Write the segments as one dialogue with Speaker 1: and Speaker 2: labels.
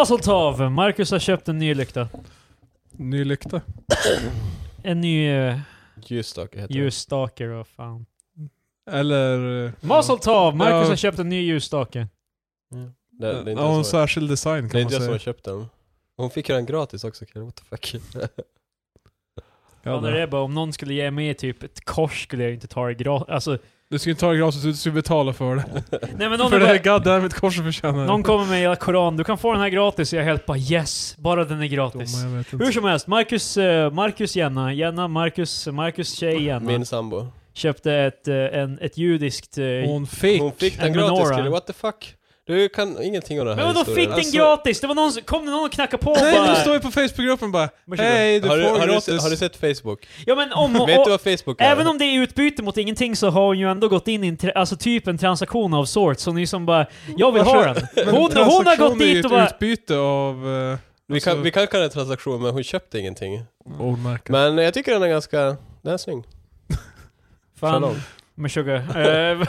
Speaker 1: Mazeltov! Marcus har köpt en ny lykta.
Speaker 2: Ny lykta.
Speaker 1: En ny eh,
Speaker 3: Ljusstake heter
Speaker 1: ljusstake då, fan.
Speaker 2: Eller... eh,
Speaker 1: Mazeltov! Marcus
Speaker 2: Ja.
Speaker 1: har köpt en ny ljusstake.
Speaker 3: det. Det, det är inte,
Speaker 2: ja,
Speaker 3: jag,
Speaker 2: en
Speaker 3: som har,
Speaker 2: särskild design
Speaker 3: det är
Speaker 2: kan man
Speaker 3: inte jag som har
Speaker 2: säga.
Speaker 3: köpt den. Hon fick den gratis också, Kalle. What the fuck?
Speaker 1: Ja,
Speaker 2: Ja,
Speaker 1: det
Speaker 2: det.
Speaker 1: är bara, om någon skulle ge mig typ ett kors skulle jag inte ta det gratis. Alltså,
Speaker 2: Du ska inte ta det gratis, du ska betala för det.
Speaker 1: nej men någon,
Speaker 2: för det
Speaker 1: bara,
Speaker 2: här goddammit korset förtjänar
Speaker 1: någon kommer med hela koran, du kan få den här gratis. Jag är helt bara yes, bara den är gratis.
Speaker 2: Domar, jag vet
Speaker 1: Hur
Speaker 2: inte.
Speaker 1: som helst, Marcus, eh, Marcus Jenna, Jenna, Marcus, Marcus tjej Jenna,
Speaker 3: Min sambo.
Speaker 1: köpte ett, eh, en, ett judiskt... eh,
Speaker 2: Hon fick.
Speaker 3: Hon fick
Speaker 1: En
Speaker 3: den gratis,
Speaker 1: menorah.
Speaker 3: Kalle. What the fuck? Du kan ingenting om den här
Speaker 1: men vadå fick
Speaker 3: historien.
Speaker 1: den
Speaker 3: Alltså,
Speaker 1: gratis? Det var någon som, kom det någon och knackade på och
Speaker 2: Nej, du
Speaker 1: bara...
Speaker 2: står ju på Facebookgruppen bara
Speaker 1: Varsågod.
Speaker 2: Hej, du
Speaker 3: har, du,
Speaker 2: får
Speaker 3: har, du,
Speaker 2: gratis.
Speaker 3: se- har du sett Facebook?
Speaker 1: Ja men om...
Speaker 3: Vet du
Speaker 1: Och,
Speaker 3: vad Facebook är?
Speaker 1: även om det är utbyte mot ingenting så har hon ju ändå gått in i en, tra- alltså typ en transaktion av sorts. Så ni som bara, jag vill ha den.
Speaker 2: Men
Speaker 1: Hon, hon har gått
Speaker 2: transaktion är ju
Speaker 1: dit och
Speaker 2: ett
Speaker 1: bara...
Speaker 2: utbyte av eh,
Speaker 3: vi,
Speaker 2: alltså-
Speaker 3: kan, vi kan kalla det en transaktion, men hon köpte ingenting.
Speaker 1: Mm.
Speaker 2: ordmärken.
Speaker 3: Men jag tycker den är ganska... Den är snygg.
Speaker 1: Fan,
Speaker 3: Shalom.
Speaker 1: men sugar. Eh,
Speaker 2: Eh,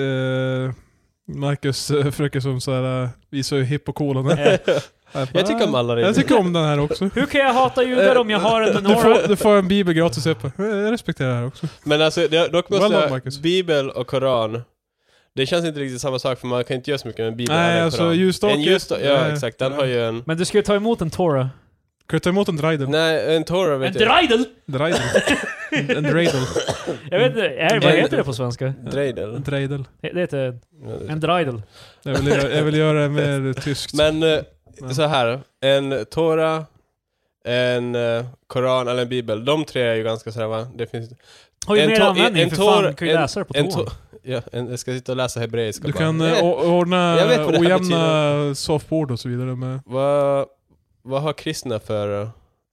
Speaker 2: eh, Marcus eh, försöker som såhär, eh, visar ju hipp och cool han är.
Speaker 1: eh,
Speaker 3: Jag tycker om alla
Speaker 2: Jag
Speaker 3: regler.
Speaker 2: tycker om den här också.
Speaker 1: hur kan jag hata judar om jag har
Speaker 3: Eh,
Speaker 1: en
Speaker 2: Du får,
Speaker 1: menorah?
Speaker 2: du får en bibel gratis upp. Jag respekterar det här också.
Speaker 3: Men alltså, det, dock måste
Speaker 2: Well done,
Speaker 3: jag...
Speaker 2: Marcus.
Speaker 3: Bibel och Koran. Det känns inte riktigt samma sak, för man kan inte göra så mycket med en bibel.
Speaker 2: Nej,
Speaker 3: eller en
Speaker 2: alltså
Speaker 3: Koran.
Speaker 2: ljusstake.
Speaker 3: En ljusstake, ja
Speaker 2: eh,
Speaker 3: exakt. Den har ju en...
Speaker 1: Men du ska ju ta emot en Torah.
Speaker 2: Kan du ta emot en dreidel?
Speaker 3: Typ. Nej, en Torah
Speaker 1: En
Speaker 3: vet jag.
Speaker 1: dreidel!
Speaker 2: Dreidel. En- En dreidel.
Speaker 1: Jag vet inte, är, vad heter det på svenska?
Speaker 3: Dreidel.
Speaker 2: En dreidel.
Speaker 1: Det det heter en dreidel.
Speaker 2: Jag vill, göra- jag vill göra det mer tyskt.
Speaker 3: Men eh,
Speaker 2: Men-
Speaker 3: så här, en Torah, en eh, Koran eller en bibel. De tre är ju ganska sådär va? Det finns...
Speaker 1: Har ju
Speaker 3: En
Speaker 1: mer
Speaker 3: to-
Speaker 1: användning
Speaker 3: en
Speaker 1: för
Speaker 3: tor-
Speaker 1: fan, du kan ju
Speaker 3: en-
Speaker 1: läsa det på
Speaker 3: En
Speaker 1: toan.
Speaker 3: to- ja, en, jag ska sitta och läsa hebreiska
Speaker 2: Du
Speaker 3: bara.
Speaker 2: kan eh,
Speaker 3: Eh,
Speaker 2: o- ordna
Speaker 3: Jag vet vad det här
Speaker 2: ojämna soffbord och så vidare med
Speaker 3: Vad, vad har kristna för... eh,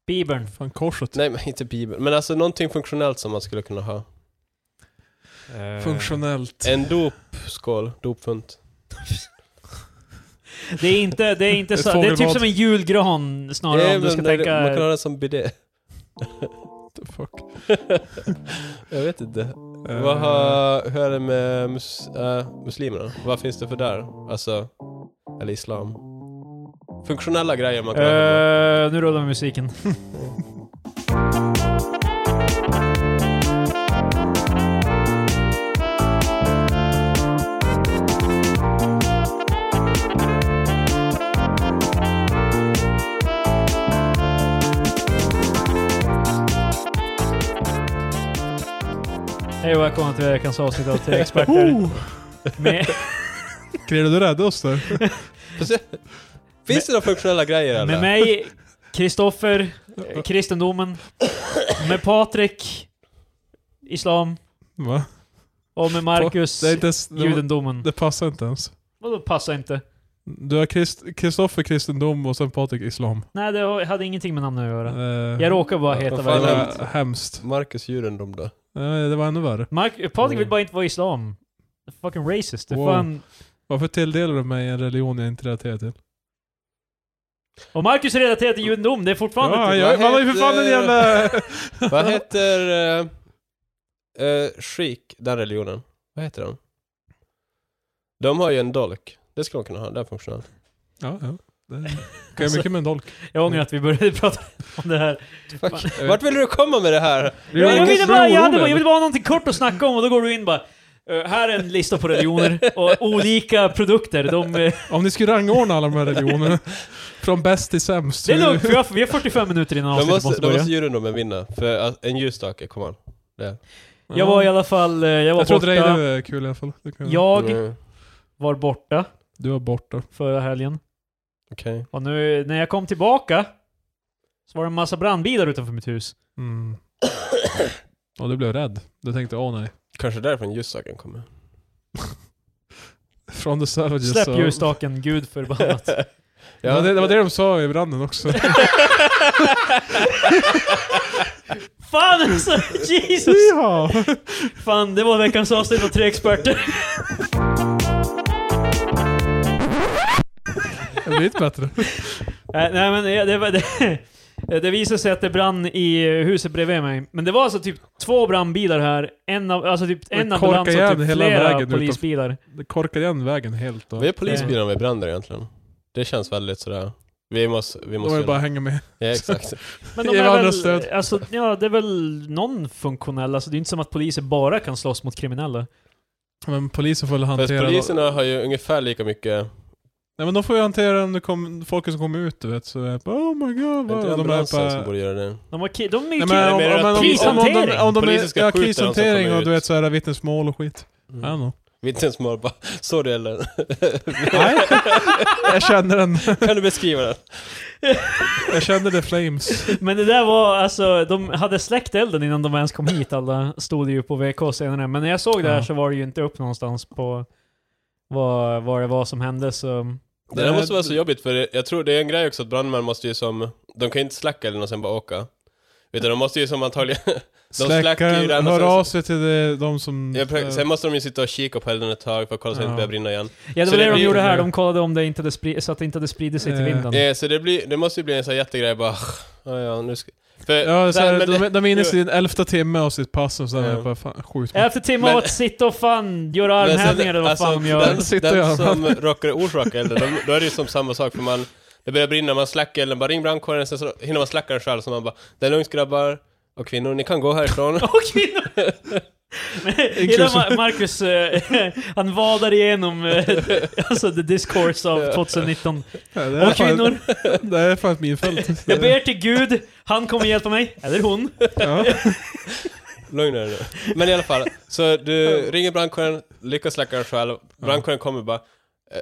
Speaker 1: Bibeln.
Speaker 2: fan korset.
Speaker 3: Nej, men inte bibeln. Men alltså någonting funktionellt som man skulle kunna ha. Eh,
Speaker 2: Funktionellt.
Speaker 3: En dopskål, dopfunt.
Speaker 1: Det är inte, det är inte
Speaker 2: Ett
Speaker 1: så, det är typ
Speaker 2: fågelbad.
Speaker 1: som en julgran snarare
Speaker 3: Eh,
Speaker 1: om du ska
Speaker 3: men det-
Speaker 1: tänka...
Speaker 3: Man kan ha den som bidé.
Speaker 2: The fuck.
Speaker 3: Jag vet inte.
Speaker 2: Eh,
Speaker 3: Vad har, hur är det med mus, eh, muslimerna? Vad finns det för där? Alltså, eller islam? Funktionella grejer man kan ha.
Speaker 1: Eh, nu rullar vi musiken. Hej och välkomna till veckans avsnitt av Tre Experter. Med,
Speaker 2: Grille, du räddade oss där.
Speaker 3: Finns det några funktionella grejer eller?
Speaker 1: med mig, Kristoffer, eh, kristendomen. Med Patrik, islam.
Speaker 2: Va?
Speaker 1: Och med Marcus,
Speaker 2: Det, är inte ens, det,
Speaker 1: judendomen.
Speaker 2: det passar inte ens.
Speaker 1: Vadå passar inte?
Speaker 2: Du har Krist- Kristoffer kristendom och sen Patrik islam.
Speaker 1: Nej, det har- hade ingenting med namnen att göra.
Speaker 2: Eh,
Speaker 1: Jag råkar bara
Speaker 3: Ja,
Speaker 1: heta
Speaker 3: vad
Speaker 2: det
Speaker 1: vad jag
Speaker 3: fan
Speaker 1: vill.
Speaker 3: är-
Speaker 2: var hemskt.
Speaker 3: Marcus judendom då?
Speaker 2: Eh, det var ännu värre.
Speaker 1: Mark, Patrik vill bara inte vara islam. Fucking racist. Det är
Speaker 2: Wow.
Speaker 1: fan...
Speaker 2: Varför tilldelar du mig en religion jag inte relaterar till?
Speaker 1: Och Marcus är relaterad till judendom, det är fortfarande
Speaker 2: Ja,
Speaker 1: inte...
Speaker 2: jag, man har ju för fan en jävla...
Speaker 3: Vad heter... Uh, Sheik, den religionen. Vad heter den? De har ju en dolk. Det skulle man kunna ha, den är funktionell.
Speaker 2: ja, ja. Det kan ju mycket med en dolk.
Speaker 1: Jag ångrar att vi började prata om det här.
Speaker 3: Fuck. Vart vill du komma med det här?
Speaker 1: Jag, jag, ville
Speaker 2: Marcus,
Speaker 1: bara,
Speaker 2: du är
Speaker 1: jag, hade, bara- jag
Speaker 2: orolig.
Speaker 1: ville bara ha någonting kort att snacka om och då går du in bara... "Eh, här är en lista på religioner och olika produkter. De, eh,
Speaker 2: Om ni skulle rangordna alla de här religionerna från bäst till sämst.
Speaker 1: det är
Speaker 2: hur-
Speaker 1: lugnt, för jag, vi är 45 minuter innan
Speaker 3: Då
Speaker 1: avsnittet måste,
Speaker 3: måste, då
Speaker 1: börja.
Speaker 3: måste judendomen vinna. För eh, en ljusstake, kom on.
Speaker 1: Jag var i alla fall... eh, Jag var
Speaker 2: Jag tror
Speaker 1: borta.
Speaker 2: att Reidar är kul i alla fall. Det kan-
Speaker 1: Jag
Speaker 3: Mm,
Speaker 1: var borta
Speaker 2: Du var borta.
Speaker 1: förra helgen.
Speaker 3: Okej.
Speaker 1: Och nu när jag kom tillbaka så var det en massa brandbilar utanför mitt hus.
Speaker 2: Mm. Och du blev rädd. Du tänkte åh nej.
Speaker 3: Kanske därifrån ljusstaken kommer.
Speaker 2: Från the Savages.
Speaker 1: Släpp
Speaker 2: så-
Speaker 1: ljusstaken, gud förbannat.
Speaker 2: Ja, det, det var det de sa i branden också.
Speaker 1: Fan alltså, Jesus!
Speaker 2: ja.
Speaker 1: Fan, det var veckans avsnitt av Tre Experter.
Speaker 2: Det blir inte bättre.
Speaker 1: Äh, nej men det, det, var- det, det visade sig att det brann i huset bredvid mig. Men det var alltså typ två brandbilar här, en, av, alltså typ
Speaker 2: Det
Speaker 1: en
Speaker 2: korkar
Speaker 1: ambulans och
Speaker 2: igen
Speaker 1: typ
Speaker 2: hela vägen
Speaker 1: flera
Speaker 2: utanför.
Speaker 1: polisbilar.
Speaker 2: Det korkar igen vägen helt. Och...
Speaker 3: Vad är polisbilarna med bränder egentligen? Det känns väldigt sådär. Vi måste... Vi
Speaker 2: Då är
Speaker 3: måste
Speaker 2: det bara att hänga med.
Speaker 3: Ja, exakt.
Speaker 1: Men
Speaker 2: Ge
Speaker 1: de
Speaker 2: varandra
Speaker 1: är väl,
Speaker 2: stöd.
Speaker 1: alltså, ja, det är väl någon funktionell, alltså det är inte som att poliser bara kan slåss mot kriminella.
Speaker 2: Men polisen får väl
Speaker 3: Fast
Speaker 2: hantera...
Speaker 3: poliserna har ju ungefär lika mycket...
Speaker 2: Nej men de får ju hantera om det kom, folk som kommer ut du vet. Så är det bara, oh my god.
Speaker 3: Är
Speaker 2: Vad,
Speaker 3: inte
Speaker 2: de är
Speaker 3: ambulansen
Speaker 2: bara,
Speaker 3: som borde göra det?
Speaker 1: De, har ki- de är ju
Speaker 2: Nej, men, om,
Speaker 3: mer
Speaker 2: om,
Speaker 3: att
Speaker 2: om, om, om,
Speaker 1: krishantering.
Speaker 2: de- om de
Speaker 3: Polisen
Speaker 2: är,
Speaker 3: ska
Speaker 2: ja,
Speaker 3: skjuta dem som
Speaker 2: krishantering
Speaker 3: kommer
Speaker 2: och du
Speaker 3: ut.
Speaker 2: vet så är det vittnesmål och skit.
Speaker 3: Mm.
Speaker 2: I don't know.
Speaker 3: Vittnesmål bara, sorry Ellen.
Speaker 2: Nej, jag känner den.
Speaker 3: kan du beskriva den?
Speaker 2: Jag känner the flames.
Speaker 1: Men det där var alltså, de hade släckt elden innan de ens kom hit alla. Stod det ju på VK senare. Men när jag såg det här
Speaker 2: Ja.
Speaker 1: så var det ju inte upp någonstans på vad, vad det var som hände så...
Speaker 3: Det där måste vara så jobbigt för det- jag tror det är en grej också att brandmän måste ju som, de kan ju inte slacka eller och sen bara åka. Utan de måste ju som antagligen, släcker ju
Speaker 2: Släckaren
Speaker 3: den och
Speaker 2: hör
Speaker 3: sen-
Speaker 2: av sig till de, de som... eh,
Speaker 3: jag pre- sen måste de ju sitta och kika på elden ett tag för att kolla så att det inte
Speaker 2: Mm. Ja.
Speaker 3: börjar brinna igen.
Speaker 1: Ja det var
Speaker 3: Så det
Speaker 1: det, de
Speaker 3: blir-
Speaker 1: gjorde här, de kollade om det inte hade spri- så att det inte hade spridit sig till
Speaker 2: Eh.
Speaker 1: vinden.
Speaker 3: Eh, så det, blir, det måste ju bli en sån här jättegrej bara, ja, ja nu ska... För,
Speaker 2: Ja, så
Speaker 3: nej,
Speaker 2: här,
Speaker 3: men
Speaker 2: de,
Speaker 3: det-
Speaker 2: de är inne i sin elfte timme av sitt pass och sen
Speaker 3: Ja.
Speaker 2: är det bara fan, skjut mig.
Speaker 1: Efter timmar
Speaker 3: Men-
Speaker 1: av att sitta och fan göra armhävningar eller vad fan de gör.
Speaker 3: alltså, Den,
Speaker 2: Sitter
Speaker 3: den
Speaker 2: jag.
Speaker 3: som råkar orsaka elden, de- då är det ju som samma sak för man, det börjar brinna, man släcker elden, bara ring brandkåren, sen så hinner man släcka den själv, så man bara, det är lugnt grabbar och kvinnor, ni kan gå härifrån.
Speaker 1: Och kvinnor! Men hela Ma- Marcus, eh, han vadar igenom eh, alltså the discourse av 2019.
Speaker 2: Ja, det är
Speaker 1: Och
Speaker 2: fan-
Speaker 1: kvinnor,
Speaker 2: Det är fan ett minfält.
Speaker 1: jag ber till Gud, han kommer hjälpa mig. Eller hon.
Speaker 2: Ja.
Speaker 3: Lugna dig nu. Men i alla fall, så du ringer brandkåren, lyckas släcka den själv, brandkåren kommer bara, eh,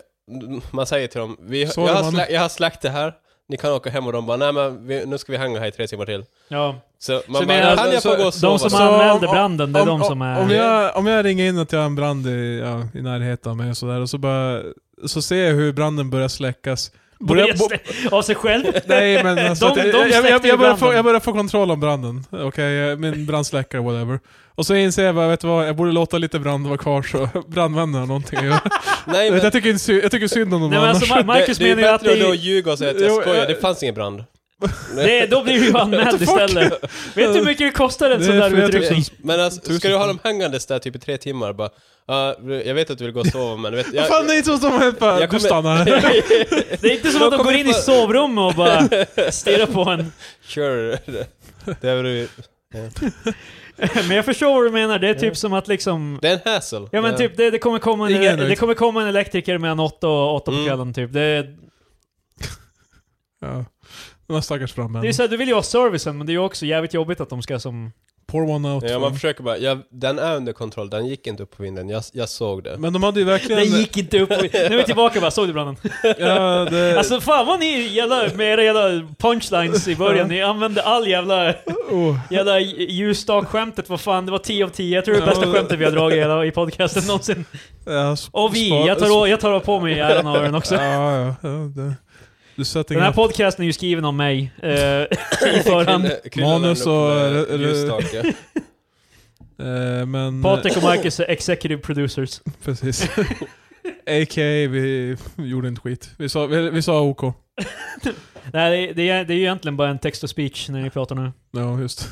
Speaker 3: m- man säger till dem, vi,
Speaker 2: Så
Speaker 3: jag,
Speaker 2: är
Speaker 3: har
Speaker 2: man.
Speaker 3: slä, jag har släckt det här, ni kan åka hem och de bara, nej men vi, nu ska vi hänga här i tre timmar till.
Speaker 1: Ja.
Speaker 3: Så man
Speaker 1: Så
Speaker 3: bara,
Speaker 1: menar-
Speaker 3: kan jag få
Speaker 2: så-
Speaker 3: gå och sova?
Speaker 1: De som
Speaker 2: Så
Speaker 1: anmälde
Speaker 2: om-
Speaker 1: branden, det är
Speaker 2: om-
Speaker 1: de som är...
Speaker 2: Om jag, om jag ringer in att jag har en brand i, ja, i närheten av mig och sådär och så bara... Så ser jag hur branden börjar släckas. Börjar-
Speaker 1: Börjar stä- av sig själv.
Speaker 2: Nej men alltså,
Speaker 1: De- de
Speaker 2: jag, jag, jag,
Speaker 1: släckte ju
Speaker 2: jag, börjar få,
Speaker 1: branden.
Speaker 2: jag börjar få kontroll om branden. Okej, jag- min brandsläckare whatever. Och så inser jag bara, vet du vad, jag borde låta lite brand vara kvar så brandmännen har någonting att göra.
Speaker 3: nej
Speaker 2: Jag,
Speaker 3: men,
Speaker 2: vet, jag,
Speaker 3: det,
Speaker 2: tycker inte sy- jag tycker synd om dem
Speaker 1: Nej, men
Speaker 2: annars.
Speaker 1: alltså, Ma- Marcus
Speaker 3: det är
Speaker 1: menar ju
Speaker 3: bättre
Speaker 1: att
Speaker 3: att då
Speaker 1: det,
Speaker 3: ljuga och säga att jag
Speaker 2: Jo,
Speaker 3: skojar,
Speaker 2: jag-
Speaker 3: det fanns ingen brand.
Speaker 1: det, då blir du ju anmäld istället. Vet du hur mycket det kostar en
Speaker 2: Det
Speaker 1: sån
Speaker 2: är
Speaker 1: där
Speaker 2: flera
Speaker 1: utrustning?
Speaker 2: tusen.
Speaker 3: Men alltså,
Speaker 2: Tusen
Speaker 3: ska du ha dem hängandes där typ i tre timmar bara, "Ja, jag vet att du vill gå och sova men vet, jag,
Speaker 2: Vad fan det är inte så som att bara,
Speaker 3: jag
Speaker 2: du
Speaker 3: kommer-
Speaker 2: stannar här.
Speaker 1: Det är inte som att de
Speaker 3: kommer
Speaker 1: går in i
Speaker 3: få-
Speaker 1: sovrummet och bara stirrar på en.
Speaker 3: sure. Det är, väl-
Speaker 1: Men jag förstår vad du menar, det är typ som att liksom...
Speaker 3: det är en hassle.
Speaker 1: Ja men typ, det, det, kommer komma en,
Speaker 2: Ingen är nöjd.
Speaker 1: det kommer komma en elektriker mellan 8 och 8 på
Speaker 3: Mm.
Speaker 1: kvällen typ. Det,
Speaker 2: Ja. De här stackars brandmännen.
Speaker 1: det är så här, du vill ju ha servicen, men det är ju också jävligt jobbigt att de ska som...
Speaker 2: Pour one out.
Speaker 3: Ja, man försöker bara, ja, den är under kontroll, den gick inte upp på vinden, jag, jag såg det.
Speaker 2: men de hade ju verkligen...
Speaker 1: Det gick inte upp. Nu är vi tillbaka bara, såg du branden?
Speaker 2: Ja, det,
Speaker 1: Alltså fan vad ni jävla, med era jävla punchlines i början, ni använde all jävla,
Speaker 2: oh.
Speaker 1: jävla ljusstak-skämtet, vad fan, det var 10 av 10. Jag tror det är det bästa skämtet vi har dragit i hela- i podcasten någonsin.
Speaker 2: ja, sp-
Speaker 1: Och vi,
Speaker 2: spa-
Speaker 1: jag tar, jag tar på mig äran av den också.
Speaker 2: Ja, ja. ja det. Du sätter
Speaker 1: Den här
Speaker 2: inga...
Speaker 1: podcasten är ju skriven av mig eh, i förhand.
Speaker 3: Krille- Krille lämnade
Speaker 2: Manus
Speaker 3: upp en,
Speaker 2: och-
Speaker 3: eh, ljusstake.
Speaker 2: Eh, men...
Speaker 1: Patrik och Marcus är executive producers.
Speaker 2: Precis. AK, vi gjorde inte skit. Vi sa, vi, vi sa OK.
Speaker 1: Nej, det, det, är, det är ju egentligen bara en text och speech när ni pratar nu.
Speaker 2: Ja, just.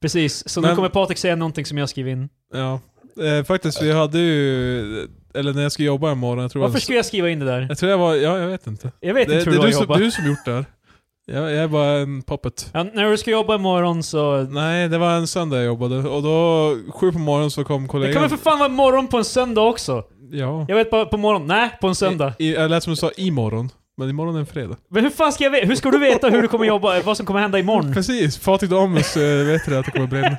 Speaker 1: Precis, så nu
Speaker 2: Men-
Speaker 1: kommer Patrik säga någonting som jag skriver in.
Speaker 2: Ja. Eh, faktiskt, vi hade ju... Eller när jag ska jobba imorgon, jag tror
Speaker 1: Varför
Speaker 2: jag...
Speaker 1: skulle jag skriva in det där?
Speaker 2: Jag tror jag var... Ja, jag vet inte.
Speaker 1: Jag vet
Speaker 2: det,
Speaker 1: inte
Speaker 2: det
Speaker 1: hur jag
Speaker 2: är du som,
Speaker 1: jobbar.
Speaker 2: du som gjort det här. Jag, jag är bara en puppet.
Speaker 1: Ja, när du ska jobba imorgon så...
Speaker 2: Nej, det var en söndag jag jobbade och då, sju på morgonen så kom
Speaker 1: Det
Speaker 2: kollegan.
Speaker 1: kan väl för fan vara morgon på en söndag också?
Speaker 2: Ja.
Speaker 1: Jag vet bara på morgon. Nej, på en söndag.
Speaker 2: I, I, jag lät som du sa imorgon, men imorgon är en fredag.
Speaker 1: Men hur fan ska jag veta? Hur ska du veta hur du kommer jobba? Vad som kommer hända imorgon?
Speaker 2: Precis, Patrik Damus eh, vet du att det kommer brinna.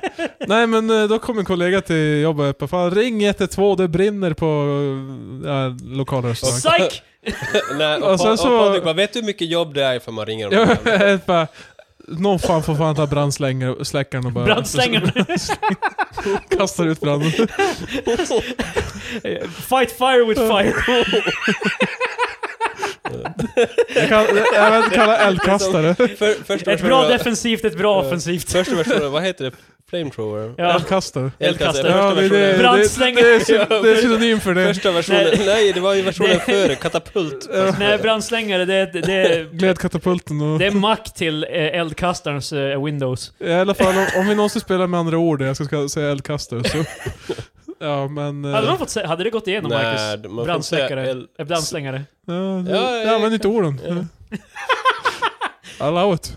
Speaker 2: Nej men eh, då kom en kollega till jobbet och fan ring 112, det brinner på eh, ja, lokala restaurang.
Speaker 1: Psyk!
Speaker 3: Nej, och,
Speaker 2: Och sen
Speaker 3: och,
Speaker 2: så-
Speaker 3: Patrik bara, vet du hur mycket jobb det är ifall man ringer
Speaker 2: Jag
Speaker 3: dem?
Speaker 2: vet bara, Någon fan får fan ta brandsläckaren och bara...
Speaker 1: Brandslängaren.
Speaker 2: Kastar ut branden.
Speaker 1: Fight fire with fire.
Speaker 2: Jag, kan, jag vet inte kalla eldkastare.
Speaker 3: För, första
Speaker 1: Ett bra
Speaker 3: versionen-
Speaker 1: defensivt, ett bra
Speaker 3: Eh,
Speaker 1: offensivt.
Speaker 3: Första versionen, vad heter det? Flamethrower?
Speaker 1: Ja.
Speaker 2: Eldkastare.
Speaker 1: Eldkastare.
Speaker 3: Första
Speaker 2: Ja, det, det,
Speaker 3: versionen.
Speaker 2: det, det,
Speaker 1: Brandslängare.
Speaker 2: det, är sy- det är synonym för det.
Speaker 3: Första versionen,
Speaker 1: Nej.
Speaker 3: nej. det var ju versionen
Speaker 1: Det-
Speaker 3: före, katapult.
Speaker 1: Nej, brandslängare, det, är- det, är-
Speaker 2: Glädkatapulten och...
Speaker 1: det är mack till eh, eldkastarens eh, Windows.
Speaker 2: I alla fall om, om vi någonsin spelar med andra ord, jag ska, ska säga eldkastare, så... Ja, men... eh,
Speaker 1: Hade, de fått se, hade det gått igenom
Speaker 3: Nej,
Speaker 1: Marcus?
Speaker 3: man får inte säga
Speaker 1: Brandsläckare?
Speaker 3: el-
Speaker 1: Eh, Brandslängare?
Speaker 2: Ja, det,
Speaker 3: Ja,
Speaker 2: jag använder inte orden.
Speaker 3: ja.
Speaker 2: Allow it.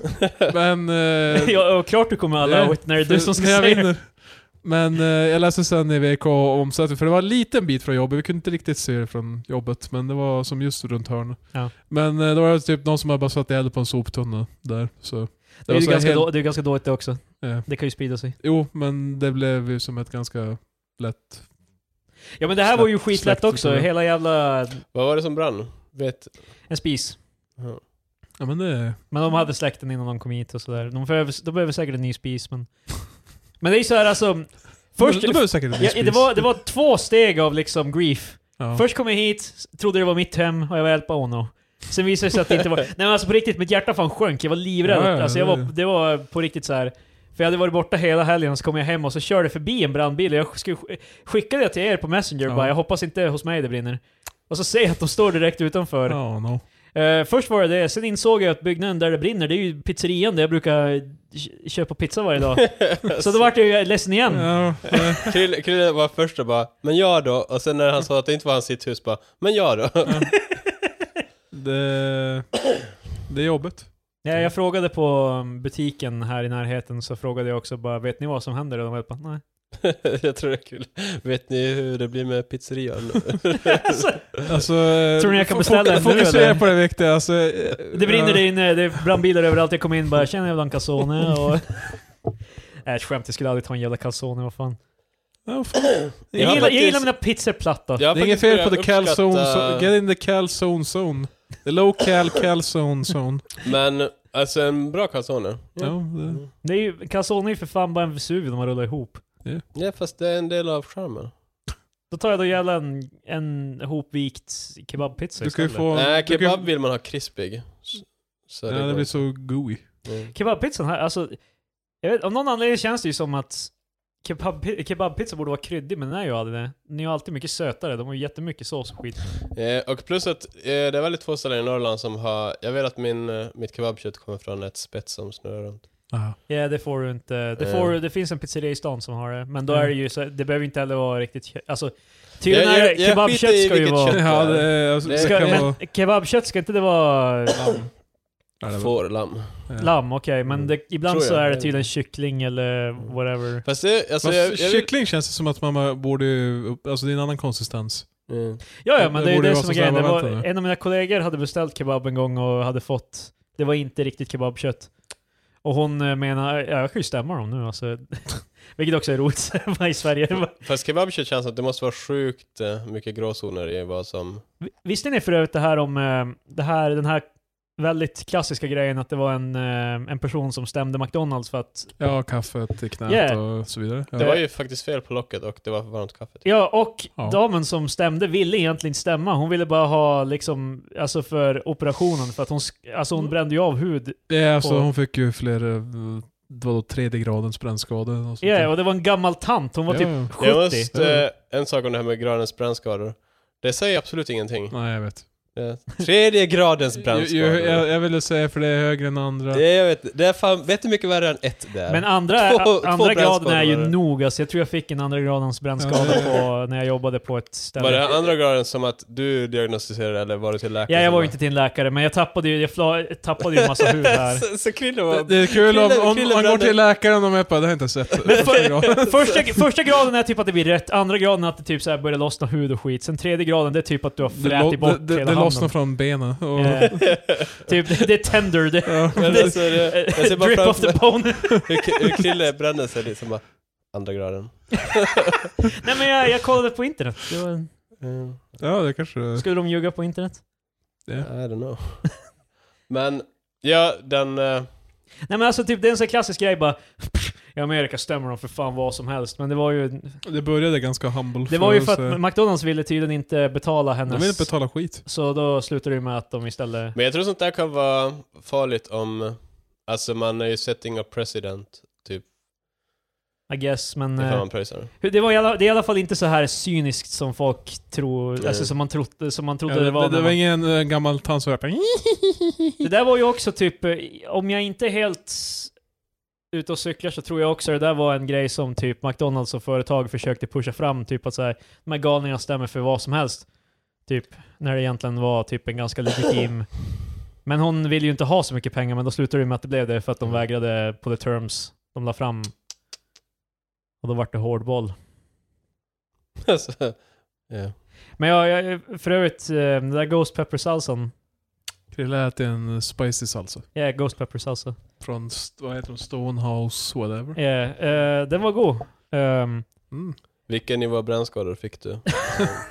Speaker 2: Men... eh,
Speaker 1: ja, och klart du kommer alla
Speaker 2: Ja,
Speaker 1: ja, när det är du som ska
Speaker 2: när jag
Speaker 1: säga det.
Speaker 2: vinner. Men eh, jag läste sen i VK om Saturday, för det var en liten bit från jobbet, vi kunde inte riktigt se det från jobbet, men det var som just runt hörnet.
Speaker 1: Ja.
Speaker 2: Men eh, då var det typ någon som hade bara satt eld på en soptunna där. Så.
Speaker 1: Det är
Speaker 2: var
Speaker 1: ju
Speaker 2: så här
Speaker 1: ganska,
Speaker 2: helt-
Speaker 1: då, det är ju ganska dåligt det också.
Speaker 2: Ja.
Speaker 1: Det kan ju sprida sig.
Speaker 2: Jo, men det blev ju som ett ganska lätt...
Speaker 1: Ja men det här var ju
Speaker 2: Släkt-
Speaker 1: skitlätt
Speaker 2: släkt-
Speaker 1: också. Hela jävla... eh,
Speaker 3: Vad var det som brann? Vet...
Speaker 1: En spis.
Speaker 3: Ja.
Speaker 2: Ja men det...
Speaker 1: Men de hade släkten innan de kom hit och sådär. De behöver, de behöver säkert en ny spis men... Men det är ju såhär alltså... Först...
Speaker 2: Först, du behöver säkert en
Speaker 1: ja, det, var, det var två steg av liksom grief.
Speaker 2: ja.
Speaker 1: Först kom jag hit, trodde det var mitt hem och jag var helt oh no. Sen visade det sig att det inte var... Nej men alltså på riktigt, mitt hjärta fan sjönk. Jag var livrädd.
Speaker 2: Ja, ja,
Speaker 1: alltså jag var,
Speaker 2: det-
Speaker 1: det var på riktigt så här. För jag hade varit borta hela helgen och så kom jag hem och så körde förbi en brandbil och jag skulle, skickade det till er på Messenger
Speaker 2: Ja.
Speaker 1: bara, jag hoppas inte hos mig det brinner. Och så ser jag att de står direkt utanför.
Speaker 2: Ja, no.
Speaker 1: Eh, först var det det, sen insåg jag att byggnaden där det brinner, det är ju pizzerian där jag brukar k- köpa pizza varje dag. så då vart jag ju ledsen igen.
Speaker 2: Ja, eh,
Speaker 3: Krill, Krille var först och bara “Men jag då?” och sen när han sa att det inte var hans sitt hus bara “Men jag då?”
Speaker 2: det... Det är jobbigt.
Speaker 1: Ja, jag frågade på um, butiken här i närheten, så frågade jag också bara ”Vet ni vad som händer?” och de var bara ”Nej”.
Speaker 3: Jag tror det är kul. Vet ni hur det blir med pizzerian?
Speaker 1: alltså,
Speaker 2: Alltså, eh,
Speaker 1: Tror ni jag kan
Speaker 2: fok-
Speaker 1: beställa en nu,
Speaker 2: Fokusera
Speaker 1: eller?
Speaker 2: på det viktiga. Alltså, eh,
Speaker 1: det brinner
Speaker 2: ja.
Speaker 1: där inne, det är brandbilar överallt, jag kom in bara “Tjena jävla calzone” och... Nej, ett skämt, jag skulle aldrig ta en jävla calzone, vad fan.
Speaker 2: Ja, fan.
Speaker 1: Jag,
Speaker 3: har
Speaker 1: gillar, jag
Speaker 3: faktiskt-
Speaker 1: gillar mina pizzor platta.
Speaker 3: Jag har
Speaker 2: Det är inget
Speaker 3: faktiskt
Speaker 2: fel på the
Speaker 3: börjat
Speaker 2: calzone
Speaker 3: uppskatta-
Speaker 2: zone. Get in the calzone zone. The low cal calzone zone.
Speaker 3: Men alltså en bra calzone. Mm.
Speaker 2: Ja, det,
Speaker 1: Det är ju, calzone är ju för fan bara en Vesuvio de har rullat ihop.
Speaker 3: Ja fast det är en del av charmen.
Speaker 1: Då tar jag då jävla en, en hopvikt kebabpizza
Speaker 2: du kan ju
Speaker 1: istället.
Speaker 2: få...
Speaker 3: Nej,
Speaker 2: du kan ju-
Speaker 3: kebab vill man ha krispig. S- Så
Speaker 2: Ja, det
Speaker 3: går
Speaker 2: blir så gooey.
Speaker 3: Mm.
Speaker 1: Kebabpizzan här, alltså... Jag vet, av någon anledning känns det ju som att kebab, kebabpizza borde vara kryddig, men den är ju aldrig det. Den är ju alltid mycket sötare, de har ju jättemycket sås och skit.
Speaker 3: Eh, och plus att eh, det är väldigt få ställen i Norrland som har... Jag vet att min, eh, mitt kebabkött kommer från ett spett som snurrar runt.
Speaker 2: Ja.
Speaker 1: Ja, det får du inte. Det,
Speaker 3: Eh.
Speaker 1: får, det finns en pizzeria i stan som har det, men då
Speaker 2: Mm.
Speaker 1: är det ju så, det behöver ju inte heller vara riktigt kö- Alltså, tydligen är
Speaker 3: jag-
Speaker 1: det,
Speaker 3: jag skiter
Speaker 1: kebabkött
Speaker 3: i
Speaker 1: ska ju
Speaker 3: vilket
Speaker 1: vara...
Speaker 3: kött.
Speaker 2: Ja, det, är- alltså,
Speaker 3: Det
Speaker 2: det,
Speaker 3: är-
Speaker 1: Ska,
Speaker 2: kan
Speaker 1: men
Speaker 2: vara...
Speaker 1: kebabkött ska inte det vara
Speaker 2: Ja, det är väl-
Speaker 3: Får, lamm.
Speaker 2: ja.
Speaker 1: lamm? Okej, men
Speaker 3: Mm.
Speaker 1: det, ibland
Speaker 3: Tror
Speaker 1: så
Speaker 3: jag.
Speaker 1: är det tydligen kyckling eller whatever.
Speaker 3: Fast det, alltså
Speaker 2: Fast
Speaker 3: jag, jag, vill-
Speaker 2: kyckling känns det som att man bara borde... ju- Alltså det är en annan konsistens.
Speaker 3: Mm.
Speaker 1: Ja, ja
Speaker 2: Det-
Speaker 1: men
Speaker 2: det
Speaker 1: det är ju
Speaker 2: borde
Speaker 1: det
Speaker 2: vara
Speaker 1: som är
Speaker 2: så
Speaker 1: grejen. Det
Speaker 2: samma
Speaker 1: var,
Speaker 2: väntan, ja.
Speaker 1: en av mina kollegor hade beställt kebab en gång och hade fått... Det var inte riktigt kebabkött. Och hon eh, menar, ja, jag kan ju stämma dem nu alltså. Vilket också är roligt bara i Sverige.
Speaker 3: Fast kebabkött känns att det måste vara sjukt eh, mycket gråzoner i vad som...
Speaker 1: Visste ni för övrigt det här om eh, det här, den här väldigt klassiska grejen att det var en, eh, en person som stämde McDonalds för att...
Speaker 2: Ja, kaffet i knät
Speaker 1: Yeah.
Speaker 2: och så vidare. Ja.
Speaker 3: Det var ju faktiskt fel på locket och det var för varmt kaffe.
Speaker 1: Ja, och
Speaker 2: Ja.
Speaker 1: damen som stämde ville egentligen inte stämma. Hon ville bara ha liksom, alltså för operationen för att hon, sk- alltså
Speaker 2: Mm.
Speaker 1: hon brände ju av hud
Speaker 2: det är alltså,
Speaker 1: på-
Speaker 2: hon fick ju fler... eh, Vadå, tredje gradens brännskada? och sånt
Speaker 1: Ja,
Speaker 2: där.
Speaker 1: och det var en gammal tant. Hon var
Speaker 2: Ja,
Speaker 1: typ
Speaker 2: ja.
Speaker 1: 70.
Speaker 3: Jag måste,
Speaker 1: Mm.
Speaker 3: eh, en sak om det här med gradens brännskador. Det säger absolut ingenting.
Speaker 2: Nej, jag vet.
Speaker 3: Eh, Tredje gradens
Speaker 2: Jag, jag,
Speaker 3: brännskador.
Speaker 2: jag, jag ville säga för det är högre än andra.
Speaker 3: Det, jag vet, det är fan, vet du mycket värre än ett där?
Speaker 1: Men andra,
Speaker 3: Två- två
Speaker 1: andra graden är ju
Speaker 3: brännskador.
Speaker 1: nog. Alltså, jag tror jag fick en andra gradens brännskada
Speaker 2: Ja.
Speaker 1: på, när jag jobbade på ett
Speaker 3: var
Speaker 1: ställe.
Speaker 3: det andra graden som att du diagnostiserade eller var du till läkare?
Speaker 1: Ja, jag var ju inte till en läkare, men jag tappade ju, jag fla, tappade ju en massa hud här.
Speaker 3: så, så Krille
Speaker 2: Det,
Speaker 3: var...
Speaker 2: det är kul om,
Speaker 3: Krille-
Speaker 2: om
Speaker 3: Krille
Speaker 2: man går
Speaker 3: brände-
Speaker 2: till läkaren och de är på det har jag inte sett.
Speaker 1: Första, första graden är typ att det blir rätt, andra graden är att det typ så här börjar lossna hud och skit. Sen tredje graden, det är typ att du har
Speaker 2: Det, lo-
Speaker 1: frätit
Speaker 2: det,
Speaker 1: bort
Speaker 2: det,
Speaker 1: hela
Speaker 2: det lossnar
Speaker 1: handen.
Speaker 2: från benen. Och,
Speaker 1: Eh, typ, det, det är tender. Det,
Speaker 2: ja.
Speaker 3: Men
Speaker 1: det-
Speaker 3: alltså, det, jag ser
Speaker 1: eh,
Speaker 3: bara
Speaker 1: drip off the
Speaker 3: framför
Speaker 1: bone.
Speaker 3: hur, K- hur Krille brände sig liksom bara... Andra graden.
Speaker 1: Nej men jag, jag kollade på internet. Det var,
Speaker 3: Mm.
Speaker 2: ja, det kanske det
Speaker 1: skulle de ljuga på internet?
Speaker 2: Ja.
Speaker 3: I don't know. Men, ja, den... eh,
Speaker 1: Nej men alltså typ, det är en sån här klassisk grej bara... I Amerika stämmer de för fan vad som helst, men det var ju...
Speaker 2: Det började ganska humble.
Speaker 1: Det var ju för
Speaker 2: oss, eh.
Speaker 1: att McDonalds ville tydligen inte betala
Speaker 2: De
Speaker 1: hennes...
Speaker 2: vill inte betala skit.
Speaker 1: Så då slutade det ju med att de istället...
Speaker 3: Men jag tror sånt där kan vara farligt om... Alltså man är ju setting a president.
Speaker 1: I guess, men...
Speaker 3: Det
Speaker 1: eh,
Speaker 3: kan man pröjsa.
Speaker 1: Hur- Det, var i alla, det är i alla fall inte så här cyniskt som folk tror,
Speaker 3: Nej.
Speaker 1: alltså som man trodde, som man trodde
Speaker 2: Ja, det,
Speaker 1: det var.
Speaker 2: det,
Speaker 1: när
Speaker 2: var
Speaker 1: man,
Speaker 2: ingen eh, gammal tant som hörde
Speaker 1: det där var ju också typ, eh, om jag inte är helt ute och cyklar så tror jag också det där var en grej som typ McDonalds och företag försökte pusha fram, typ att så här, de här galningarna stämmer för vad som helst. Typ, när det egentligen var typ en ganska legitim... Men hon ville ju inte ha så mycket pengar, men då slutade det med att det blev det för att de vägrade på the terms de la fram. Och då vart det hårdboll.
Speaker 3: Alltså, ja.
Speaker 1: Men jag, jag för övrigt, eh, den där Ghost Pepper salsan.
Speaker 2: Krille äter en eh, spicy salsa.
Speaker 1: Ja, Ghost Pepper salsa.
Speaker 2: Från, st- vad heter de, Stonehouse, whatever.
Speaker 1: Ja, eh, den var god. Ehm,
Speaker 2: Mm.
Speaker 3: Vilken nivå av brännskador fick du?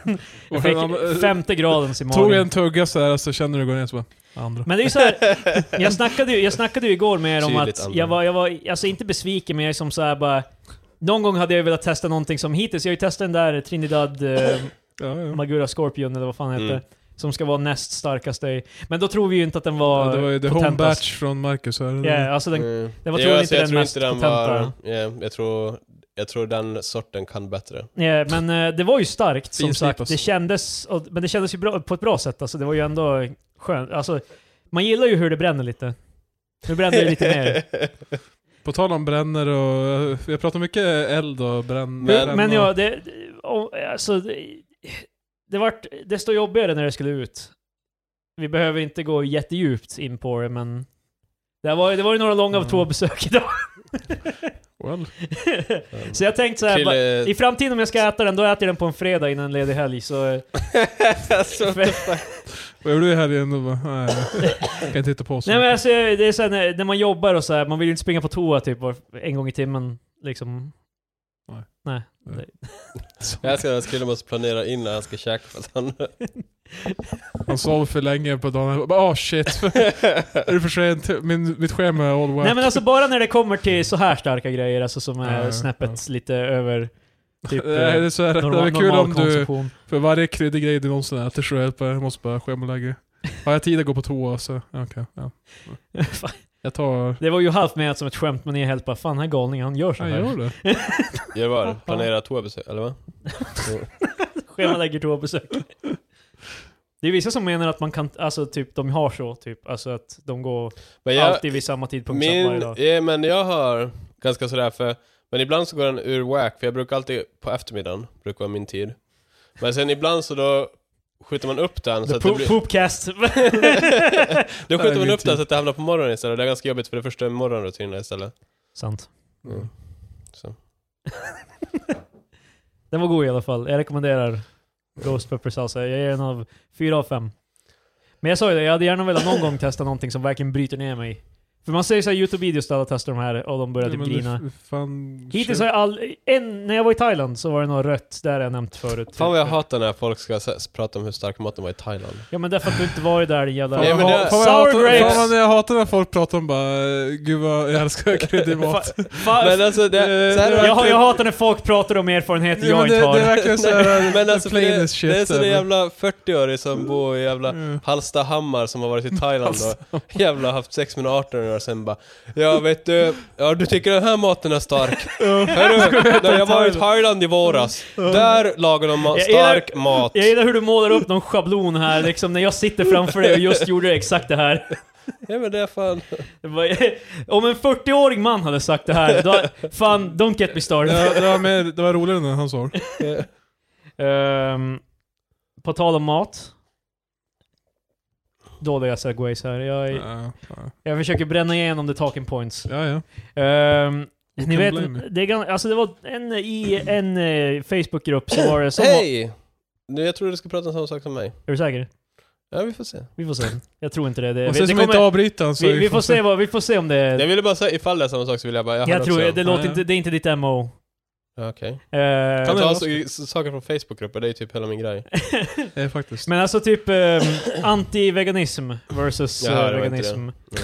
Speaker 1: jag
Speaker 2: Och, eh,
Speaker 1: fick femte gradens i
Speaker 2: Tog en
Speaker 1: magen.
Speaker 2: tugga så här, så känner du går ner så bara, andra.
Speaker 1: Men det är ju så här, jag snackade ju, jag snackade ju igår med er om
Speaker 3: Tydligt
Speaker 1: att
Speaker 3: andra.
Speaker 1: jag var, jag var, alltså inte besviken, men jag är som så här bara... Någon gång hade jag velat testa någonting som hittills, jag har ju testat den där Trinidad eh,
Speaker 2: Ja, ja.
Speaker 1: Magura Scorpion eller vad fan heter.
Speaker 3: Mm.
Speaker 1: Som ska vara näst starkaste i... Men då tror vi ju inte att den var...
Speaker 2: Ja, det var ju the home
Speaker 1: potentast.
Speaker 2: batch från Marcus. Här.
Speaker 1: Ja, alltså den,
Speaker 3: Mm.
Speaker 1: det var
Speaker 3: Jo,
Speaker 1: troligen inte
Speaker 3: alltså, jag
Speaker 1: den
Speaker 3: tror
Speaker 1: mest
Speaker 3: inte den
Speaker 1: potenta.
Speaker 3: var, ja, jag, tror, jag tror den sorten kan bättre.
Speaker 1: Ja,
Speaker 2: Mm.
Speaker 1: men eh, det var ju starkt som
Speaker 2: Finslipas.
Speaker 1: sagt. Det kändes, och, men det kändes ju bra, på ett bra sätt. Alltså, det var ju ändå skönt. Alltså, man gillar ju hur det bränner lite. Nu bränner det lite mer.
Speaker 2: På tal om bränner och... eh, Jag pratar mycket eld och bränn... bränn
Speaker 1: Men, men
Speaker 2: och-
Speaker 1: ja, det, och, alltså, det, det vart desto jobbigare när det skulle ut. Vi behöver inte gå jättedjupt in på det, men det var, det var ju några långa
Speaker 2: Mm.
Speaker 1: två besök idag.
Speaker 2: Well,
Speaker 1: så jag tänkte så här, bara,
Speaker 3: Krille-
Speaker 1: i framtiden om jag ska äta den, då äter jag den på en fredag innan en ledig helg. Så, eh,
Speaker 3: alltså,
Speaker 1: för,
Speaker 2: vad gjorde du här igen? Och bara, nej, jag kan titta på så.
Speaker 1: Nej men alltså, det är såhär när, när man jobbar och så här, man vill ju inte springa på toa typ var, en gång i timmen liksom.
Speaker 2: Nej.
Speaker 1: Nej.
Speaker 2: Nej.
Speaker 3: jag älskar att Krille måste planera innan han ska käka för att han...
Speaker 2: Han sov för länge på dagen. Jag bara, Åh shit. är det för sent? Min, mitt schema är all whack.
Speaker 1: Nej men alltså bara när det kommer till så här starka grejer, alltså som är
Speaker 2: Ja, ja,
Speaker 1: snäppet lite över typ
Speaker 2: Nej, Eh, det är så här, det
Speaker 1: normal,
Speaker 2: är kul
Speaker 1: normal
Speaker 2: om du...
Speaker 1: konsumtion.
Speaker 2: För varje kryddig grej du någonsin äter så hjälper jag måste bara schemalägga. Har jag tid att gå på toa så, okej. ja.
Speaker 1: Fan,
Speaker 2: Jag tar...
Speaker 1: det var ju halvt menat som ett skämt, men ni är helt bara fan den här galningen han gör så
Speaker 2: Jag
Speaker 1: här.
Speaker 2: gör det.
Speaker 3: Gör vad? Planera toabesök, eller vad?
Speaker 1: Schemalägger toabesök. Det är vissa som menar att man kan, alltså typ de har så typ, alltså att de går
Speaker 3: Men jag,
Speaker 1: alltid vid samma tidpunkt samma varje
Speaker 3: min,
Speaker 1: dag.
Speaker 3: ja, men jag har ganska sådär för... Men ibland så går den ur whack, för jag brukar alltid på eftermiddagen, brukar vara min tid. Men sen ibland så då skjuter man upp den så
Speaker 1: The
Speaker 3: att det
Speaker 1: poop,
Speaker 3: blir...
Speaker 1: poopcast!
Speaker 3: Då
Speaker 2: Nej,
Speaker 3: skjuter man
Speaker 2: min
Speaker 3: upp den
Speaker 2: tid.
Speaker 3: så att det hamnar på morgonen istället. Det är ganska jobbigt för det förstör morgonrutinerna istället.
Speaker 1: Sant.
Speaker 3: Mm. Så.
Speaker 1: Den var god i alla fall. Jag rekommenderar Ghost Pepper Salsa. Jag ger den av 4 av 5. Men jag sa ju det, jag hade gärna velat någon gång testa någonting som verkligen bryter ner mig. För man ser ju såhär Youtube-videos där alla testar de här och de börjar typ
Speaker 2: Men det-
Speaker 1: grina.
Speaker 2: Fan,
Speaker 1: Hittills har jag all... En, när jag var i Thailand så var det något rött, där har jag nämnt förut.
Speaker 3: Fan vad jag hatar när folk ska s- prata om hur stark maten var i Thailand.
Speaker 1: Ja men därför att du inte varit där din jävla...
Speaker 3: Nej,
Speaker 2: Fan
Speaker 3: men
Speaker 2: vad jag
Speaker 3: det-
Speaker 2: hatar- fan
Speaker 1: Sour
Speaker 2: vad jag hatar-
Speaker 1: grapes.
Speaker 2: Fan vad jag hatar när folk pratar om bara, eh, gud vad jag älskar kryddig mat.
Speaker 1: Fa- fa-
Speaker 3: Men alltså, det,
Speaker 2: Eh,
Speaker 3: så här
Speaker 2: det
Speaker 3: har
Speaker 1: jag, har-
Speaker 3: alltid-
Speaker 1: jag hatar när folk pratar om erfarenheter
Speaker 2: Nej,
Speaker 1: jag
Speaker 2: men det,
Speaker 1: inte har.
Speaker 2: det är verkligen såhär,
Speaker 3: Men alltså, för
Speaker 2: plain
Speaker 3: det,
Speaker 2: as shit.
Speaker 3: det är sån
Speaker 2: men-
Speaker 3: jävla 40-åring som bor i jävla
Speaker 2: Mm.
Speaker 3: Hallstahammar som har varit i Thailand och jävla haft sex med 18 och sen bara Ja vet du, ja du tycker den här maten är stark? Hörru, när jag var i Thailand i våras, där lagar de ma-
Speaker 1: Jag gillar-
Speaker 3: stark mat.
Speaker 1: Jag gillar hur du målar upp någon schablon här liksom, när jag sitter framför dig och just gjorde exakt det här.
Speaker 3: Ja men det är fan...
Speaker 1: Det var- Om en 40-årig man hade sagt det här, då, fan, don't get me started.
Speaker 2: Ja, det, var mer, det var roligare när han sa det.
Speaker 1: Ehm, på tal om mat. Dåliga segways här. Jag,
Speaker 2: Ja, ja.
Speaker 1: jag försöker bränna igenom the talking points.
Speaker 2: Ja, ja.
Speaker 1: Ehm, ni
Speaker 2: can
Speaker 1: vet,
Speaker 2: blame me.
Speaker 1: det, är, gan- alltså det var en, i en eh, Facebookgrupp så var det som...
Speaker 3: Hej! Nu, jag tror du ska prata om samma sak som mig.
Speaker 1: Är du säker?
Speaker 3: Ja vi får se.
Speaker 1: Vi får se. Jag tror inte det. det,
Speaker 2: Och sen
Speaker 1: det
Speaker 2: som
Speaker 1: eh,
Speaker 2: inte
Speaker 1: kommer,
Speaker 2: avbryta han så...
Speaker 1: vi, vi, får se vad, vi får se om det
Speaker 3: Jag
Speaker 1: är...
Speaker 3: ville bara säga, ifall det är samma sak så vill jag bara, jag hade
Speaker 1: Jag tror
Speaker 3: också...
Speaker 1: det, låter
Speaker 2: Ja, ja.
Speaker 1: inte, det är inte ditt MO.
Speaker 3: Ja, Okej.
Speaker 1: Ehm,
Speaker 3: Jag
Speaker 2: det
Speaker 3: tar
Speaker 2: vara
Speaker 3: alltså, s- saker från Facebookgrupper, det är ju typ hela min grej.
Speaker 2: Ja, faktiskt.
Speaker 1: Men alltså typ ehm, anti-veganism versus eh,
Speaker 3: Jaha, det var inte
Speaker 1: veganism.
Speaker 3: Ja.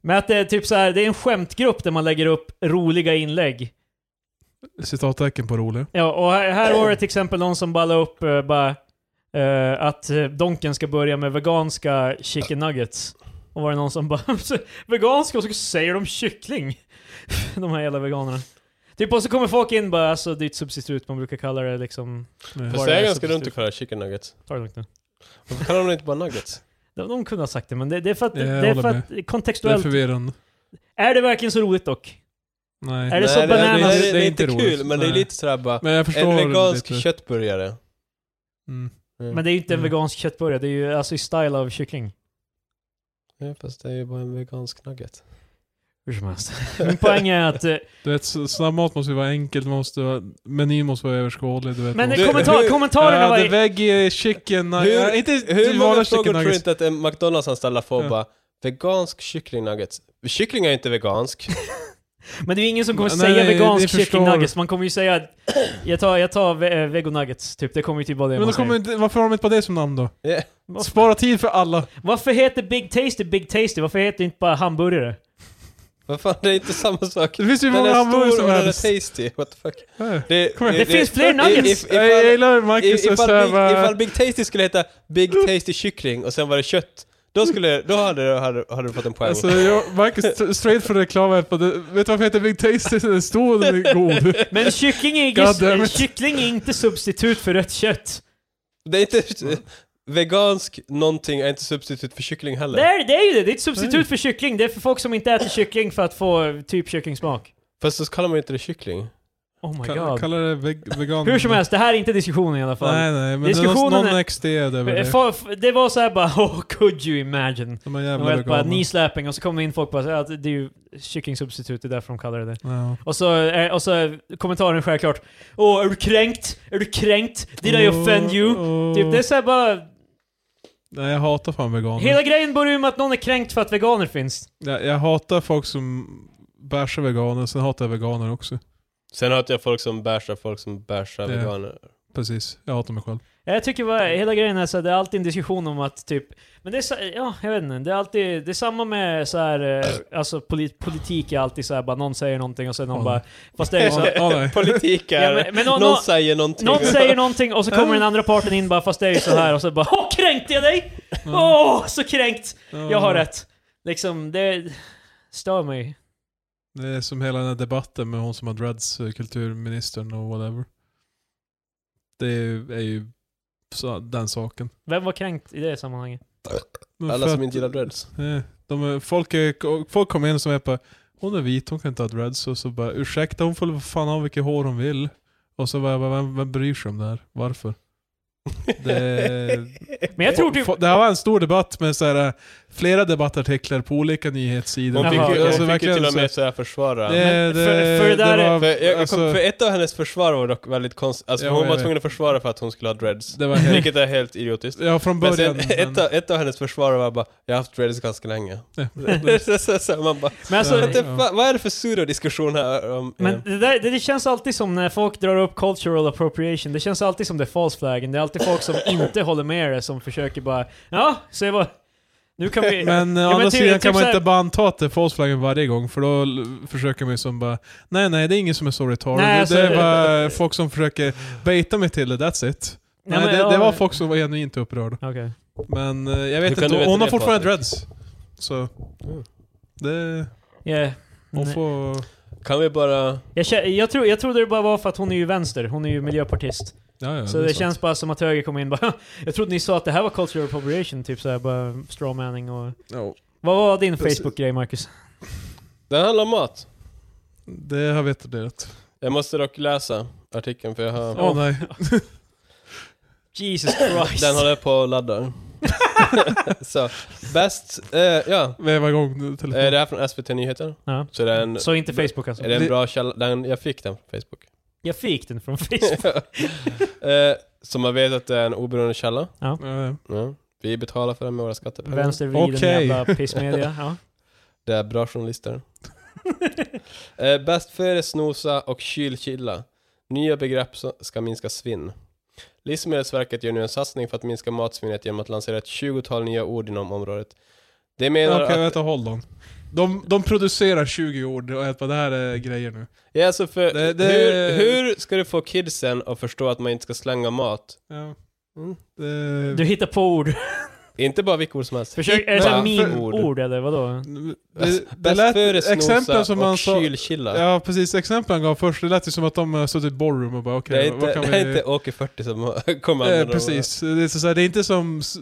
Speaker 1: Men att det är typ så här, det är en skämtgrupp där man lägger upp roliga inlägg.
Speaker 2: Citattecken på rolig.
Speaker 1: Ja, och här, här var det till exempel någon som ballade upp eh, bara eh, att eh, Donken ska börja med veganska chicken nuggets. Och var det någon som bara veganska och så säger de kyckling. de här jävla veganerna. Typ och så kommer folk in bara, alltså det är ett substitut, man brukar kalla det liksom,
Speaker 3: Fast
Speaker 1: Bara
Speaker 3: det är
Speaker 1: det
Speaker 3: ganska
Speaker 1: substitut.
Speaker 3: dumt att kalla det chicken nuggets.
Speaker 1: ta det lugnt nu.
Speaker 3: Varför kallar de det inte bara nuggets?
Speaker 1: De, de kunde ha sagt det, men det, det är för att,
Speaker 2: Jag
Speaker 1: det är
Speaker 2: håller
Speaker 1: för att
Speaker 2: med. Det är
Speaker 1: kontextuellt.
Speaker 2: förvirrande.
Speaker 1: Är det verkligen så roligt dock?
Speaker 2: Nej.
Speaker 1: Är det så
Speaker 3: Nej, det,
Speaker 1: bananas?
Speaker 3: det, det, det är inte
Speaker 2: roligt.
Speaker 3: kul, men det är
Speaker 2: Nej.
Speaker 3: lite sådär bara...
Speaker 2: Men jag förstår
Speaker 3: En vegansk
Speaker 2: lite.
Speaker 3: köttburgare.
Speaker 2: Mm.
Speaker 1: Men det är ju inte en
Speaker 2: Mm.
Speaker 1: vegansk köttburgare, det är ju alltså i style av kyckling.
Speaker 3: Ja, fast det är ju bara en vegansk nugget.
Speaker 1: Hur som helst. Min poäng är att... eh,
Speaker 2: Du vet, s- snabbmat måste ju vara enkelt, måste vara, menyn måste vara överskådlig. Du vet,
Speaker 1: Men
Speaker 2: Och-
Speaker 3: Du-
Speaker 1: eh, kommentar,
Speaker 3: hur-
Speaker 1: kommentarerna var
Speaker 2: Ja, the
Speaker 1: i...
Speaker 2: veggie chicken nugget.
Speaker 3: Hur-
Speaker 2: Ja, inte
Speaker 3: Hur
Speaker 2: hur
Speaker 3: många
Speaker 2: vanliga
Speaker 3: frågor
Speaker 2: chicken
Speaker 3: tror du
Speaker 2: nuggets.
Speaker 3: inte att en McDonalds-anställd får
Speaker 2: Ja.
Speaker 3: bara vegansk kyckling nuggets? Kyckling är inte vegansk.
Speaker 1: Men det är ju ingen som kommer
Speaker 2: Nej,
Speaker 1: säga
Speaker 2: nej,
Speaker 1: vegansk
Speaker 2: ni förstår.
Speaker 1: kyckling nuggets. Man kommer ju säga att jag tar, jag tar ve- eh, vegonuggets, typ. Det kommer ju typ vara det
Speaker 2: Men då
Speaker 1: man
Speaker 2: kommer
Speaker 1: säger.
Speaker 2: inte, varför har de inte på det som namn då?
Speaker 3: Ja.
Speaker 1: Varför-
Speaker 2: Spara tid för alla.
Speaker 1: Varför heter Big Tasty Big Tasty? Varför heter det inte bara hamburgare?
Speaker 3: Vad fan, det är inte samma sak.
Speaker 2: Det finns ju
Speaker 3: Den
Speaker 2: många
Speaker 3: är
Speaker 2: hamburgare
Speaker 3: stor
Speaker 2: som
Speaker 3: och den är
Speaker 2: helst.
Speaker 3: tasty. What the fuck.
Speaker 2: Ja.
Speaker 3: Det,
Speaker 2: Kom igen.
Speaker 1: Det finns fler nuggets.
Speaker 3: if-
Speaker 2: Jag
Speaker 3: ifall-
Speaker 2: gillar Marcus
Speaker 3: I-
Speaker 2: och
Speaker 3: ifall,
Speaker 2: såhär
Speaker 3: Big,
Speaker 2: bara...
Speaker 3: ifall Big Tasty skulle heta Big Tasty kyckling och sen var det kött, då, skulle, då hade, du- hade, hade du fått en poäng.
Speaker 2: Alltså, jag, Marcus tr- straight från reklamen. på det- Vet du varför jag heter Big Tasty? Den är stor den är god.
Speaker 1: Men kyckling är,
Speaker 2: God damn
Speaker 1: ju,
Speaker 2: it.
Speaker 1: kyckling är inte substitut för rött kött.
Speaker 3: det är inte... Vegansk någonting är inte substitut för kyckling heller.
Speaker 1: Det är, det är ju det! Det är ett substitut
Speaker 2: Nej.
Speaker 1: för kyckling. Det är för folk som inte äter kyckling för att få eh, typ kycklingsmak.
Speaker 3: Fast så kallar man ju inte det kyckling.
Speaker 1: Oh my
Speaker 2: Kall-
Speaker 1: god.
Speaker 2: Kallar det veg vegan.
Speaker 1: Hur som helst, det här är inte diskussionen i alla fall.
Speaker 2: Nej, nej, men det är någon,
Speaker 1: Diskussionen
Speaker 2: någon
Speaker 1: är-
Speaker 2: XD över
Speaker 1: Eh,
Speaker 2: det.
Speaker 1: fa- f- Det var så här bara oh, could you imagine?
Speaker 2: De är
Speaker 1: Det
Speaker 2: jävla
Speaker 1: var helt bara
Speaker 2: veganer.
Speaker 1: knee-slapping och så kom det in folk bara så här, att det är ju kycklingsubstitut, det är därför de kallar det det.
Speaker 2: Ja.
Speaker 1: Och så, eh, och så eh, kommentaren självklart Åh, är du kränkt? Är du kränkt? Did I offend you?
Speaker 2: Oh, oh.
Speaker 1: Typ, det är så här bara...
Speaker 2: Nej, jag hatar fan veganer.
Speaker 1: Hela grejen börjar ju med att någon är kränkt för att veganer finns.
Speaker 2: Jag, jag hatar folk som bär sig veganer, sen hatar jag veganer också.
Speaker 3: Sen har jag folk som bärsar folk som bärsar
Speaker 2: Det-
Speaker 3: veganer.
Speaker 2: Precis, jag hatar mig själv.
Speaker 1: Jag tycker bara, hela grejen är så här, det är alltid en diskussion om att typ... Men det är så, ja, jag vet inte. Det är alltid, det är samma med så här, eh, alltså polit, politik är alltid så här, bara någon säger någonting och sen någon
Speaker 2: Ja.
Speaker 1: bara... Fast det är ju så här,
Speaker 2: Ja, nej.
Speaker 3: Politik är...
Speaker 1: Ja, men, men någon,
Speaker 3: någon,
Speaker 1: någon,
Speaker 3: säger någonting.
Speaker 1: någon säger någonting och så kommer den andra parten in bara fast det är ju så här och så bara Åh, kränkte jag dig? Åh, så kränkt! Jag har rätt. Liksom, det stör mig.
Speaker 2: Det är som hela den här debatten med hon som har dreads, eh, kulturministern och whatever. Det är ju, är ju så, den saken.
Speaker 1: Vem var kränkt i det sammanhanget?
Speaker 2: Men
Speaker 3: Alla
Speaker 2: för
Speaker 3: som
Speaker 2: att-
Speaker 3: inte gillar dreads.
Speaker 2: eh, de, är- folk, är, folk kommer in som är på hon är vit, hon kan inte ha dreads. Och så bara ursäkta, hon får väl fan ha vilket hår hon vill. Och så bara, vem, vem bryr sig om det här? Varför? Det-
Speaker 1: Men jag tror typ...
Speaker 2: Fo- Det här var en stor debatt med så här, eh, flera debattartiklar på olika nyhetssidor. Alltså,
Speaker 3: Hon fick, ju-
Speaker 1: Jaha, okej.
Speaker 3: hon fick ju
Speaker 2: verkligen
Speaker 3: till och
Speaker 2: så-
Speaker 3: med såhär försvara.
Speaker 2: Det, det,
Speaker 1: Men för- för det där är-
Speaker 2: var,
Speaker 3: För, jag,
Speaker 2: alltså,
Speaker 3: för ett av hennes försvar var dock väldigt konstigt, alltså
Speaker 2: Ja,
Speaker 3: hon
Speaker 2: jag
Speaker 3: var
Speaker 2: vet.
Speaker 3: tvungen att försvara för att hon skulle ha dreads.
Speaker 2: det var helt,
Speaker 3: Vilket är helt idiotiskt.
Speaker 2: ja, från
Speaker 3: Men
Speaker 2: början.
Speaker 3: sen, ett, av, ett av hennes försvar var bara 'Jag har haft dreads ganska länge' så, så, så, Man bara,
Speaker 1: Men alltså,
Speaker 2: Ja.
Speaker 3: det, fa- vad är det för pseudodiskussion här om... eh,
Speaker 1: Men det, där, det, det känns alltid som när folk drar upp cultural appropriation, det känns alltid som det är false flaggen. Det är alltid folk som inte håller med det som försöker bara ja, se vad... Nu kan vi...
Speaker 2: Men eh,
Speaker 1: Ja,
Speaker 2: å
Speaker 1: men
Speaker 2: andra
Speaker 1: typ-
Speaker 2: sidan
Speaker 1: typ
Speaker 2: kan man
Speaker 1: så här-
Speaker 2: inte bara anta att det är falsflaggen varje gång, för då l- försöker man ju som bara Nej nej, det är ingen som är så retarded.
Speaker 1: Nej,
Speaker 2: Det-
Speaker 1: alltså-
Speaker 2: det är bara folk som försöker baita mig till det, that's it. Nej, det, det var folk som var genuint upprörda.
Speaker 1: Okej.
Speaker 2: Men eh, jag vet
Speaker 3: kan
Speaker 2: inte,
Speaker 3: du veta
Speaker 2: hon har
Speaker 3: det,
Speaker 2: fortfarande
Speaker 3: Patrik?
Speaker 2: dreads. Så... Det...
Speaker 1: Yeah.
Speaker 2: Hon
Speaker 1: Nej.
Speaker 2: får...
Speaker 3: Kan vi bara...
Speaker 1: Jag, kä- jag, tror, jag trodde det bara var för att hon är ju vänster, hon är ju miljöpartist.
Speaker 2: Ja, ja,
Speaker 1: så
Speaker 2: är
Speaker 1: det
Speaker 2: sant.
Speaker 1: känns bara som att höger kom in bara Jag trodde ni sa att det här var cultural appropriation, typ såhär bara strawmanning och...
Speaker 2: Ja.
Speaker 1: Vad var din
Speaker 2: Precis.
Speaker 1: Facebook-grej Marcus?
Speaker 3: Den handlar om mat.
Speaker 2: Det har vi etablerat.
Speaker 3: Jag måste dock läsa artikeln för jag har...
Speaker 2: Åh nej.
Speaker 1: Jesus Oh, Christ.
Speaker 3: Den håller jag på och laddar. så, bäst... Eh, ja.
Speaker 2: Veva igång nu,
Speaker 3: Eh,
Speaker 2: telefonen.
Speaker 3: det här är från SVT Nyheter.
Speaker 1: ja.
Speaker 3: Så det är en,
Speaker 1: Så inte Facebook alltså?
Speaker 3: är det en bra källa. Den, jag fick den från Facebook.
Speaker 1: Jag fick den från Facebook.
Speaker 3: eh, så man vet att det är en oberoende källa.
Speaker 2: Ja, ja.
Speaker 3: Ja. Vi betalar för den med våra skattepengar.
Speaker 1: Vänstervriden
Speaker 2: Okej.
Speaker 1: jävla pissmedia. Ja.
Speaker 3: Det är bra journalister. eh, bäst före snosa och kylchilla. Nya begrepp som ska minska svinn. Livsmedelsverket gör nu en satsning för att minska matsvinnet genom att lansera ett 20-tal nya ord inom området. Det menar
Speaker 2: Okej,
Speaker 3: att...
Speaker 2: vänta, håll dem. De, de producerar 20 ord och jag bara, det här är grejer nu.
Speaker 3: Ja, alltså för,
Speaker 2: Det- det-
Speaker 3: Hur, hur ska du få kidsen att förstå att man inte ska slänga mat?
Speaker 2: Ja.
Speaker 3: Mm.
Speaker 2: Det,
Speaker 1: Du hittar på ord.
Speaker 3: Inte bara vilka ord som helst.
Speaker 1: Försök, är det
Speaker 3: Hitta
Speaker 1: såhär
Speaker 3: ord.
Speaker 1: meme-ord eller vadå?
Speaker 2: det, det
Speaker 3: Bäst före
Speaker 2: lät,
Speaker 3: snosa
Speaker 2: exemplen som man
Speaker 3: och
Speaker 2: sa...
Speaker 3: kylchilla.
Speaker 2: Ja precis, exemplen han gav först, det lät ju som att de har suttit i ballroom och bara
Speaker 3: Det är
Speaker 2: okej, vad
Speaker 3: inte,
Speaker 2: kan
Speaker 3: det
Speaker 2: vi...
Speaker 3: är inte Åke 40 som kommer
Speaker 2: eh,
Speaker 3: använda
Speaker 2: precis, det är, så så här, det är inte som s-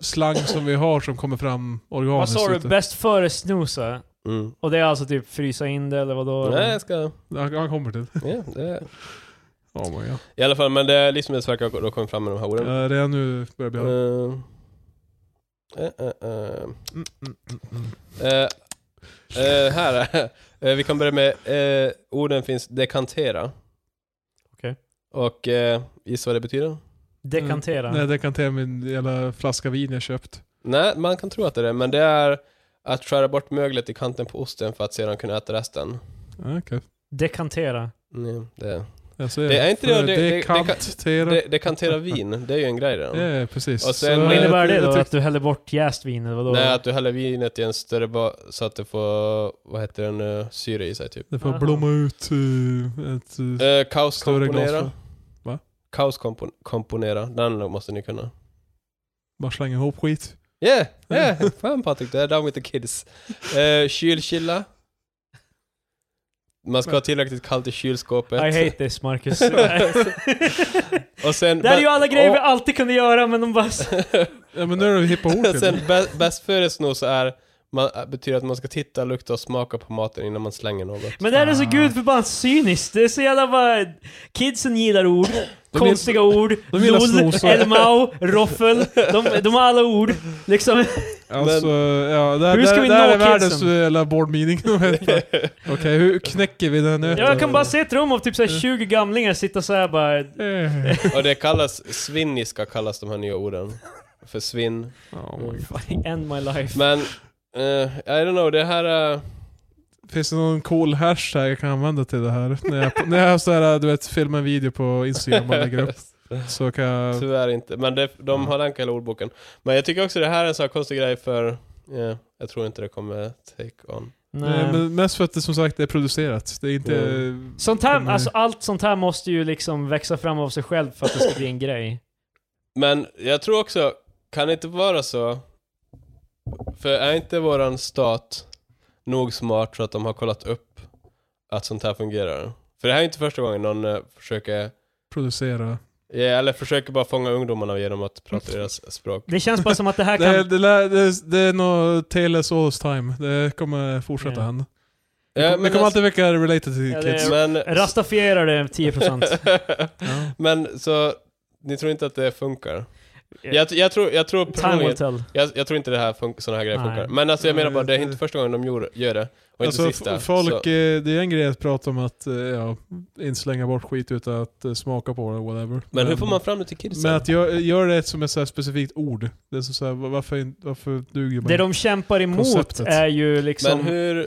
Speaker 2: slang som vi har som kommer fram organiskt.
Speaker 1: Vad sa du?
Speaker 2: utan-
Speaker 1: Bäst före snosa?
Speaker 3: Mm.
Speaker 1: Och det är alltså typ frysa in det eller vadå?
Speaker 3: Nej, Mm. jag ska...
Speaker 2: Han, han kommer till det.
Speaker 3: Ja, det...
Speaker 2: Oh my god.
Speaker 3: I alla fall, men det är Livsmedelsverket har då kommit fram med de här orden.
Speaker 2: Eh, redan nu börjar jag bli arg.
Speaker 3: Eh, eh, eh, eh.
Speaker 2: Mm, mm, mm, mm.
Speaker 3: Eh, eh, här är eh, Vi kan börja med eh, orden finns dekantera.
Speaker 1: Okej.
Speaker 3: Och eh, gissa vad det betyder?
Speaker 1: Dekantera.
Speaker 2: Nej, dekantera min jävla flaska vin jag köpt.
Speaker 3: Nej, man kan tro att det är det, men det är att skära bort möglet i kanten på osten för att sedan kunna äta resten.
Speaker 2: Ja, Okej.
Speaker 1: Dekantera.
Speaker 3: Nej, det,
Speaker 2: Jag ser
Speaker 3: Det är inte det-
Speaker 2: För
Speaker 3: det- det- det kan-
Speaker 2: dekantera.
Speaker 3: det, dekantera vin, det är ju en grej redan.
Speaker 2: Ja, precis.
Speaker 3: Och sen-
Speaker 2: Så
Speaker 1: Vad
Speaker 2: jag-
Speaker 1: innebär det
Speaker 2: jag
Speaker 1: då?
Speaker 2: tyck-
Speaker 1: Att du häller bort jäst vin eller vadå?
Speaker 3: Nej, att du häller vinet i en större ba- så att det får, vad heter den, eh, syre i sig typ.
Speaker 2: Det får
Speaker 1: Aha.
Speaker 2: blomma ut eh, ett... eh,
Speaker 3: Eh,
Speaker 2: Större
Speaker 3: kaoskomponera.
Speaker 2: glas, va?
Speaker 3: Kaoskomponera, den måste ni kunna.
Speaker 2: Bara slänga ihop skit.
Speaker 3: Yeah,
Speaker 1: Mm.
Speaker 3: yeah! Fan Patrik, det är down with the kids. Uh, kylchilla. Man ska ha tillräckligt kallt i kylskåpet.
Speaker 1: I hate this Marcus.
Speaker 3: Och sen...
Speaker 1: det här är ju
Speaker 3: bä-
Speaker 1: alla grejer vi
Speaker 3: och-
Speaker 1: alltid kunde göra men de bara...
Speaker 2: Ja men nu är det hippa ord till
Speaker 3: sen
Speaker 2: det.
Speaker 3: bä- bäst före snus är... Man, eh, betyder att man ska titta, lukta och smaka på maten innan man slänger något.
Speaker 1: Men det här är så
Speaker 2: Ah.
Speaker 1: gudförbannat cyniskt. Det är så jävla bara... Kidsen gillar ord.
Speaker 2: De
Speaker 1: Konstiga ord.
Speaker 2: de gillar
Speaker 1: LOL,
Speaker 2: snosa.
Speaker 1: Elmau, roffel. De, de har alla ord. Liksom.
Speaker 2: Alltså, ja, det,
Speaker 1: Hur
Speaker 2: det,
Speaker 1: ska vi
Speaker 2: det här
Speaker 1: nå
Speaker 2: är världens eh,
Speaker 1: kidsen?
Speaker 2: jävla board meeting. Okej, hur knäcker vi den nöten?
Speaker 1: Jag kan bara se ett rum av typ så här 20 gamlingar sitta så här bara...
Speaker 2: Eh.
Speaker 3: Och det kallas... Svinniska kallas de här nya orden. För svinn.
Speaker 2: Oh my God.
Speaker 1: End my life.
Speaker 3: Men... eh, I don't know, det här eh, är...
Speaker 2: Finns det någon cool hashtag jag kan använda till det här? när jag, när jag har så här, eh, du vet, filmar en video på Instagram man lägger upp. Så kan
Speaker 1: Typ.
Speaker 2: jag...
Speaker 3: Tyvärr inte, men det, de har länkat hela ordboken. Men jag tycker också det här är en sån här konstig grej för... ja, jag tror inte det kommer take on.
Speaker 2: Nej,
Speaker 1: Nej.
Speaker 2: men mest för att det som sagt är producerat. Det är inte...
Speaker 1: Sånt här,
Speaker 2: Kommer-
Speaker 1: alltså allt sånt här måste ju liksom växa fram av sig själv för att det ska bli en grej.
Speaker 3: Men jag tror också, kan det inte vara så? För är inte våran stat nog smart för att de har kollat upp att sånt här fungerar? För det här är inte första gången någon eh, försöker,
Speaker 2: Producera.
Speaker 3: ja, eller försöker bara fånga ungdomarna genom att prata
Speaker 2: Mm.
Speaker 3: deras språk.
Speaker 1: Det känns bara som att det här
Speaker 2: Det,
Speaker 1: kan...
Speaker 2: det, lär- det, det är nog Taylor's All's Time. Det kommer
Speaker 1: Ja.
Speaker 2: fortsätta hända.
Speaker 3: Ja,
Speaker 2: det kommer alltid väcka related till
Speaker 1: Ja, det-
Speaker 2: kids.
Speaker 3: men,
Speaker 1: Rastafiera det 10%.
Speaker 2: Ja.
Speaker 3: men så, ni tror inte att det funkar? Jag, jag tror, jag tror
Speaker 1: Eh, Time
Speaker 3: personligen,
Speaker 1: will tell.
Speaker 3: jag, jag tror inte det här funkar, såna här grejer
Speaker 1: Nej.
Speaker 3: funkar. Men alltså jag
Speaker 2: Nej,
Speaker 3: menar bara, det är
Speaker 2: det-
Speaker 3: inte första gången de gör, gör det. Och inte
Speaker 2: Eh, Alltså,
Speaker 3: sista.
Speaker 2: f- folk,
Speaker 3: så-
Speaker 2: eh, det är en grej att prata om att eh, ja, inte slänga bort skit utan att eh, smaka på det, whatever.
Speaker 3: men hur får man fram det till kidsen?
Speaker 2: Men att gör, gör det som ett så här specifikt ord. Det är så så här, va- varför, in- varför duger man?
Speaker 1: Det de kämpar emot
Speaker 2: Konceptet.
Speaker 1: är ju liksom...
Speaker 3: Men hur...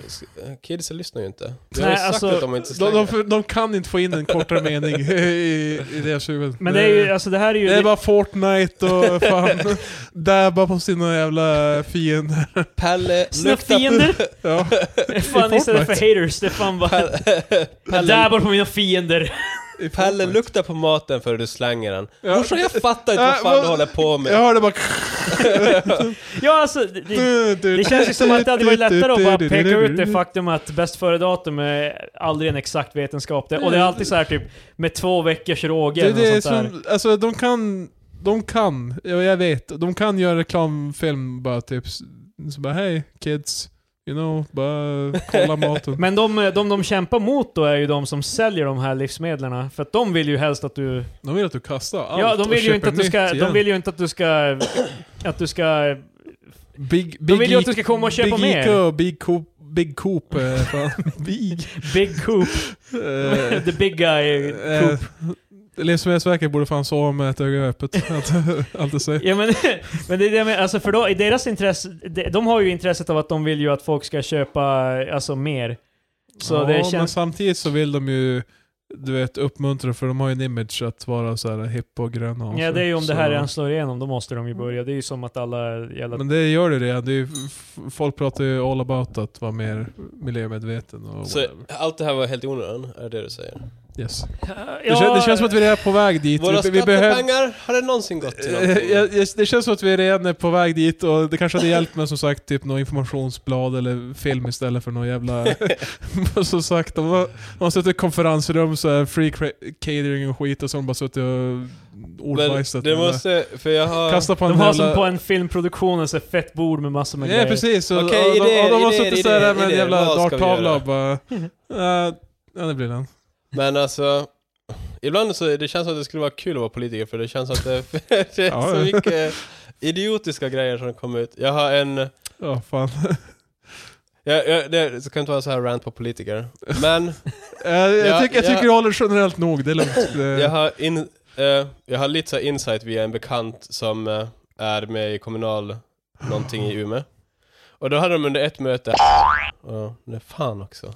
Speaker 3: Kidsen lyssnar ju inte. Vi
Speaker 1: Nej,
Speaker 3: har ju sagt
Speaker 1: alltså,
Speaker 3: att de inte
Speaker 2: de,
Speaker 3: slänger.
Speaker 2: de, för- de kan inte få in en kortare mening i, i deras huvud.
Speaker 1: Men det är ju, alltså det här är ju...
Speaker 2: det är bara Fortnite och fan dabba på sina jävla fiender.
Speaker 3: Pelle,
Speaker 1: Sina
Speaker 3: lukta
Speaker 1: fiender!
Speaker 2: Ja.
Speaker 1: fan istället för haters, det är fan bara... Jag
Speaker 3: Pelle,
Speaker 1: dabbar på mina fiender!
Speaker 2: i
Speaker 3: Pelle,
Speaker 2: Fortnite.
Speaker 3: lukta på maten före du slänger den.
Speaker 2: Ja.
Speaker 3: Morsan, jag fattar inte
Speaker 2: Äh,
Speaker 3: vad fan
Speaker 2: vad-
Speaker 3: du håller på
Speaker 2: Jag
Speaker 3: med.
Speaker 2: hörde bara...
Speaker 1: Ja alltså, det, det, det känns ju som att det hade varit lättare att bara peka ut det faktum att bäst före-datum är aldrig en exakt vetenskap. Det, och det är alltid så här typ med två veckors råge
Speaker 2: Det,
Speaker 1: eller
Speaker 2: det är
Speaker 1: något sånt där.
Speaker 2: som, alltså de kan, de kan, ja, jag vet, de kan göra reklamfilm bara typ, s- så bara hej kids, you know, bara kolla maten.
Speaker 1: Men de, de de kämpar mot då är ju de som säljer de här livsmedlen. För att de vill ju helst att du...
Speaker 2: de vill att du kastar allt
Speaker 1: ja, de
Speaker 2: och
Speaker 1: vill ju
Speaker 2: köper
Speaker 1: inte att du ska...
Speaker 2: nytt igen.
Speaker 1: De vill ju inte att du ska... Att du ska...
Speaker 2: big, big
Speaker 1: vill ju att
Speaker 2: Ica-
Speaker 1: du ska komma och köpa
Speaker 2: Big
Speaker 1: mer.
Speaker 2: Ica och Big Coop, Big Coop, eh, fan. Big.
Speaker 1: Big Coop.
Speaker 2: Eh,
Speaker 1: The big guy
Speaker 2: eh,
Speaker 1: Coop.
Speaker 2: Livsmedelsverket borde fan sova med ett öga öppet. Allt- Allt det säger.
Speaker 1: Ja, men, men det är det jag menar. Alltså för då, i deras intresse, de, de har ju intresset av att de vill ju att folk ska köpa alltså, mer. Så
Speaker 2: ja,
Speaker 1: det
Speaker 2: men
Speaker 1: känns...
Speaker 2: samtidigt så vill de ju du vet, uppmuntra för de har ju en image att vara så här hipp och gröna. och
Speaker 1: Ja,
Speaker 2: så.
Speaker 1: det är ju om det
Speaker 2: Så-
Speaker 1: här redan slår igenom, då måste de ju börja. Det är ju som att alla jävla...
Speaker 2: Men det gör det redan. Det är ju, f- folk pratar ju all about att vara mer miljömedveten och
Speaker 3: Så
Speaker 2: whatever.
Speaker 3: allt det här var helt i onödan, är det det du säger?
Speaker 2: Yes.
Speaker 1: Ja,
Speaker 2: det, kän, det känns som att vi redan är på väg dit.
Speaker 3: Våra
Speaker 2: vi, vi behöver-
Speaker 3: skattepengar, har det någonsin gått till
Speaker 2: Eh,
Speaker 3: någonting?
Speaker 2: jag- jag- Det känns som att vi redan är på väg dit och det kanske hade hjälpt med som sagt typ något informationsblad eller film istället för någon jävla... Men som sagt, de har, de har suttit i konferensrum så här, free cra- catering och skit och så har de bara suttit och
Speaker 3: Men
Speaker 2: ordbajsat.
Speaker 3: det måste, för jag har...
Speaker 2: eh, Kasta på en
Speaker 1: De har
Speaker 2: jävla-
Speaker 1: som på en filmproduktion, ett fett bord med massor med
Speaker 2: Ja
Speaker 1: grejer.
Speaker 2: precis, och,
Speaker 3: Okej,
Speaker 2: och de,
Speaker 3: idéer,
Speaker 2: och de har
Speaker 3: idéer,
Speaker 2: suttit såhär
Speaker 3: idéer,
Speaker 2: med en
Speaker 3: idéer.
Speaker 2: jävla
Speaker 3: Vad ska vi
Speaker 2: darttavla
Speaker 3: göra?
Speaker 2: och bara... eh, ja det blir den.
Speaker 3: Men alltså, ibland så det känns som att det skulle vara kul att vara politiker för det känns att det, det är
Speaker 2: Ja.
Speaker 3: så mycket idiotiska grejer som kommer ut. Jag har en,
Speaker 2: Ja fan.
Speaker 3: jag, jag, det ska inte vara så här rant på politiker, men
Speaker 2: Eh, jag,
Speaker 3: Ja,
Speaker 2: tycker, jag
Speaker 3: ja.
Speaker 2: tycker du håller generellt nog, det är lugnt.
Speaker 3: jag
Speaker 2: Det-
Speaker 3: har, in, eh, jag har lite så här insight via en bekant som eh, är med i kommunal någonting i Umeå. Och då hade de under ett möte, ja, nej fan också.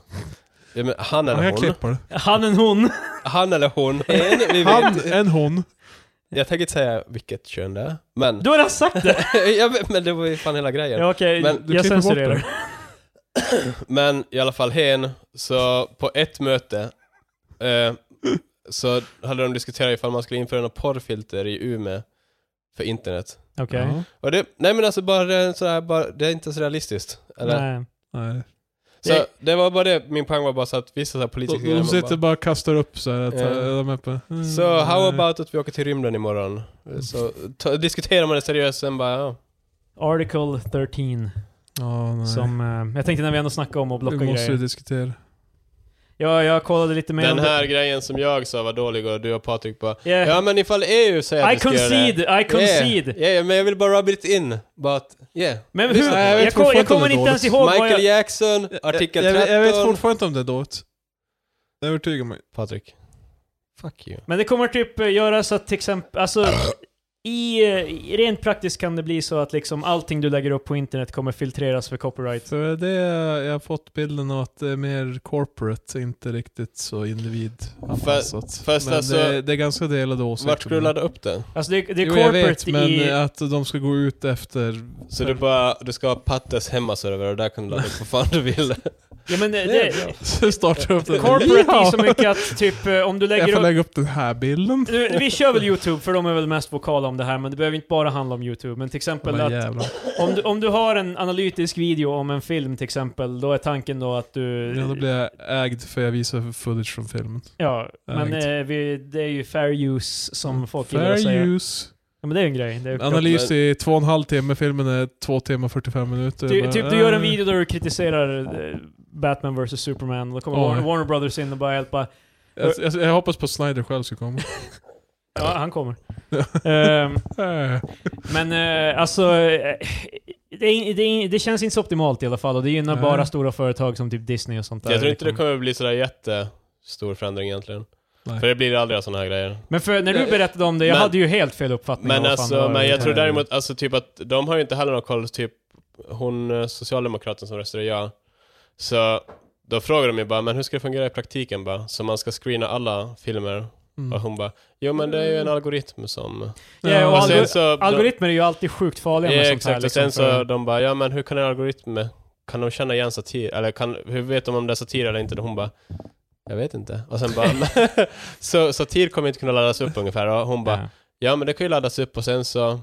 Speaker 3: Ja, men
Speaker 2: Han
Speaker 3: han eller
Speaker 2: kan
Speaker 3: hon.
Speaker 2: klippa det.
Speaker 1: Han en hon.
Speaker 3: Han eller hon. En, vi
Speaker 2: Han,
Speaker 3: vet.
Speaker 2: en hon.
Speaker 3: Jag tänker inte säga vilket kön det är, men...
Speaker 1: Du har redan sagt det!
Speaker 3: jag vet, men det var ju fan hela grejen.
Speaker 1: Ja, Okej,
Speaker 3: Men
Speaker 2: du
Speaker 1: jag
Speaker 2: klipper bort
Speaker 1: censurerar.
Speaker 3: Men i alla fall hen, så på ett möte eh, så hade de diskuterat ifall man skulle införa något porrfilter i Umeå för internet.
Speaker 1: Okej.
Speaker 2: Ja.
Speaker 3: Och det, nej men alltså bara det, sådär, bara, det är inte så realistiskt. Eller?
Speaker 1: Nej.
Speaker 2: Nej.
Speaker 3: Så det var bara det, min poäng var bara så att vissa såhär politiska
Speaker 2: De,
Speaker 3: grejer,
Speaker 2: de
Speaker 3: man
Speaker 2: sitter
Speaker 3: bara,
Speaker 2: bara och kastar upp så här, att
Speaker 3: Ja.
Speaker 2: eh, de är på... mm,
Speaker 3: Så how
Speaker 2: nej.
Speaker 3: about att vi åker till rymden imorgon?
Speaker 1: Mm.
Speaker 3: Så ta, diskuterar man det seriöst sen bara ja.
Speaker 1: Article 13.
Speaker 2: Ja, nej.
Speaker 1: Som, eh, jag tänkte när vi ändå snackade om att blocka
Speaker 2: Vi måste ju
Speaker 1: grejer.
Speaker 2: diskutera.
Speaker 1: Ja, jag kollade lite mer
Speaker 3: Den
Speaker 1: om
Speaker 3: här grejen som jag sa var dålig och du och Patrik bara
Speaker 1: det. Yeah.
Speaker 3: Ja men ifall EU säger att
Speaker 1: I
Speaker 3: vi ska göra det
Speaker 1: concede, I concede.
Speaker 3: Yeah, yeah, men jag vill bara rub it in. Bara att, yeah.
Speaker 1: Men hur,
Speaker 3: Lyssna,
Speaker 2: jag
Speaker 1: jag,
Speaker 2: vet
Speaker 1: ko- jag
Speaker 2: fortfarande
Speaker 1: kommer inte
Speaker 2: dåligt.
Speaker 1: ens ihåg vad
Speaker 3: Michael
Speaker 1: jag...
Speaker 3: Jackson, artikel 13.
Speaker 2: jag, jag vet fortfarande inte om det är dåligt. Det övertygar mig.
Speaker 3: Patrik. Fuck you.
Speaker 1: Men det kommer typ eh, göra så att till exempel, alltså i, eh, i- rent praktiskt kan det bli så att liksom allting du lägger upp på internet kommer filtreras för copyright.
Speaker 2: För det jag har fått bilden av att det är mer corporate, inte riktigt så individanpassat.
Speaker 3: För- först
Speaker 2: men
Speaker 3: alltså-
Speaker 2: det, det är ganska delade åsikter.
Speaker 3: Vart skulle du ladda upp den?
Speaker 1: Alltså det, det är
Speaker 2: Jo jag vet,
Speaker 1: corporate
Speaker 2: men eh,
Speaker 1: i...
Speaker 2: att de ska gå ut efter...
Speaker 3: Så du bara, du ska ha Pattes hemmaserver och där kan du ladda upp vad fan du vill.
Speaker 1: Ja men eh, det,
Speaker 2: Det
Speaker 1: det,
Speaker 2: Starta upp den.
Speaker 1: corporate är
Speaker 2: Ja.
Speaker 1: så mycket att typ eh, om du
Speaker 2: Jag
Speaker 1: lägger
Speaker 2: får
Speaker 1: upp...
Speaker 2: lägga upp den här bilden.
Speaker 1: Nu, Vi kör väl YouTube, för de är väl mest vokala om det här, men det behöver inte bara handla om YouTube. Men till exempel
Speaker 2: Men
Speaker 1: att
Speaker 2: jävlar.
Speaker 1: om du, om du har en analytisk video om en film till exempel, då är tanken då att du...
Speaker 2: Ja, då blir jag ägd för jag visar footage från filmen.
Speaker 1: Ja,
Speaker 2: Ja,
Speaker 1: men
Speaker 2: riktigt.
Speaker 1: eh, vi, det är ju fair use som folk gillar att
Speaker 2: Mm. Fair
Speaker 1: säga.
Speaker 2: use.
Speaker 1: Ja, men det är ju en grej. Det är klart.
Speaker 2: Analys i två och en halv timme, filmen är två timmar och 45 minuter.
Speaker 1: Ty,
Speaker 2: Bara,
Speaker 1: typ du gör en
Speaker 2: eh,
Speaker 1: video där du kritiserar eh, Batman vs Superman, då kommer
Speaker 2: Oj.
Speaker 1: Warner, Warner Brothers in och bara hjälpa.
Speaker 2: Jag, jag, jag hoppas på att Snyder själv ska komma.
Speaker 1: Ja, han kommer. Ehm,
Speaker 2: Eh,
Speaker 1: men eh, alltså, eh, det, är- det, är- det känns inte så optimalt i alla fall och det gynnar
Speaker 2: Nej.
Speaker 1: bara stora företag som typ Disney och sånt där.
Speaker 3: Jag tror inte det
Speaker 1: liksom.
Speaker 3: kommer bli sådär jättestor förändring egentligen.
Speaker 2: Nej.
Speaker 3: För det blir aldrig sådana här grejer.
Speaker 1: Men för, när du berättade om det, jag
Speaker 3: Eh, Men-
Speaker 1: hade ju helt fel uppfattning om
Speaker 3: Men
Speaker 1: vad fan det
Speaker 3: alltså,
Speaker 1: var.
Speaker 3: men jag tror
Speaker 2: det här-
Speaker 3: däremot, alltså typ att de har ju inte heller någon koll, typ hon eh, socialdemokraten som röstade ja. Så då frågar de ju bara, men hur ska det fungera i praktiken bara? Så man ska screena alla filmer? Och
Speaker 2: mm.
Speaker 3: hon bara, jo men det är ju en algoritm som...
Speaker 1: Ja, och
Speaker 2: Ja,
Speaker 3: Och
Speaker 1: algor-
Speaker 3: sen så...
Speaker 1: Algoritmer är ju alltid sjukt farliga
Speaker 3: Ja,
Speaker 1: med sånt här. liksom
Speaker 3: exakt, och sen så
Speaker 1: för-
Speaker 3: de bara, ja men hur kan en algoritm, kan de känna igen satir? Eller kan, hur vet de om det är satir eller inte? Och hon bara, jag vet inte. Och sen bara, "Men- så satir kommer inte kunna laddas upp ungefär. Och hon bara,
Speaker 1: Ja.
Speaker 3: Ja, men det kan ju laddas upp och sen så...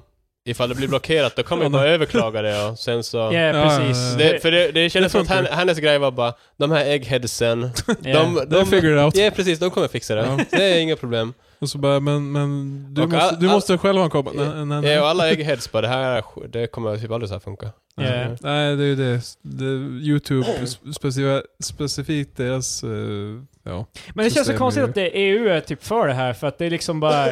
Speaker 3: Ifall det blir blockerat, då kommer jag bara överklaga det och sen så...
Speaker 1: Ja,
Speaker 2: Ja,
Speaker 1: precis.
Speaker 2: ja, ja.
Speaker 3: Det, för det, det kändes
Speaker 2: Det
Speaker 3: som att hen-
Speaker 2: funkar.
Speaker 3: hennes grej var bara, de här eggheadsen,
Speaker 1: ja.
Speaker 3: de...
Speaker 2: They
Speaker 3: de
Speaker 2: figured it out.
Speaker 3: Ja, precis, de kommer fixa det.
Speaker 2: Ja.
Speaker 3: Det är inga problem.
Speaker 2: Och så bara, men, men du,
Speaker 3: Och
Speaker 2: måste,
Speaker 3: all-
Speaker 2: du
Speaker 3: all-
Speaker 2: måste själv ha en komma. Nej, nej, nej.
Speaker 3: Ja, och alla eggheads bara, det här är sk- det kommer typ aldrig så här funka.
Speaker 1: Ja.
Speaker 2: Nej, det är ju det. det Youtube, spe- specif- specifikt deras... eh, ja.
Speaker 1: Men det känns så
Speaker 2: system
Speaker 1: konstigt
Speaker 2: är ju-
Speaker 1: att det EU är typ för det här, för att det är liksom bara...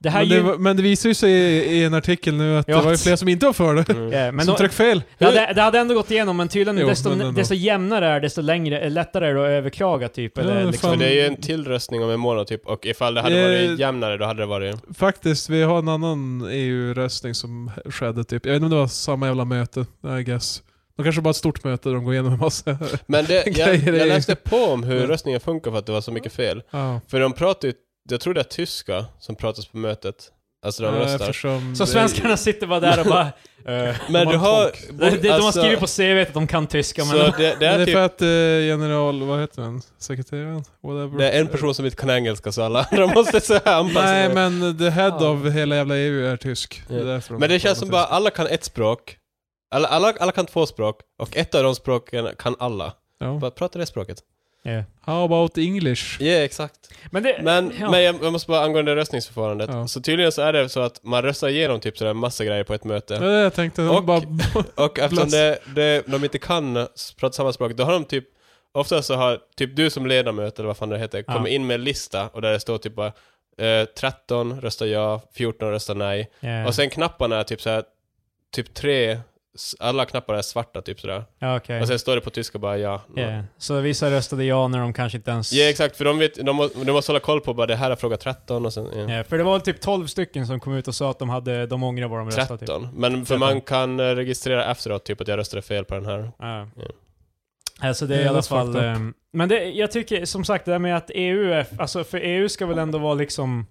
Speaker 1: Det här
Speaker 2: Men
Speaker 1: men,
Speaker 2: det, var- men det visar ju sig i, i en artikel nu att
Speaker 1: Ja.
Speaker 2: det var ju fler som inte var för det.
Speaker 3: Mm.
Speaker 1: ja, men
Speaker 2: som
Speaker 1: då,
Speaker 2: tryckte fel.
Speaker 1: det, hade, det hade ändå gått igenom, men tydligen
Speaker 2: Jo,
Speaker 1: desto,
Speaker 2: men ändå.
Speaker 1: desto jämnare är desto längre, eh, lättare är det att överklaga typ.
Speaker 2: Ja,
Speaker 1: eller,
Speaker 2: det
Speaker 1: liksom.
Speaker 3: För
Speaker 2: fan.
Speaker 3: det är ju en till röstning om en månad typ, och ifall det hade
Speaker 2: Eh.
Speaker 3: varit jämnare, då hade det varit...
Speaker 2: Faktiskt, vi har en annan EU-röstning som skedde typ. Jag vet inte om det var samma jävla möte, I guess. De kanske bara ett stort möte där de går igenom en massa...
Speaker 3: Men det, jag,
Speaker 2: Grejer är-
Speaker 3: jag läste på om hur
Speaker 2: Mm.
Speaker 3: röstningen funkar för att det var så mycket fel.
Speaker 2: ja.
Speaker 3: För de pratar ju, jag tror det är tyska som pratas på mötet. Alltså de
Speaker 2: Eh,
Speaker 3: röstar.
Speaker 2: Eftersom
Speaker 1: Så
Speaker 2: det-
Speaker 1: svenskarna sitter bara där och bara... eh,
Speaker 2: de
Speaker 3: Men
Speaker 2: har
Speaker 3: du har...
Speaker 2: tolk.
Speaker 1: det, det, de har
Speaker 3: alltså,
Speaker 1: skrivit på CVt att de kan tyska, men...
Speaker 3: Så det, det
Speaker 2: Men det
Speaker 3: är
Speaker 2: är för
Speaker 3: typ...
Speaker 2: att eh, general, vad heter han? Sekreteraren? Whatever.
Speaker 3: Det är en person som inte kan engelska så alla andra måste så här anpassa
Speaker 2: Nej
Speaker 3: sig.
Speaker 2: men the head
Speaker 1: Ja.
Speaker 2: av hela jävla EU är tysk.
Speaker 3: Ja.
Speaker 2: är därför de
Speaker 3: Men det
Speaker 2: pratar
Speaker 3: känns som bara
Speaker 2: tyska.
Speaker 3: alla kan ett språk. Alla, alla, alla kan två språk. Och ett av de språken kan alla.
Speaker 2: Ja.
Speaker 3: Bara prata det språket.
Speaker 1: Ja.
Speaker 2: How about English?
Speaker 3: Ja, yeah, exakt.
Speaker 1: Men det...
Speaker 3: Men,
Speaker 1: ja.
Speaker 3: men jag, jag måste bara angående röstningsförfarandet.
Speaker 2: Ja.
Speaker 3: Så tydligen så är det så att man röstar igenom typ sådär massa grejer på ett
Speaker 2: Ja.
Speaker 3: möte.
Speaker 2: Det är det jag tänkte. De
Speaker 3: Och-
Speaker 2: bara...
Speaker 3: Och eftersom
Speaker 2: Blast.
Speaker 3: det, det, de inte kan s- prata samma språk, då har de typ Ofta så har typ du som ledamöt, eller vad fan det heter,
Speaker 1: Ja.
Speaker 3: kommit in med en lista och där det står typ bara eh, 13 röstar ja, 14 röstar nej.
Speaker 1: Ja.
Speaker 3: Och sen knapparna är typ så här, typ tre, s- alla knappar är svarta typ sådär.
Speaker 1: Ja, okej.
Speaker 3: Och sen står det på tyska bara ja. no.
Speaker 1: Ja. Så vissa röstade ja när de kanske inte ens...
Speaker 3: Ja exakt, för de, vet, de, må, de måste hålla koll på bara det här är fråga 13 och sen ja.
Speaker 1: Ja, för det var väl typ 12 stycken som kom ut och sa att de hade... De ångrar vad de röstade. Typ.
Speaker 3: 13. Men för
Speaker 1: 13.
Speaker 3: man kan eh, registrera efteråt typ att jag röstade fel på den här.
Speaker 1: Ja.
Speaker 3: Ja.
Speaker 1: Alltså det är
Speaker 2: Ja,
Speaker 1: i alla
Speaker 2: that's
Speaker 1: fall...
Speaker 2: fucked up.
Speaker 1: ehm, men det, jag tycker som sagt det där med att EU är... Alltså för EU ska väl ändå vara liksom...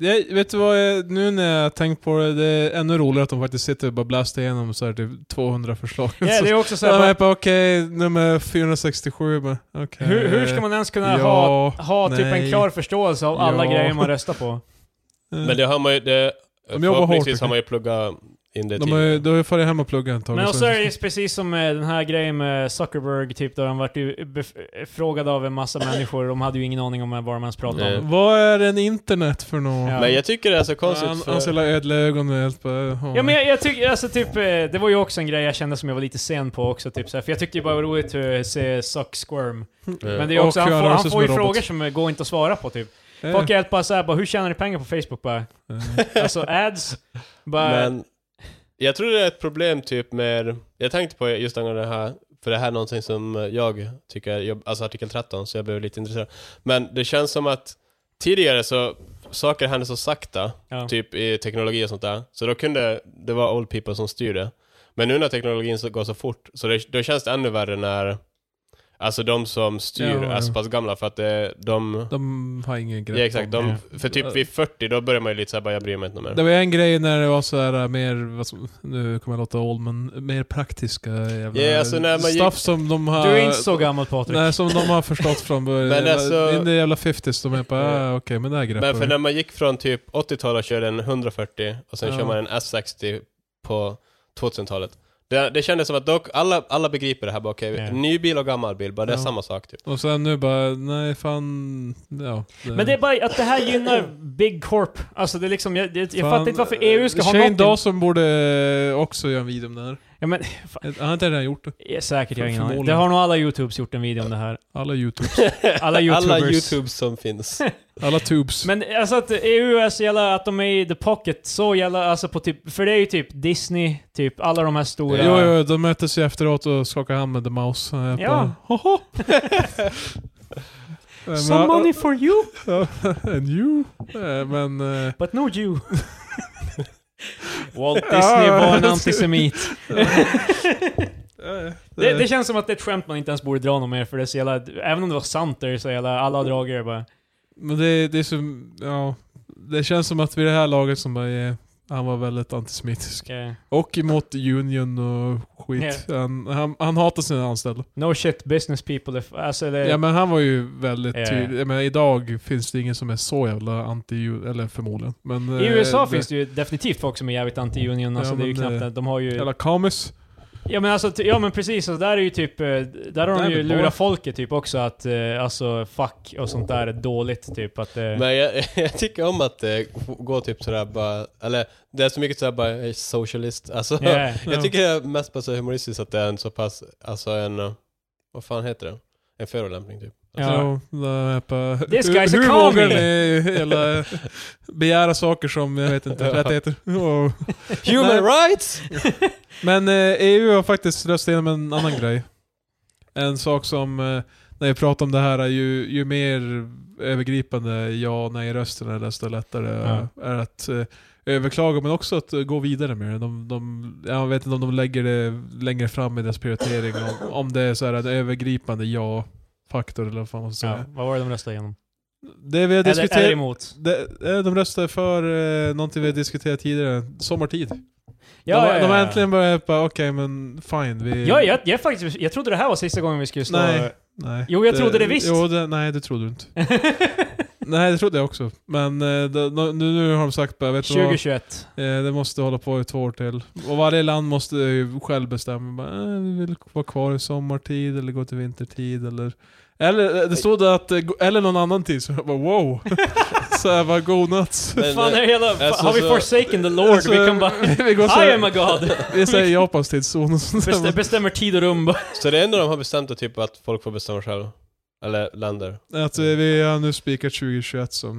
Speaker 2: jag, vet du vad, jag, nu när jag tänkt på det, det är ännu roligare att de faktiskt sitter och bara blastar igenom så här typ 200 förslag.
Speaker 1: Ja,
Speaker 2: Så-
Speaker 1: det är också så
Speaker 2: så jag
Speaker 1: här,
Speaker 2: bara,
Speaker 1: bara,
Speaker 2: bara, okej, nummer 467 bara, okej.
Speaker 1: hur, hur ska man ens kunna ha,
Speaker 2: Eh, ja,
Speaker 1: ha typ en
Speaker 2: nej.
Speaker 1: klar förståelse av alla
Speaker 2: Ja.
Speaker 1: grejer man röstar på?
Speaker 2: eh,
Speaker 3: Men det har man ju, det,
Speaker 2: jobbar
Speaker 3: förhoppningsvis
Speaker 2: hårt,
Speaker 3: har man ju pluggat in det
Speaker 2: De har ju,
Speaker 3: tidigare.
Speaker 2: då har jag farit hem och pluggat
Speaker 1: Men
Speaker 2: antagligen.
Speaker 1: också är det ju precis som eh, den här grejen med Zuckerberg, typ då han vart ju bef- frågad av en massa människor, de hade ju ingen aning om vad de ens pratade
Speaker 3: Nej.
Speaker 1: om.
Speaker 2: Vad är en internet för något?
Speaker 1: Ja.
Speaker 3: Men jag tycker det är så konstigt
Speaker 2: Han- Hans
Speaker 3: för...
Speaker 2: jävla ödla ögon är helt bara... oh.
Speaker 1: Ja men jag, jag tycker, alltså typ, eh, det var ju också en grej jag kände som jag var lite sen på också typ såhär, för jag tyckte ju bara det var roligt hur se Suck Squirm.
Speaker 3: Ja.
Speaker 1: Men det är ju också,
Speaker 2: Eh, Och
Speaker 1: han får,
Speaker 2: hur han
Speaker 1: han
Speaker 2: röstar
Speaker 1: får ju
Speaker 2: som en robot.
Speaker 1: frågor som går inte att svara på typ.
Speaker 2: Eh,
Speaker 1: Folk är helt bara såhär, bara, hur tjänar ni pengar på Facebook bara?
Speaker 2: eh.
Speaker 1: Alltså ads? Bara,
Speaker 3: Men jag tror det är ett problem typ med, jag tänkte på just angående det här, för det här är någonting som jag tycker, är jobb- alltså artikel 13, så jag blev lite intresserad. Men det känns som att tidigare så, saker hände så sakta,
Speaker 1: ja.
Speaker 3: typ i teknologi och sånt där, så då kunde, det var old people som styrde. Men nu när teknologin så, går så fort, så det, då känns det ännu värre när, alltså de som styr
Speaker 2: Ja,
Speaker 3: är så
Speaker 2: ja.
Speaker 3: pass gamla för att det, de,
Speaker 2: De har ingen grepp
Speaker 3: ja exakt,
Speaker 2: om
Speaker 3: de, för typ vid 40 då börjar man ju lite såhär bara, jag bryr mig inte mer.
Speaker 2: Det var en grej när det var så här äh, mer, vad som, nu kommer jag låta old, men mer praktiska jävla
Speaker 3: Ja, alltså när man gick-
Speaker 2: stuff som de har...
Speaker 1: Du är inte så gammal Patrik.
Speaker 2: Eh, Nej, som de har förstått från början.
Speaker 3: Men
Speaker 2: Jävla-
Speaker 3: alltså-
Speaker 2: In i jävla 50s, de är bara ah, okej, men det här greppar
Speaker 3: Men för
Speaker 2: vi.
Speaker 3: när man gick från typ 80-talet och körde en 140 och sen
Speaker 2: Ja.
Speaker 3: kör man en S60 på 2000-talet. Det, det kändes som att dock, alla, alla begriper det här bara, okej,
Speaker 1: Ja.
Speaker 3: ny bil och gammal bil, bara det är
Speaker 2: Ja.
Speaker 3: samma sak typ.
Speaker 2: Och sen nu bara, nej fan, ja.
Speaker 1: Men det är bara att det här gynnar Big Corp. Alltså det är liksom, jag, jag, jag
Speaker 2: Fan,
Speaker 1: fattar inte varför EU ska ha
Speaker 2: Shane
Speaker 1: någonting.
Speaker 2: Dawson borde också göra en video om det här.
Speaker 1: Ja, men,
Speaker 2: Han har inte redan gjort det.
Speaker 1: ja, säkert, jag har ingen aning. Det
Speaker 2: Förmodligen.
Speaker 1: har nog alla YouTubes gjort en video om det här.
Speaker 2: Alla YouTube,
Speaker 1: Alla YouTubers.
Speaker 3: alla YouTubes som finns.
Speaker 2: alla tubes.
Speaker 1: Men alltså att EU är så jävla, att de är i the pocket, så jävla, alltså på typ, för det är ju typ Disney, typ alla de här stora...
Speaker 2: Jo, jo, de möttes ju efteråt och skakade hand med The Mouse. Eh,
Speaker 1: Ja.
Speaker 2: bara, Hoho! Eh,
Speaker 1: Some
Speaker 2: men-
Speaker 1: money for you,
Speaker 2: And you? Eh, Men... eh,
Speaker 1: but no you. Walt Disney var en antisemit.
Speaker 2: eh,
Speaker 1: Det, det känns som att det är ett skämt man inte ens borde dra någon mer för det är så jävla, även om det var sant det är så jävla, alla har
Speaker 2: Mm.
Speaker 1: dragit det bara.
Speaker 2: Men det, det är som... Ja. Det känns som att vid det här laget som bara är... Han var väldigt antisemitisk.
Speaker 1: okej.
Speaker 2: Och emot Union och skit. Han, han, han hatar sina anställda.
Speaker 1: No shit business people, if, alltså det...
Speaker 2: Ja men han var ju väldigt
Speaker 1: Ja, ja.
Speaker 2: tydlig. Jag menar, idag finns det ingen som är så jävla anti Eller förmodligen. Men,
Speaker 1: I
Speaker 2: eh,
Speaker 1: USA finns det ju definitivt folk som är jävligt anti-union, alltså
Speaker 2: Ja,
Speaker 1: det är ju
Speaker 2: men
Speaker 1: knappt
Speaker 2: det-
Speaker 1: det. De har ju...
Speaker 2: Jävla kamis.
Speaker 1: Ja men, alltså, ty- ja men precis, alltså, där är ju typ, eh, där har de
Speaker 2: Där
Speaker 1: ju
Speaker 2: är det bara-
Speaker 1: lurat folket typ också att eh, alltså fuck och sånt där är dåligt typ att... eh,
Speaker 3: Men jag, jag tycker om att eh, gå typ sådär bara, eller det är så mycket sådär bara, eh, socialist, alltså.
Speaker 1: yeah.
Speaker 3: Jag tycker det är mest bara så humoristiskt att det är en så pass, alltså en, eh, vad fan heter det? En förolämpning typ.
Speaker 1: Ja.
Speaker 2: Ja. det är på-
Speaker 1: This
Speaker 2: hur-
Speaker 1: guy's a
Speaker 2: hur
Speaker 1: commie.
Speaker 2: vågar ni hela, begära saker som, jag vet inte,
Speaker 3: Ja.
Speaker 2: rättigheter? Och-
Speaker 3: Human rights!
Speaker 2: Men eh, EU har faktiskt röstat igenom en annan grej. En sak som, eh, när vi pratar om det här, är ju, ju mer övergripande ja nej-rösterna desto lättare
Speaker 1: Ja.
Speaker 2: är att eh, överklaga, men också att eh, gå vidare med det. De, de, jag vet inte om de lägger det längre fram i deras prioritering, om, om det är så här en övergripande ja-faktor eller vad fan man ska säga.
Speaker 1: Ja, vad var det de röstade igenom?
Speaker 2: Det vi har
Speaker 1: Eller, eller
Speaker 2: diskuterat...
Speaker 1: emot.
Speaker 2: Det, eh, de röstar för eh, någonting vi har diskuterat tidigare, sommartid.
Speaker 1: Ja,
Speaker 2: de,
Speaker 1: ja, ja,
Speaker 2: de har
Speaker 1: ja.
Speaker 2: äntligen börjat bara, okej men fine, vi...
Speaker 1: Ja, jag, jag, faktiskt, jag trodde det här var sista gången vi skulle stå...
Speaker 2: Nej, nej.
Speaker 1: Jo, jag trodde det visst.
Speaker 2: Jo, det, nej, det trodde du inte. Nej, det trodde jag också. Men eh, de, de, nu, nu har de sagt bara, vet du vad?
Speaker 1: 2021.
Speaker 2: Eh, det måste hålla på i två år till. Och varje land måste ju själv bestämma. Bara, eh, vi vill vara kvar i sommartid eller gå till vintertid eller... Eller eh, det stod det att, eh, gå- eller någon annan tid, så jag bara wow! så jag bara go nuts.
Speaker 3: Men,
Speaker 1: Fan, är
Speaker 3: eh,
Speaker 1: det hela,
Speaker 3: alltså,
Speaker 1: har vi
Speaker 3: så-
Speaker 1: forsaken the Lord?
Speaker 2: Alltså,
Speaker 1: vi kan bara...
Speaker 2: vi går så
Speaker 1: I
Speaker 2: här-
Speaker 1: am a God!
Speaker 2: Vi säger Japans tidszon och sånt
Speaker 1: Bestä,
Speaker 2: där.
Speaker 1: bestämmer tid och rum. bara.
Speaker 3: så det enda de har bestämt är typ att folk får bestämma själva. Eller länder.
Speaker 2: Att eh, vi har nu spikat 2021 som...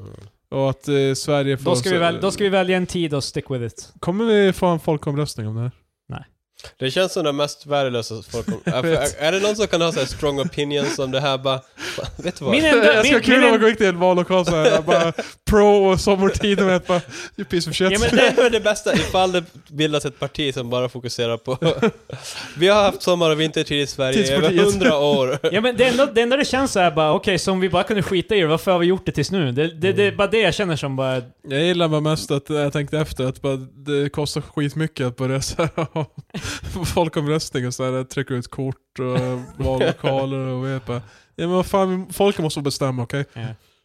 Speaker 3: Mm.
Speaker 2: Och att eh, Sverige får...
Speaker 1: Då ska, vi väl, då ska vi välja en tid och stick with it.
Speaker 2: Kommer vi få en folkomröstning om det här?
Speaker 3: Det känns som det mest värdelösa folk om. Är,
Speaker 2: vet.
Speaker 3: är det någon som kan ha så här strong opinions om det här bara... Vet du vad?
Speaker 1: Min enda...
Speaker 2: Jag
Speaker 1: Min,
Speaker 2: ska
Speaker 1: min,
Speaker 2: kul om man
Speaker 1: min,
Speaker 2: går till en vallokal såhär, bara pro och sommartid och vet bara you piece of shit.
Speaker 1: Ja, men
Speaker 3: Det är väl det bästa ifall det bildas ett parti som bara fokuserar på... Vi har haft sommar och vintertid i Sverige i över
Speaker 2: Tidspartiet.
Speaker 3: hundra år.
Speaker 1: ja, men det, enda, det enda det känns så är bara, okej, som vi bara kunde skita i det, varför har vi gjort det tills nu? Det, det, det är bara det jag känner som bara...
Speaker 2: Jag gillar bara mest att eh, jag tänkte efter att bara, det kostar skitmycket att börja såhär folkomröstning och såhär trycka ut kort och vallokaler och vet bara Ja men vad fan, folket måste få bestämma okej?
Speaker 1: Ja.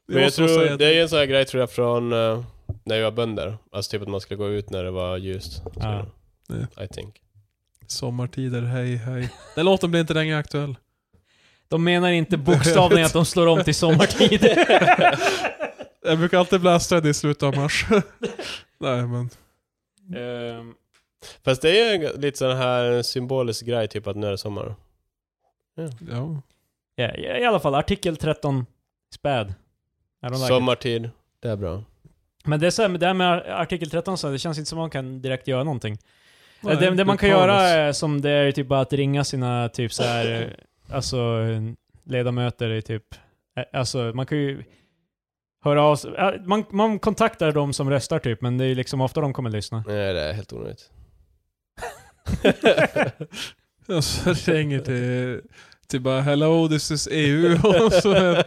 Speaker 2: Vi
Speaker 3: Men jag
Speaker 2: måste få säga
Speaker 3: tror,
Speaker 2: att-
Speaker 3: det är ju en sån här grej tror jag från eh, när vi var bönder. Alltså typ att man skulle gå ut när det var ljust.
Speaker 1: Ja.
Speaker 3: Så, I think.
Speaker 2: Sommartider, hej hej. Den låten blir inte längre aktuell.
Speaker 1: De menar inte bokstavligen att de slår om till sommartid.
Speaker 2: Jag brukar alltid blästa den i slutet av mars. Nej men,
Speaker 1: Ehm,
Speaker 3: Fast det är ju en- lite sån här symbolisk grej typ att nu är det sommar.
Speaker 2: ja.
Speaker 1: ja, I alla fall, artikel 13, späd. I don't like it.
Speaker 3: Sommartid. Det är bra.
Speaker 1: Men det, är så här, med- det här med artikel 13, så här, det känns inte som man kan direkt göra någonting. Eh,
Speaker 2: Nej,
Speaker 1: det, det man kan
Speaker 2: Paulus.
Speaker 1: göra är, som det är ju typ bara att ringa sina typ så här, eh, alltså eh, ledamöter i typ, eh, alltså man kan ju höra av sig- eh, man, man kontaktar de som röstar typ, men det är ju liksom ofta de kommer lyssna.
Speaker 3: Nej, det är helt onödigt.
Speaker 2: Och så ringer till, till bara hello this is EU och så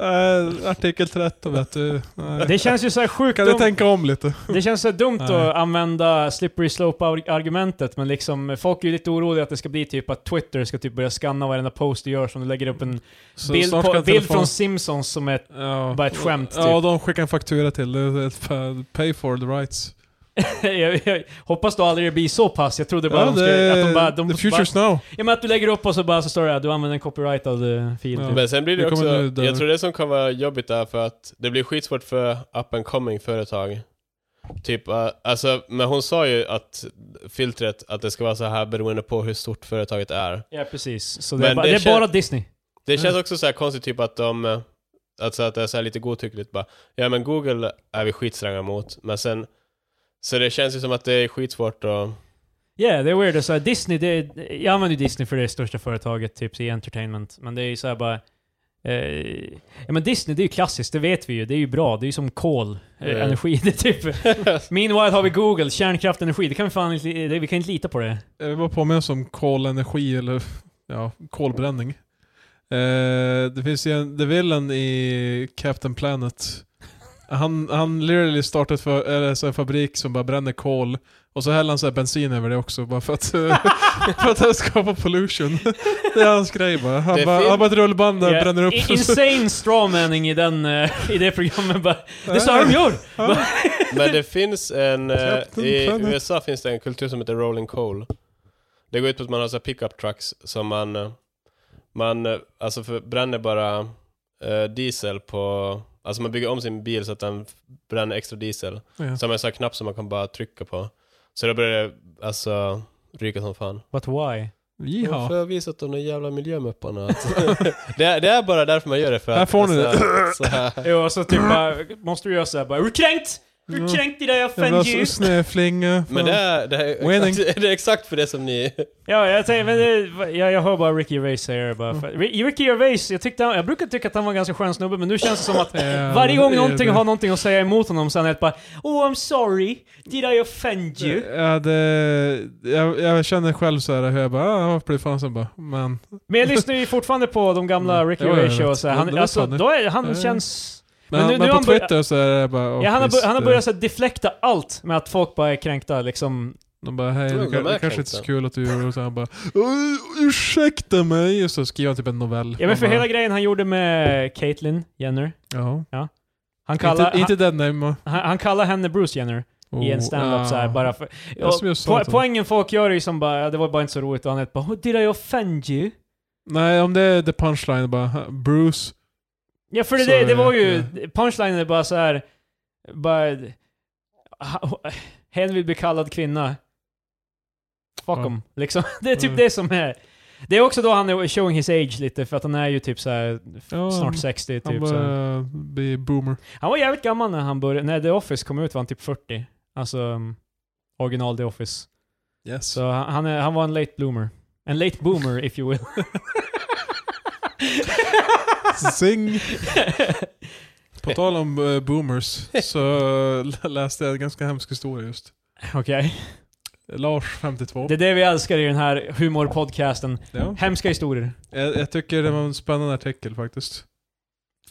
Speaker 2: äh, artikel 13 vet du. Nej.
Speaker 1: Det känns ju så här sjukt
Speaker 2: Kan du
Speaker 1: dumt,
Speaker 2: tänka om lite?
Speaker 1: det känns så här dumt
Speaker 2: Nej.
Speaker 1: att använda slippery slope-argumentet, men liksom folk är ju lite oroliga att det ska bli typ att Twitter ska typ börja scanna varenda post du gör som du lägger upp en
Speaker 2: Så
Speaker 1: bild,
Speaker 2: snart
Speaker 1: på,
Speaker 2: kan
Speaker 1: bild
Speaker 2: telefon-
Speaker 1: från Simpsons som är
Speaker 2: ja.
Speaker 1: bara ett skämt, typ.
Speaker 2: Ja, de skickar en faktura till dig. Pay for the rights.
Speaker 1: jag, jag hoppas då aldrig det blir så pass, jag trodde bara
Speaker 2: ja,
Speaker 1: de skulle,
Speaker 2: det,
Speaker 1: att de bara... De
Speaker 2: the future's
Speaker 1: bara
Speaker 2: now.
Speaker 1: ja, men att du lägger upp och så bara så står det att du använder en copyrightad eh, fil.
Speaker 2: Ja.
Speaker 1: typ.
Speaker 3: Men sen blir det
Speaker 2: Vi kommer
Speaker 3: också,
Speaker 2: nu där.
Speaker 3: jag tror det som kan vara jobbigt är för att det blir skitsvårt för up and coming företag. Typ, eh, alltså, men hon sa ju att filtret, att det ska vara så här beroende på hur stort företaget är.
Speaker 1: Ja precis, så det är,
Speaker 3: Men
Speaker 1: bara,
Speaker 3: det
Speaker 1: det är
Speaker 3: kän-
Speaker 1: bara Disney.
Speaker 3: Det känns
Speaker 2: Mm.
Speaker 3: också så här konstigt typ att de, eh, alltså att det är så här lite godtyckligt bara, ja men Google är vi skitstränga mot, men sen, så det känns ju som att det är skitsvårt att,
Speaker 1: Ja, yeah, det är weird. Så här, Disney, det är, jag använder ju Disney för det största företaget typ i entertainment, men det är ju så här bara... Eh, ja men Disney, det är ju klassiskt, det vet vi ju. Det är ju bra, det är ju som kol, eh,
Speaker 3: Ja.
Speaker 1: energi. Det är typ... Meanwhile har vi Google, kärnkraftenergi. Det kan vi fan inte, det, vi kan inte lita på det.
Speaker 2: Jag vill bara påminna oss om kolenergi eller ja, kolbränning. Eh, det finns ju en, The Villain i Captain Planet. Han, han literally startade för, eller, så en fabrik som bara bränner kol. Och så häller han så här bensin över det också bara för att, för att han skapar pollution. Det är hans grej bara. Han
Speaker 3: Det
Speaker 2: bara,
Speaker 3: fin-
Speaker 2: han bara ett rullband där och
Speaker 1: Ja,
Speaker 2: bränner upp.
Speaker 1: i- Insane strawmanning i, den, eh, i det programmet bara. Det är så här de gör!
Speaker 3: men det finns en, eh,
Speaker 2: Captain
Speaker 3: i
Speaker 2: Planet.
Speaker 3: USA finns det en kultur som heter rolling coal. Det går ut på att man har så här pickup trucks som man, eh, man eh, alltså för, bränner bara eh, diesel på, alltså man bygger om sin bil så att den bränner extra diesel.
Speaker 2: Ja.
Speaker 3: Som en sån här knapp som man kan bara trycka på. Så då börjar det alltså ryka som fan.
Speaker 1: But why?
Speaker 2: Jiha.
Speaker 3: Varför har jag visat de där jävla miljömupparna? Alltså, det, är, det är bara därför man gör det för
Speaker 2: Här får ni
Speaker 3: alltså, så här-
Speaker 1: Jo, och så typ bara, måste du göra såhär bara, är du kränkt?
Speaker 2: Mm.
Speaker 1: Du kränkte dig, jag
Speaker 2: Jävla
Speaker 1: offend you.
Speaker 2: s- snöflinga.
Speaker 3: Men det är, det,
Speaker 2: Winning.
Speaker 3: är, det är exakt för det som ni...
Speaker 1: Ja, jag säger, men det, jag, jag hör bara Ricky Gervais säga det
Speaker 2: Mm.
Speaker 1: bara. För, Ri- Ricky Gervais, jag, tyckte han, jag brukar tycka att han var en ganska skön snubbe, men nu känns det som att
Speaker 2: Ja,
Speaker 1: varje
Speaker 2: det
Speaker 1: gång
Speaker 2: är
Speaker 1: någonting
Speaker 2: det.
Speaker 1: har någonting att säga emot honom så är han helt bara Oh I'm sorry, did I offend you?
Speaker 2: Eh, Ja, det, jag, jag känner själv så här hur jag bara, ah, jag blev fan sen bara, men.
Speaker 1: Men jag lyssnar ju fortfarande på de gamla
Speaker 2: Mm.
Speaker 1: Ricky
Speaker 2: Jo, jag
Speaker 1: Gervais
Speaker 2: vet.
Speaker 1: och så här.
Speaker 2: Det-
Speaker 1: han,
Speaker 2: det är
Speaker 1: alltså,
Speaker 2: sant.
Speaker 1: då är, han
Speaker 2: Ja.
Speaker 1: känns... Men
Speaker 2: Men,
Speaker 1: nu-
Speaker 2: men,
Speaker 1: nu
Speaker 2: på
Speaker 1: har han börjat-
Speaker 2: Twitter så är det bara, oh,
Speaker 1: Ja, han, har,
Speaker 2: visst,
Speaker 1: bör- han har
Speaker 2: det-
Speaker 1: börjat så här, deflekta allt med att folk bara är kränkta liksom.
Speaker 2: De bara, hej,
Speaker 3: Ja,
Speaker 2: det,
Speaker 3: de
Speaker 2: ka-
Speaker 3: är
Speaker 2: det kanske inte är
Speaker 3: kränkta.
Speaker 2: så kul att du gör det. Och så han bara, "Oj, ursäkta mig. Och så skriver han typ en novell.
Speaker 1: Ja men för
Speaker 2: Man
Speaker 1: hela
Speaker 2: bara,
Speaker 1: grejen han gjorde med Caitlyn Jenner.
Speaker 2: Ja.
Speaker 1: Han kallar,
Speaker 2: inte, inte den name.
Speaker 1: han, han kallar henne Bruce Jenner. i en stand-up
Speaker 2: ah.
Speaker 1: så här, bara för...
Speaker 2: Jag som jag sa
Speaker 1: po
Speaker 2: till honom.
Speaker 1: poängen folk gör är ju som bara, "Ja, det var bara inte så roligt och han är bara "Oh, “Did I offend you?”
Speaker 2: Nej, om det är the punchline bara, Bruce.
Speaker 1: Ja för det,
Speaker 2: Så,
Speaker 1: det, det var ju,
Speaker 2: ja.
Speaker 1: punchlinen är bara så här, bara... Hen vill bli kallad kvinna. Fuck
Speaker 2: Ja.
Speaker 1: em. Liksom. Det är typ
Speaker 2: Mm.
Speaker 1: det som är... Det är också då han är showing his age lite, för att han är ju typ så här f-
Speaker 2: Ja,
Speaker 1: snart 60
Speaker 2: Han
Speaker 1: typ. så här.
Speaker 2: bara, blir boomer.
Speaker 1: Han var jävligt gammal när han började, när The Office kom ut var han typ 40. Alltså, um, original The Office.
Speaker 2: Yes.
Speaker 1: Så han, han, är, han var en late bloomer. En late boomer if you will.
Speaker 2: Zing! På tal om eh, boomers så eh, läste jag en ganska hemsk historia just.
Speaker 1: Okej.
Speaker 2: Lars, 52.
Speaker 1: Det är det vi älskar i den här humorpodcasten.
Speaker 2: Ja.
Speaker 1: Hemska historier.
Speaker 2: Jag, jag tycker det var en spännande artikel faktiskt.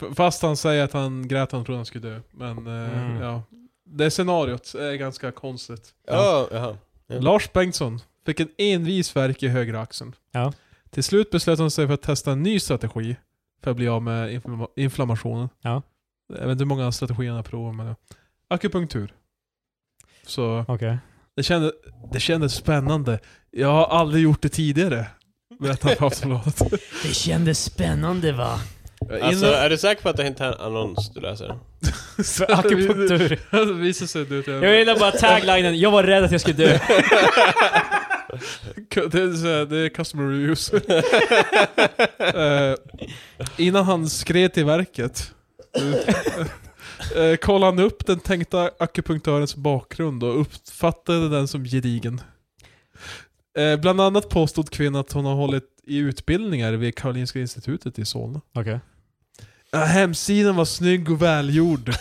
Speaker 2: F- Fast han säger att han grät och han trodde han skulle dö. Men eh,
Speaker 1: Mm.
Speaker 2: ja. Det scenariot är ganska konstigt.
Speaker 3: Ja, jaha. Ja.
Speaker 2: Lars Bengtsson fick en envis värk i högra axeln.
Speaker 1: Ja.
Speaker 2: Till slut beslöt han sig för att testa en ny strategi för att bli av med inflamma- inflammationen.
Speaker 1: Ja.
Speaker 2: Jag vet inte hur många strategier han har provat men ja. Akupunktur. Så
Speaker 1: Okej.
Speaker 2: det kändes, det kändes spännande. Jag har aldrig gjort det tidigare. Berättar han på Aftonbladet.
Speaker 1: Det kändes spännande va?
Speaker 3: Alltså, är du säker på att det inte är en annons du läser?
Speaker 1: För akupunktur.
Speaker 2: Det visar sig du
Speaker 1: Jag gillar bara taglinen, jag var rädd att jag skulle dö.
Speaker 2: Det är, så här, det är customer reviews. Eh, innan han skred till verket eh, kollade han upp den tänkta akupunktörens bakgrund och uppfattade den som gedigen. Eh, bland annat påstod kvinnan att hon har hållit i utbildningar vid Karolinska institutet i Solna.
Speaker 1: Okej.
Speaker 2: Ja, hemsidan var snygg och välgjord.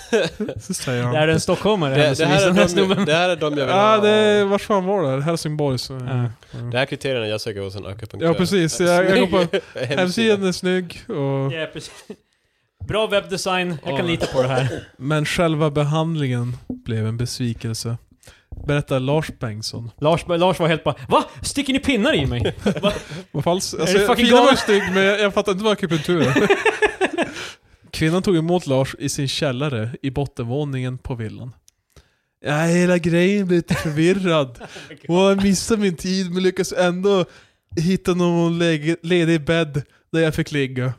Speaker 2: Så säger
Speaker 1: Det här
Speaker 2: han.
Speaker 1: är en stockholmare
Speaker 3: Det, det,
Speaker 1: händelsevis,
Speaker 3: här
Speaker 1: den här
Speaker 3: är de,
Speaker 1: snubben.
Speaker 3: det här är de jag vill
Speaker 2: Ja,
Speaker 3: ha.
Speaker 2: det är, vart fan var det? här? Helsingborg? Så,
Speaker 1: Ja.
Speaker 3: Det här är kriterierna jag söker hos en akupunktör.
Speaker 2: Ja precis, jag, jag går på
Speaker 3: Hemsida.
Speaker 2: hemsidan är snygg och...
Speaker 1: Ja, precis. Bra webbdesign, jag kan
Speaker 2: Ja.
Speaker 1: lita på det här.
Speaker 2: Men själva behandlingen blev en besvikelse. Berättar Lars Bengtsson.
Speaker 1: Lars, Lars var helt bara VA? Sticker ni pinnar i mig?
Speaker 2: Vad falskt. Alltså,
Speaker 1: Är det fucking
Speaker 2: kvinnan var
Speaker 1: galen?
Speaker 2: ju snygg men jag, jag fattar inte vad akupunktur är. Kvinnan tog emot Lars i sin källare i bottenvåningen på villan. Ja, hela grejen blev lite förvirrad.
Speaker 1: Oh
Speaker 2: Och jag missade min tid men lyckades ändå hitta någon läge- ledig bädd där jag fick ligga.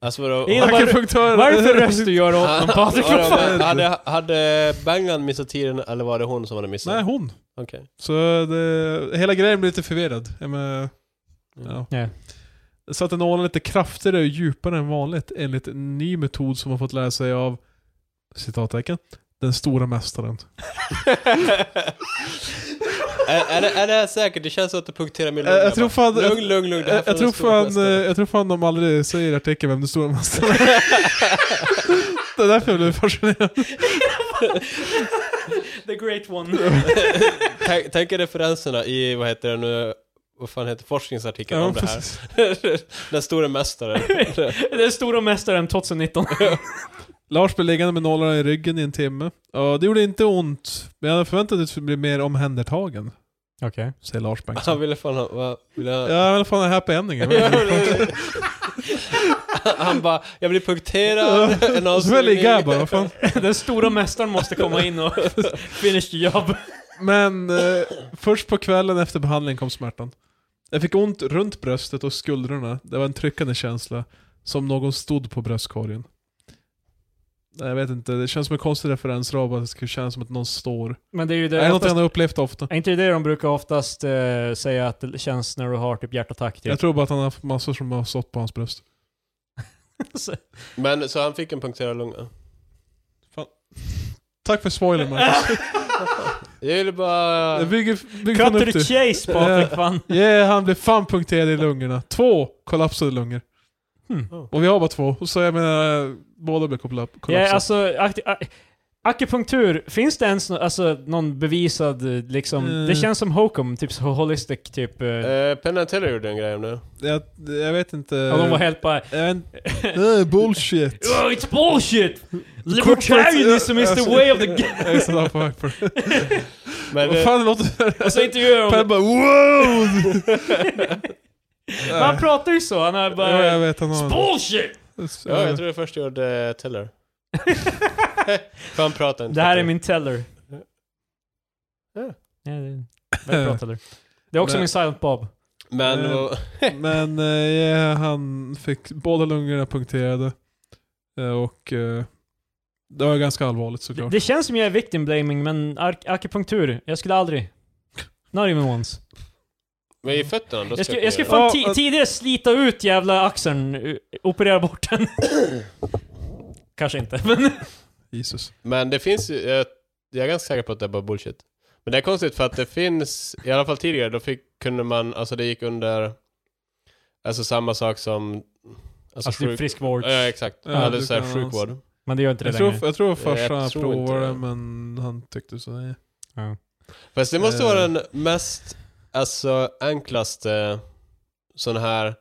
Speaker 3: Alltså vadå? Ah,
Speaker 1: Det är bara-
Speaker 2: Akupunktören...
Speaker 1: Varför röst du gör åt honom Patrik?
Speaker 3: Vadå,
Speaker 1: Vad fan?
Speaker 3: men Hade, hade Bangan missat tiden eller var det hon som hade missat?
Speaker 2: Nej, hon.
Speaker 3: Okej.
Speaker 2: Så det, hela grejen blir lite förvirrad. Jag menar, ja.
Speaker 1: Ja.
Speaker 2: Så att nålen är lite kraftigare och djupare än vanligt enligt en ny metod som har fått lära sig av citattecken, den stora mästaren.
Speaker 3: är, är, det, är det här säkert? Det känns som att du punkterar min
Speaker 2: Eh, Jag, jag, tror fan,
Speaker 3: Lugn,
Speaker 2: jag,
Speaker 3: lugn, lugn. det här
Speaker 2: jag,
Speaker 3: får
Speaker 2: jag, tror
Speaker 3: den stora
Speaker 2: fan, eh,
Speaker 3: festen.
Speaker 2: jag tror fan de aldrig säger i artikeln vem den stora mästaren är. det är därför jag blev fascinerad.
Speaker 1: The great one.
Speaker 3: Tänk, tänk er referenserna i, vad heter det nu, vad fan heter forskningsartikeln om det här?
Speaker 2: precis.
Speaker 3: Den stora mästaren.
Speaker 1: Den stora mästaren 2019.
Speaker 2: Lars blev liggande med nålar i ryggen i en timme. Ja, det gjorde inte ont, men jag hade förväntat mig att bli mer omhändertagen,
Speaker 1: Okej.
Speaker 2: säger Lars Bengtsson.
Speaker 3: Han ville fan ha, vad, ville ha...
Speaker 2: Ja, men fan happy ending. Jag vet inte.
Speaker 3: Han bara, jag blir punkterad, en
Speaker 2: Och så får jag ligga här
Speaker 3: avsugning.
Speaker 2: bara, vad fan.
Speaker 1: Den stora mästaren måste komma in och finish the job.
Speaker 2: Men eh, först på kvällen efter behandlingen kom smärtan. Jag fick ont runt bröstet och skuldrorna. Det var en tryckande känsla. Som någon stod på bröstkorgen. Nej, Jag vet inte, det känns som en konstig referensrad. att Det skulle kännas som att någon står.
Speaker 1: Men det är ju
Speaker 2: Det
Speaker 1: det,
Speaker 2: är något jag
Speaker 1: oftast,
Speaker 2: har upplevt ofta.
Speaker 1: är inte det det de brukar oftast eh, säga att det känns när du har typ hjärtattack? Typ.
Speaker 2: Jag tror bara att han har haft massor som har stått på hans bröst.
Speaker 3: Men så han fick en punkterad lunga.
Speaker 2: Tack för spoilern Marcus.
Speaker 3: Jag vill bara...
Speaker 2: Det bygger, bygger
Speaker 1: Cut
Speaker 2: fan
Speaker 1: to
Speaker 2: upp
Speaker 1: the
Speaker 2: det.
Speaker 1: chase Patrik fan.
Speaker 2: Yeah, han blev fan punkterad i lungorna. Två kollapsade lungor.
Speaker 1: Hmm.
Speaker 3: Oh.
Speaker 2: Och vi har bara två. Så jag menar, båda blev kolla- kollapsade.
Speaker 1: Ja, alltså, ak- a- akupunktur, finns det ens nå- alltså, någon bevisad eh, liksom?
Speaker 2: Eh.
Speaker 1: Det känns som hokum, typ så holistic typ. eh,
Speaker 3: Eh, Penn and Teller gjorde en grej om det.
Speaker 2: jag, jag vet inte...
Speaker 1: och de var helt bara
Speaker 2: jag vet, nej, bullshit.
Speaker 1: Oh, it's bullshit!
Speaker 2: Libertarianism
Speaker 1: Libertarianism
Speaker 2: is
Speaker 1: is
Speaker 2: the
Speaker 1: the way
Speaker 2: way
Speaker 1: of the game!
Speaker 2: Jag är så där på väg för det.
Speaker 3: Men eh,
Speaker 2: Vad
Speaker 3: det,
Speaker 2: fan det låter...
Speaker 1: Och så intervjuar
Speaker 2: Per
Speaker 1: de...
Speaker 2: bara wow!
Speaker 1: Men han pratar ju så, han är
Speaker 2: Ja, jag
Speaker 1: bara...
Speaker 2: vet han har
Speaker 1: It's
Speaker 2: en-
Speaker 1: bullshit!
Speaker 3: ja, jag tror det först gjorde eh, Teller. För han pratar inte.
Speaker 1: Det här är min teller.
Speaker 3: Ja.
Speaker 1: Ja, det- Vem pratar du? Det är också
Speaker 2: Men-
Speaker 1: min silent bob.
Speaker 3: Men...
Speaker 2: Eh,
Speaker 3: vad-
Speaker 2: Men eh, ja, han fick båda lungorna punkterade. Eh, och eh, det var ganska allvarligt
Speaker 1: Det,
Speaker 2: såklart.
Speaker 1: det känns som jag är victim blaming, men ar- akupunktur, jag skulle aldrig... Not even once.
Speaker 3: Men i fötterna, då
Speaker 1: Jag skulle,
Speaker 3: jag
Speaker 1: jag skulle
Speaker 2: Ja,
Speaker 1: fan ti-
Speaker 2: och-
Speaker 1: tidigare slita ut jävla axeln, u- operera bort den. Kanske inte, men...
Speaker 2: Jesus.
Speaker 3: Men det finns ju, jag, jag är ganska säker på att det är bara bullshit. Men det är konstigt för att det finns, i alla fall tidigare, då fick, kunde man, alltså det gick under, alltså samma sak som, alltså,
Speaker 1: Alltså typ
Speaker 3: sjuk,
Speaker 1: friskvård.
Speaker 3: ja, exakt,
Speaker 2: Ja,
Speaker 3: ja,
Speaker 2: du
Speaker 3: det är
Speaker 2: kan-
Speaker 3: sjukvård.
Speaker 1: Men det gör inte det
Speaker 2: Jag tror,
Speaker 1: längre.
Speaker 2: jag tror
Speaker 3: Jag
Speaker 2: farsan
Speaker 3: tror inte
Speaker 2: provade
Speaker 3: det.
Speaker 2: men han tyckte så nej.
Speaker 3: Fast det måste
Speaker 2: Eh.
Speaker 3: vara den mest, alltså enklaste sån här,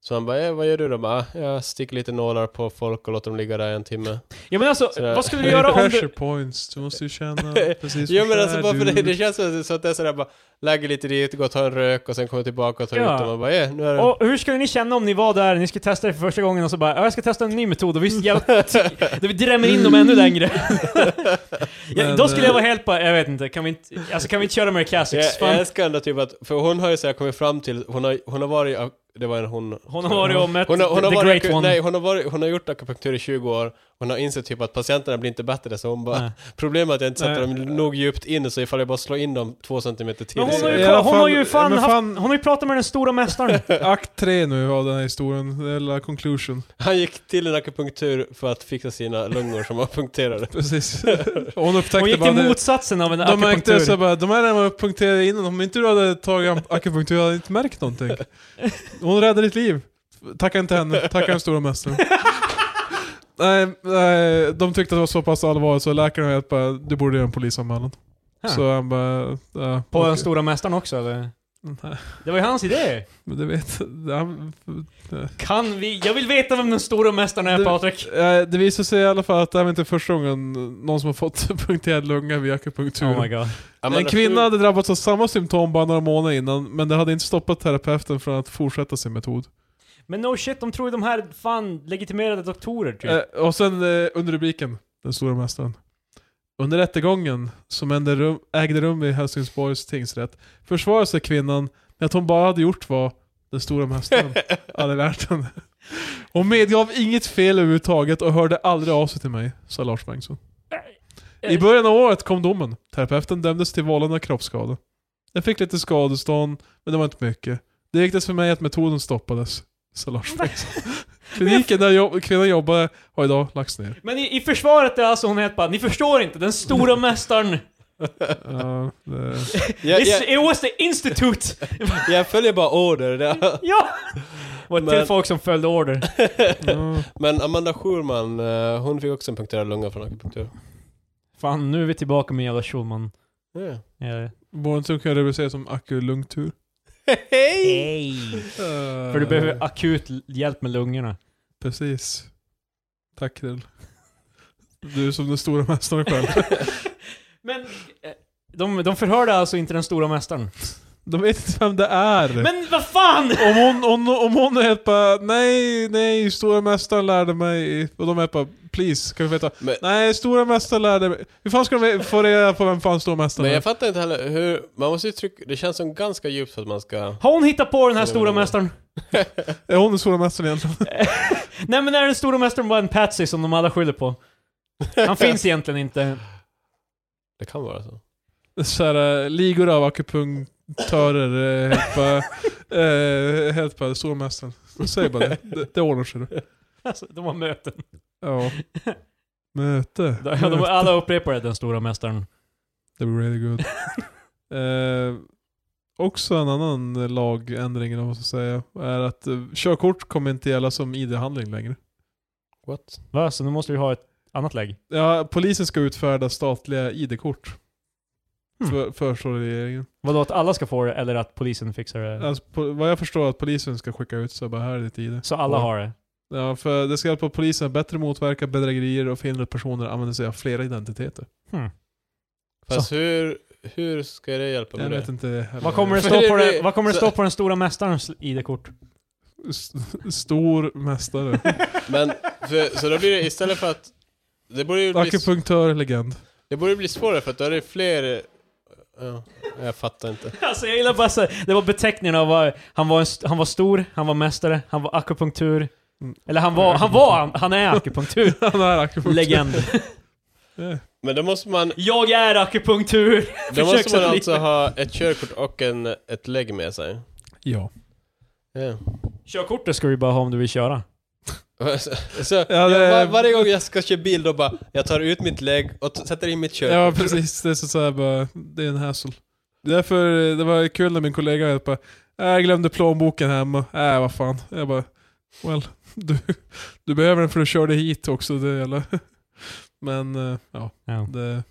Speaker 3: så han bara, eh, vad gör du då? Bara, "Ah, jag sticker lite nålar på folk och låter dem ligga där i en timme.
Speaker 1: Ja men alltså,
Speaker 3: Så där.
Speaker 1: vad skulle du
Speaker 2: Det är
Speaker 1: göra om
Speaker 2: pressure
Speaker 1: du...
Speaker 2: points, du måste ju känna precis
Speaker 3: Jo
Speaker 2: vad
Speaker 3: men
Speaker 2: det
Speaker 3: alltså
Speaker 2: är,
Speaker 3: bara för
Speaker 2: du-
Speaker 3: det, det känns som så att det är sådär bara, lägger lite dit, går och tar en rök och sen kommer tillbaka och tar
Speaker 1: Ja.
Speaker 3: ut dem och bara, eh, nu är det...
Speaker 1: Och hur skulle ni känna om ni var där, ni skulle testa det för första gången och så bara ja, jag ska testa en ny metod och visst jävla... Vi drämmer in dem ännu längre. ja,
Speaker 2: Men,
Speaker 1: då skulle jag
Speaker 2: eh,
Speaker 1: vara helt bara, jag vet inte, kan vi inte, alltså kan vi inte köra Mary
Speaker 3: Jag,
Speaker 1: Classics?
Speaker 3: jag
Speaker 1: Fan,
Speaker 3: älskar ändå typ att, för hon har ju såhär kommit fram till, hon har, hon har varit, det var en hon.
Speaker 1: hon har varit och mött
Speaker 3: Hon har, hon har,
Speaker 1: the
Speaker 3: varit,
Speaker 1: great one.
Speaker 3: nej, hon, har varit, hon har gjort akupunktur i 20 år, hon har insett typ att patienterna blir inte bättre så hon bara,
Speaker 1: Nej.
Speaker 3: problemet är att jag inte sätter
Speaker 2: Nej.
Speaker 3: dem nog djupt in så ifall jag bara slår in dem två centimeter till.
Speaker 1: Men hon har
Speaker 3: så-
Speaker 1: ju,
Speaker 2: I
Speaker 1: kolla,
Speaker 2: alla
Speaker 1: hon har
Speaker 2: fall-
Speaker 1: ju fan,
Speaker 2: men
Speaker 1: haft,
Speaker 2: fan-
Speaker 1: hon har ju pratat med den stora mästaren.
Speaker 2: Akt 3 nu av den här historien, eller conclusion.
Speaker 3: Han gick till en akupunktur för att fixa sina lungor som var punkterade.
Speaker 2: Precis. Hon upptäckte
Speaker 1: Hon gick
Speaker 2: bara
Speaker 1: till
Speaker 2: det.
Speaker 1: motsatsen av en
Speaker 2: De märkte så
Speaker 1: akupunktur.
Speaker 2: bara, de här redan var punkterade innan, om inte du hade tagit akupunktur hade jag inte märkt någonting. Hon räddade ditt liv. Tacka inte henne, tacka den stora mästaren. Nej, nej, de tyckte att det var så pass allvarligt så läkaren var helt bara, du borde göra en polisanmälan.
Speaker 1: Huh.
Speaker 2: Så han bara, ja,
Speaker 1: På
Speaker 2: okej.
Speaker 1: den stora mästaren också eller?
Speaker 2: Nej,
Speaker 1: Det var ju hans idé.
Speaker 2: Men du vet, han,
Speaker 1: Kan vi, jag vill veta vem den stora mästaren är
Speaker 2: Du-
Speaker 1: Patrik.
Speaker 2: eh, det visade sig i alla fall att det här var inte första gången någon som har fått punkterad lunga via akupunktur.
Speaker 1: Oh my god.
Speaker 3: Ja, men
Speaker 2: En kvinna hade drabbats av samma symptom bara några månader innan, men det hade inte stoppat terapeuten från att fortsätta sin metod.
Speaker 1: Men no shit, de tror ju de här fan legitimerade doktorer typ.
Speaker 2: Eh, och sen eh, under rubriken, den stora mästaren. Under rättegången, som ägde rum, ägde rum i Helsingborgs tingsrätt, försvarade sig kvinnan med att hon bara hade gjort vad den stora mästaren hade lärt henne. Hon medgav inget fel överhuvudtaget och hörde aldrig av sig till mig, sa Lars Bengtsson. I början av året kom domen. Terapeuten dömdes till vållande av kroppsskada. Jag fick lite skadestånd, men det var inte mycket. Det gick för mig att metoden stoppades, sa Lars Bengtsson. Kliniken där jobb, kvinnan jobbade har idag lagts ner.
Speaker 1: Men i, i försvaret är alltså hon helt bara, ni förstår inte, den stora mästaren.
Speaker 2: Ja, det,
Speaker 3: jag,
Speaker 1: It's-
Speaker 3: jag,
Speaker 1: It was the institute.
Speaker 3: jag följer bara order. Det-
Speaker 1: ja! Var till
Speaker 3: Men-
Speaker 1: folk som följde order.
Speaker 2: ja.
Speaker 3: Men Amanda Schulman, eh, hon fick också en punkterad lunga från akupunktur.
Speaker 1: Fan, nu är vi tillbaka med jävla Schulman. Eh.
Speaker 3: Ja.
Speaker 1: Ja.
Speaker 2: Borde inte kunna rubriceras som akulungtur?
Speaker 3: Hej!
Speaker 2: Eh,
Speaker 1: För du behöver akut l- hjälp med lungorna.
Speaker 2: Precis. Tack Rill. Du är som den stora mästaren själv.
Speaker 1: Men eh, de, de förhörde alltså inte den stora mästaren.
Speaker 2: De vet inte vem det är.
Speaker 1: Men vad fan!
Speaker 2: Om hon, om, om hon är helt bara nej, nej, stora mästaren lärde mig. Och de är bara please, kan vi veta?
Speaker 3: Men-
Speaker 2: Nej, stora mästaren lärde mig. Hur fan ska de få reda på vem fan stora mästaren
Speaker 3: Men
Speaker 2: är?
Speaker 3: jag fattar inte heller hur, man måste ju trycka, det känns som ganska djupt för att man ska...
Speaker 1: Har hon hittat på den här stora mästaren?
Speaker 2: Är hon den stora mästaren egentligen?
Speaker 1: Nej men är den stora mästaren bara en patsy som de alla skyller på? Han finns egentligen inte.
Speaker 3: Det kan vara så.
Speaker 2: Såhär, äh, ligor av akupunktörer äh, helt bara, äh, helt bara, stora mästaren. Säg bara det. Det, det ordnar sig. du.
Speaker 1: Alltså, de har möten.
Speaker 2: Ja. Möte.
Speaker 1: Ja, de,
Speaker 2: Möte.
Speaker 1: alla upprepar det, den stora mästaren.
Speaker 2: Det blir really good. eh, också en annan lagändring, eller vad man ska säga, är att eh, körkort kommer inte gälla som ID-handling längre.
Speaker 3: What?
Speaker 1: Va? Så nu måste vi ha ett annat lägg?
Speaker 2: Ja, polisen ska utfärda statliga ID-kort.
Speaker 1: Hmm.
Speaker 2: För, föreslår regeringen.
Speaker 1: Vadå att alla ska få det, eller att polisen fixar det?
Speaker 2: Alltså, po- vad jag förstår att polisen ska skicka ut så bara här är ditt ID.
Speaker 1: Så alla
Speaker 2: Ja.
Speaker 1: har det?
Speaker 2: Ja, för det ska hjälpa polisen att bättre motverka bedrägerier och förhindra att personer använder sig av flera identiteter.
Speaker 3: Fast hur, hur ska det hjälpa
Speaker 2: Jag
Speaker 3: med
Speaker 2: vet
Speaker 3: det?
Speaker 2: inte heller.
Speaker 1: Vad kommer det
Speaker 3: För
Speaker 1: stå på,
Speaker 3: det-
Speaker 1: det, vad kommer det
Speaker 3: så-
Speaker 1: stå på den stora mästarens ID-kort?
Speaker 2: S- Stor mästare.
Speaker 3: Men, för, så då blir det istället för att... Det borde ju bli,
Speaker 2: Akupunktör, legend.
Speaker 3: det borde bli svårare för att då är det fler... Ja, jag fattar inte.
Speaker 1: Alltså jag gillar bara så, det var beteckningen av vad, han var, en, st- han var stor, han var mästare, han var akupunktur.
Speaker 2: Mm.
Speaker 1: Eller han var, han var, han, han är akupunktur.
Speaker 2: Han är akupunktör.
Speaker 1: Legend.
Speaker 2: Ja.
Speaker 3: Men då måste man,
Speaker 1: Jag är akupunktur!
Speaker 3: då måste man
Speaker 1: Försöksatlet.
Speaker 3: alltså ha ett körkort och en, ett lägg med sig.
Speaker 2: Ja.
Speaker 3: Ja.
Speaker 1: Körkortet ska du bara ha om du vill köra.
Speaker 3: Så, jag,
Speaker 2: det-
Speaker 3: var, varje gång jag ska köra bil då bara, jag tar ut mitt lägg och t- sätter in mitt körkort.
Speaker 2: Ja precis, det är så så här bara, det är en hassle. Därför, eh, det var kul när min kollega jag bara, "Äh, jag glömde plånboken hemma, äh vad fan. Jag bara, well, du, du behöver den för du körde hit också. Det, eller? Men eh, ja,
Speaker 1: Ja.
Speaker 2: det,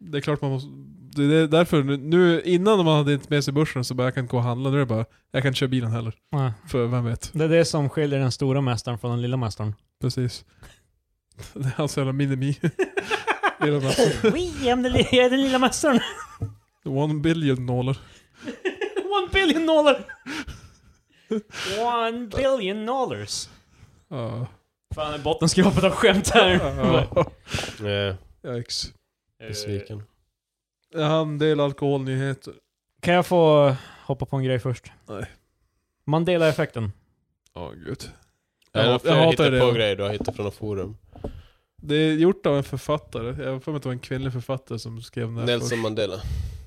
Speaker 2: det är klart man måste, det är därför nu- nu, innan man hade inte med sig börsen så bara, jag kan inte gå och handla. Nu är det bara, jag kan inte köra bilen heller.
Speaker 1: Ja.
Speaker 2: För vem vet,
Speaker 1: Det är det som skiljer den stora mästaren från den lilla mästaren.
Speaker 2: precis. Det är hans jävla minimi. Lilla Mats.
Speaker 1: We am the, li- jag är den lilla mästaren.
Speaker 2: One billion dollar.
Speaker 1: One billion dollar! One billion dollars.
Speaker 2: Ja.
Speaker 1: Fan, bottenskrapet av skämt här.
Speaker 2: Ja.
Speaker 3: Ja,
Speaker 2: Yikes.
Speaker 3: besviken.
Speaker 2: Jag har en del alkoholnyheter.
Speaker 1: Kan jag få hoppa på en grej först?
Speaker 2: Nej.
Speaker 1: Mandela-effekten.
Speaker 2: Ja, gud.
Speaker 3: Jag,
Speaker 2: Jag
Speaker 3: jag,
Speaker 2: hatar- jag hatar
Speaker 3: hittar
Speaker 2: det.
Speaker 3: på grejer du har hittat från något forum.
Speaker 2: Det är gjort av en författare. Jag har för mig att det var en kvinnlig författare som skrev den här
Speaker 3: Nelson
Speaker 2: först.
Speaker 3: Mandela.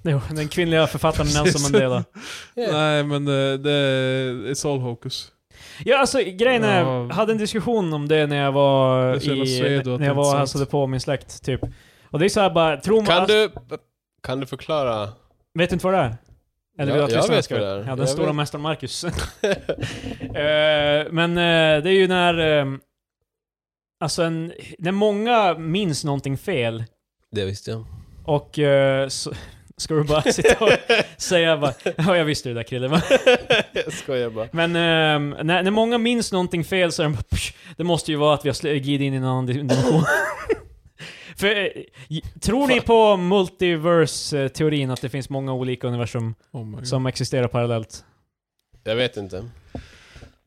Speaker 1: Jo, den kvinnliga författaren
Speaker 2: Precis.
Speaker 1: Nelson Mandela.
Speaker 2: Nej, men eh, det, det är It's all hocus.
Speaker 1: Ja, alltså grejen är, jag
Speaker 2: Ja.
Speaker 1: hade en diskussion om det när jag
Speaker 2: Det
Speaker 1: var
Speaker 2: är så jävla
Speaker 1: i,
Speaker 2: svedo att
Speaker 1: när jag
Speaker 2: det
Speaker 1: var
Speaker 2: inte är
Speaker 1: och
Speaker 2: sant.
Speaker 1: hälsade på min släkt, typ. Och det är så här bara, tror man...
Speaker 3: Kan
Speaker 1: alltså-
Speaker 3: du, kan du förklara?
Speaker 1: Vet du inte vad det är? Eller
Speaker 3: Ja,
Speaker 1: vill du att
Speaker 3: jag
Speaker 1: lyssnarna
Speaker 3: vet
Speaker 1: ska
Speaker 3: vad
Speaker 1: veta?
Speaker 3: det är.
Speaker 1: Ja, den
Speaker 3: Jag
Speaker 1: stora
Speaker 3: vet.
Speaker 1: mästaren Marcus. Eh, men eh, det är ju när... ehm, alltså en, när många minns någonting fel
Speaker 3: Det visste jag.
Speaker 1: och... eh, så, ska du bara sitta och säga bara, ja jag visste det där Krille. va?"
Speaker 3: jag skojar bara.
Speaker 1: Men ehm, när, när många minns någonting fel så är de bara, "Psh, det måste ju vara att vi har sl- glidit in i en annan di- dimension. För, eh, j- tror ni på multiverse-teorin att det finns många olika universum
Speaker 2: Oh my god.
Speaker 1: som existerar parallellt?
Speaker 3: Jag vet inte.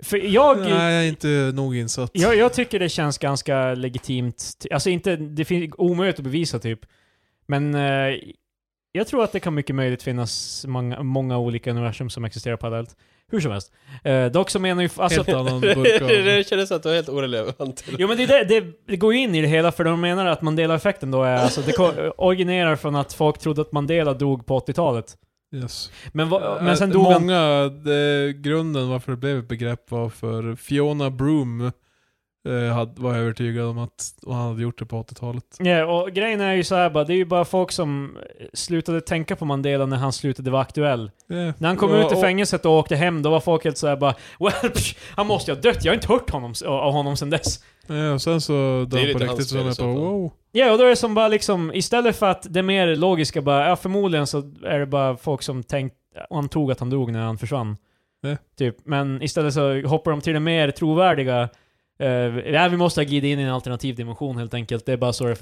Speaker 1: För jag,
Speaker 2: Nej, jag är inte nog insatt.
Speaker 1: jag, jag tycker det känns ganska legitimt. Ty- Alltså inte, det finns omöjligt att bevisa typ. Men eh, jag tror att det kan mycket möjligt finnas många, många olika universum som existerar parallellt. Hur som helst. Eh, dock så menar ju... Alltså,
Speaker 2: Helt annan burk av...
Speaker 3: det kändes som att du var helt orelevant. till-
Speaker 1: Jo men det, är det, det, det går ju in i det hela för de menar att Mandela-effekten då är alltså, det ko- originerar från att folk trodde att Mandela dog på 80-talet.
Speaker 2: Yes.
Speaker 1: Men, va, men
Speaker 2: Att
Speaker 1: sen dog han...
Speaker 2: Eh, Många, det, grunden varför det blev ett begrepp var för Fiona Broom eh, hade, var övertygad om att och han hade gjort det på 80-talet.
Speaker 1: Ja, och grejen är ju så här bara, det är ju bara folk som slutade tänka på Mandela när han slutade vara aktuell.
Speaker 2: Yeah.
Speaker 1: När han kom
Speaker 2: Eh, Och-
Speaker 1: ut ur
Speaker 2: och-
Speaker 1: fängelset och åkte hem, då var folk helt såhär bara Well, psh, han måste ju ha dött, jag har inte hört honom, s- av honom sen dess.
Speaker 2: Ja, och sen så
Speaker 3: Det är
Speaker 2: dör han på
Speaker 3: lite hans
Speaker 2: riktigt så
Speaker 3: fel i
Speaker 2: jag
Speaker 3: så
Speaker 2: bara
Speaker 3: fall.
Speaker 2: wow.
Speaker 1: Ja, och då är det som bara liksom, istället för att det mer logiska bara, ja förmodligen så är det bara folk som tänkt, antog att han dog när han försvann.
Speaker 2: Ja.
Speaker 1: Typ, men istället så hoppar de till det mer trovärdiga, eh, ja vi måste ha glidit in i en alternativ dimension helt enkelt, det är bara så det...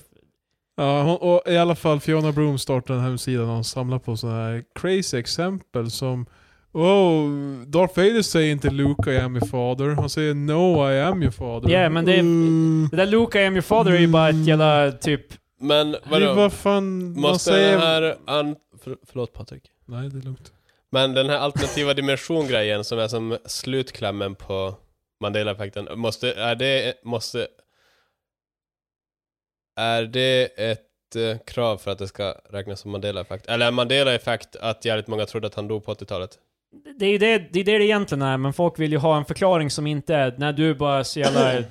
Speaker 2: Ja, hon, och i alla fall Fiona Broom startade den här hemsidan och hon samlar på sådana här crazy exempel som Oh, Darth Vader säger inte Luke I am your father. Han säger No I am your father.
Speaker 1: Ja, men det-
Speaker 2: Mm.
Speaker 1: Det där Luke, I am your father är ju bara ett jävla typ...
Speaker 3: Men
Speaker 2: Det är vad
Speaker 3: vadå?
Speaker 2: fan man
Speaker 3: Måste
Speaker 2: säger...
Speaker 3: den här... An... För, förlåt Patrik.
Speaker 2: Nej, det är lugnt.
Speaker 3: Men den här alternativa dimension-grejen som är som slutklämmen på Mandela-effekten. Måste... Är det... Måste... Är det ett eh, krav för att det ska räknas som Mandela-effekt? Eller är Mandela-effekt att jävligt många trodde att han dog på 80-talet?
Speaker 1: Det är ju det det, är det, det egentligen är, men folk vill ju ha en förklaring som inte är, när du är bara så jävla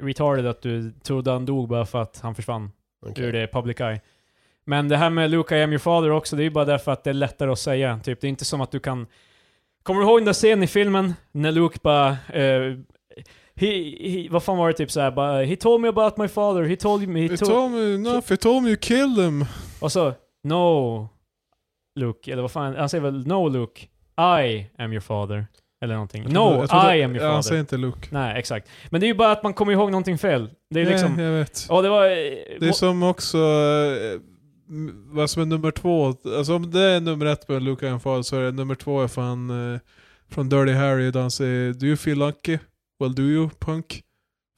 Speaker 1: retarded att du trodde han dog bara för att han försvann
Speaker 3: Okej.
Speaker 1: ur det public eye. Men det här med Luke I am your father också, det är ju bara därför att det är lättare att säga. Typ, det är inte som att du kan... Kommer du ihåg den där scenen i filmen när Luke bara... eh, he, he, vad fan var det typ såhär bara, He told me about my father, he told me... He
Speaker 2: It
Speaker 1: told...
Speaker 2: told me enough, it told me you killed him.
Speaker 1: Och så, no Luke, eller vad fan, han säger väl no Luke, I am your father. Eller någonting.
Speaker 2: Jag trodde-
Speaker 1: No,
Speaker 2: jag trodde-
Speaker 1: I am your
Speaker 2: Ja, Han
Speaker 1: father.
Speaker 2: säger inte Luke.
Speaker 1: Nej, exakt. Men det är ju bara att man kommer ihåg någonting fel. Det är liksom...
Speaker 2: Nej, jag vet.
Speaker 1: Ja, det var... eh,
Speaker 2: Det är som också... eh, m- Vad som är nummer två. Alltså om det är nummer ett på Luke and Fall så är det nummer två är fan eh, från Dirty Harry där han säger Do you feel lucky? Well do you punk?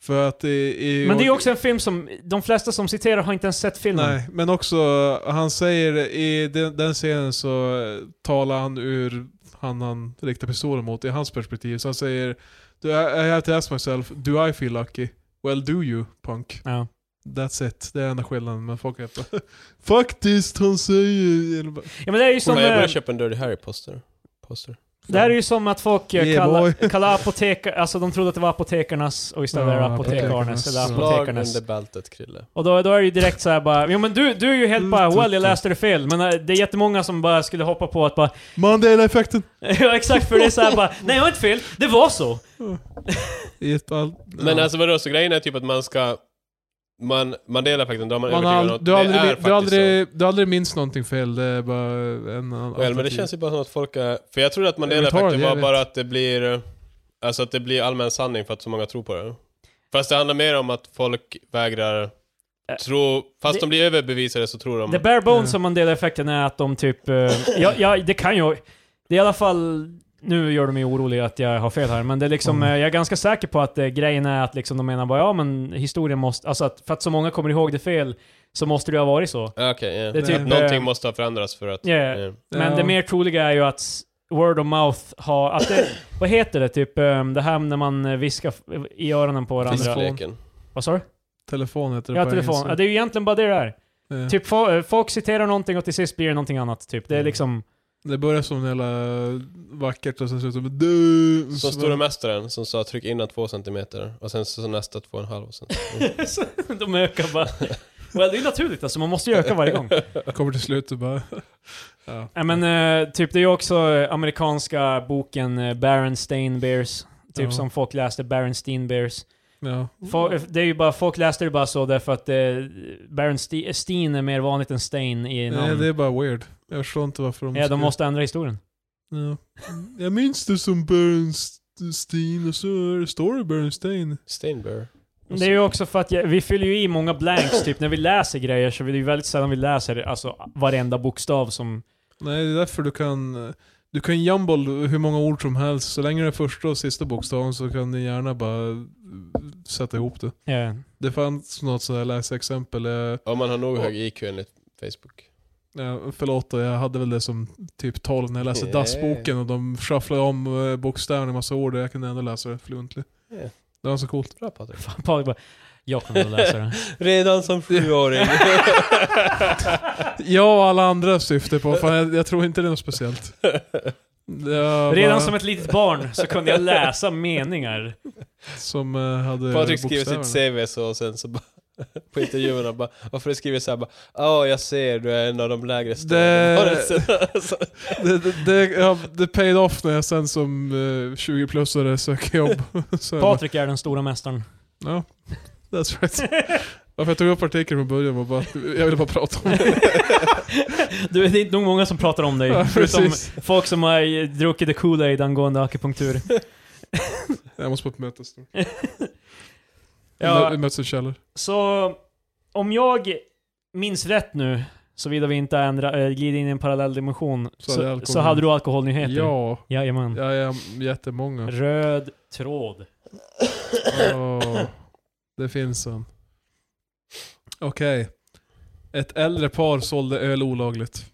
Speaker 2: För att i... i
Speaker 1: Men det är ju också en film som, de flesta som citerar har inte ens sett filmen.
Speaker 2: Nej, men också eh, han säger i den, den scenen så eh, talar han ur han han riktar pistolen mot, i hans perspektiv. Så han säger "Do I, I have to ask myself, do I feel lucky? Well do you punk?
Speaker 1: Ja.
Speaker 2: That's it, det är enda skillnaden. Men folk är bara, Faktiskt, han säger... Eller bara,
Speaker 1: ja, men det är ju som...
Speaker 3: Nej, jag
Speaker 1: eh,
Speaker 3: började köpa en Dirty Harry-poster. Poster.
Speaker 1: Det här är ju som att folk eh,
Speaker 2: Yeah,
Speaker 1: kallar,
Speaker 2: boy.
Speaker 1: kallar apotekar, alltså de trodde att det var apotekarnas och istället
Speaker 2: Ja,
Speaker 1: är det apotekarnas
Speaker 2: apotekarnas.
Speaker 1: eller
Speaker 3: Slag
Speaker 1: apotekarnas.
Speaker 3: under bältet, Krille.
Speaker 1: Och då, då är det ju direkt såhär bara, jo men du, du är ju
Speaker 2: Mm,
Speaker 1: helt bara well jag läste det fel. Men eh, det är jättemånga som bara skulle hoppa på att bara,
Speaker 2: Mandela-effekten!
Speaker 1: ja exakt för det är såhär bara, nej jag har inte fel, det var så.
Speaker 2: I ett all,
Speaker 3: Men
Speaker 2: ja.
Speaker 3: alltså vadå, så grejen är typ att man ska... Man, man delar faktiskt, då har man,
Speaker 2: Man har,
Speaker 3: övertygat
Speaker 2: ald-
Speaker 3: något.
Speaker 2: du, har aldrig,
Speaker 3: det är
Speaker 2: min- du, har
Speaker 3: faktiskt så.
Speaker 2: aldrig, du har aldrig minns någonting fel, det är bara en annan
Speaker 3: Well, men det känns ju bara som att folk är... För jag tror att man
Speaker 2: Jag
Speaker 3: delar
Speaker 2: betalar,
Speaker 3: faktiskt
Speaker 2: jag
Speaker 3: var
Speaker 2: vet.
Speaker 3: bara att det blir... eh, Alltså att det blir allmän sanning för att så många tror på det. Fast det handlar mer om att folk vägrar tro... Fast
Speaker 1: det-
Speaker 3: de blir överbevisade så tror de...
Speaker 1: The bare bones
Speaker 2: Ja.
Speaker 1: som Mandela-effekten är att de typ... eh, ja, ja, det kan ju... Det är i alla fall... Nu gör de mig orolig att jag har fel här, men det är liksom,
Speaker 2: Mm.
Speaker 1: eh, jag är ganska säker på att eh, grejen är att liksom de menar bara ja men historien måste, alltså att för att så många kommer ihåg det fel så måste det ha varit så.
Speaker 3: Ah, Okej, ja.
Speaker 1: Det är typ,
Speaker 3: Att Någonting
Speaker 1: eh,
Speaker 3: måste ha förändrats för att... eh,
Speaker 1: Ja,
Speaker 3: ja.
Speaker 1: Men
Speaker 2: Ja.
Speaker 1: det mer troliga är ju att s- word of mouth har, att det, vad heter det typ, eh, det här när man eh, viskar f- i öronen på varandra.
Speaker 2: Fiskflå-
Speaker 3: Fiskleken.
Speaker 1: Vad sa du?
Speaker 2: Telefon heter det
Speaker 1: Ja,
Speaker 2: på
Speaker 1: telefon. Ja,
Speaker 2: engelska.
Speaker 1: det är ju egentligen bara det det är.
Speaker 2: Ja.
Speaker 1: Typ fo- eh, folk citerar någonting och till sist blir det någonting annat typ. Det är
Speaker 3: Mm.
Speaker 1: liksom,
Speaker 2: Det börjar som en jävla vackert och sen slutar det med du.
Speaker 3: Som
Speaker 2: så
Speaker 1: Mm,
Speaker 3: store
Speaker 2: bara-
Speaker 3: mästaren som sa tryck innan två centimeter och sen så så nästa två och en halv och sen...
Speaker 1: Så de ökar bara. Well, det är naturligt alltså, man måste ju öka varje gång.
Speaker 2: Kommer till slut och bara... ja.
Speaker 1: Nej men eh, typ, det är ju också eh, amerikanska boken eh, Berenstain Bears. Typ
Speaker 2: Ja.
Speaker 1: som folk läste, Berenstain Bears.
Speaker 2: ja.
Speaker 1: Fo- eh, det är ju bara, folk läste det bara så därför att eh, Berenstain Stein är mer vanligt än Stein i namn.
Speaker 2: Nej, det är bara weird. Jag förstår inte varför de...
Speaker 1: Ja, de
Speaker 2: skulle-
Speaker 1: måste ändra historien.
Speaker 2: Ja. Jag minns det som Bernstein och så är det- står det Bernstein.
Speaker 3: Steinbeer.
Speaker 1: Det är ju också för att jag, vi fyller ju i många blanks typ när vi läser grejer så är det ju väldigt sällan vi läser alltså varenda bokstav som...
Speaker 2: Nej, det är därför du kan... eh, Du kan jumble hur många ord som helst. Så länge det är första och sista bokstaven så kan din hjärna bara eh, sätta ihop det.
Speaker 1: eh,
Speaker 2: Det fanns något sådär läsexempel. eh,
Speaker 3: Om man har nog
Speaker 2: Och-
Speaker 3: hög IQ enligt Facebook.
Speaker 2: Ja, förlåt, jag hade väl det som typ 12 när jag läste
Speaker 3: Ja.
Speaker 2: dassboken och de shufflade om eh, bokstäverna i massa ord och jag kunde ändå läsa det fluently.
Speaker 3: Ja.
Speaker 2: Det var så coolt.
Speaker 3: Bra Patrik.
Speaker 1: Fan, Patrik bara, jag kommer att läsa det.
Speaker 3: Redan som sjuåring.
Speaker 2: Jag och alla andra syfte på, fan, jag, jag tror inte det är något speciellt. Jag
Speaker 1: Redan
Speaker 2: bara-
Speaker 1: som ett litet barn så kunde jag läsa meningar.
Speaker 2: Som eh, hade
Speaker 3: Patrik skriver
Speaker 2: bokstäverna.
Speaker 3: sitt CV så och sen så bara... På intervjuerna bara, varför du skriver såhär bara Ja, jag ser du är en av de lägre stegen.
Speaker 2: Det, det, det, ja, det paid off när jag sen som eh, 20-plussare söker jobb. Så jag bara,
Speaker 1: Patrik är den stora mästaren.
Speaker 2: Ja, that's right. Varför jag tog upp artikeln från början var bara att jag ville bara prata om det.
Speaker 1: Du, det är inte nog många som pratar om dig.
Speaker 2: Ja,
Speaker 1: förutom
Speaker 2: precis.
Speaker 1: folk som har eh, druckit the Kool-Aid angående akupunktur.
Speaker 2: Jag måste på ett möte snart.
Speaker 1: Ja.
Speaker 2: Vi möts i källor.
Speaker 1: Så om jag minns rätt nu, såvida vi inte ändrar, äh, glider in i en parallell dimension,
Speaker 2: Så
Speaker 1: så,
Speaker 2: hade
Speaker 1: så,
Speaker 2: jag alkohol.
Speaker 1: hade du alkoholnyheter?
Speaker 2: Ja,
Speaker 1: Jajamän.
Speaker 2: jag är jättemånga.
Speaker 1: Röd tråd.
Speaker 2: Åh, det finns en. Okej. Ett äldre par sålde öl olagligt.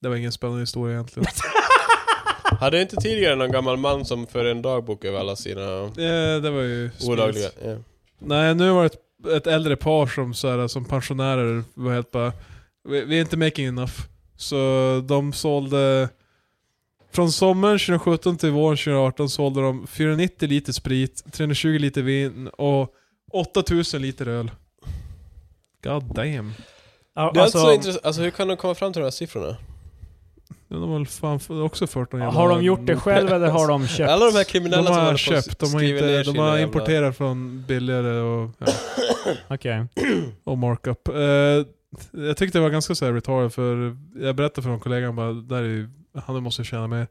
Speaker 2: Det var ingen spännande historia egentligen.
Speaker 3: Hade inte tidigare någon gammal man som för en dagbok över alla sina
Speaker 2: Eh, det var ju... spirit.
Speaker 3: olagliga... Ja.
Speaker 2: Nej, nu var det ett, ett äldre par som, så här, som pensionärer var helt bara... Vi, vi är inte making enough. Så de sålde Från sommaren 2017 till våren 2018 sålde de 490 liter sprit, 320 liter vin och 8000 liter öl. God damn.
Speaker 1: Ja,
Speaker 3: Det är alltså,
Speaker 1: alltså,
Speaker 3: så intressant. Alltså hur kan de komma fram till de här siffrorna?
Speaker 2: De har väl fan också fört någon jävla-
Speaker 1: har de gjort det själv eller har de köpt?
Speaker 3: Alla de
Speaker 2: De
Speaker 3: här kriminella som
Speaker 2: har
Speaker 3: håller på och
Speaker 2: köpt, de har,
Speaker 3: skriver ner
Speaker 2: inte, de
Speaker 3: sina
Speaker 2: har
Speaker 3: jävla-
Speaker 2: importerat från billigare och, ja,
Speaker 1: Okej.
Speaker 2: och markup. Eh, jag tyckte det var ganska så här retarded för jag berättade för en kollega, han bara, där är ju, han måste ju tjäna mer.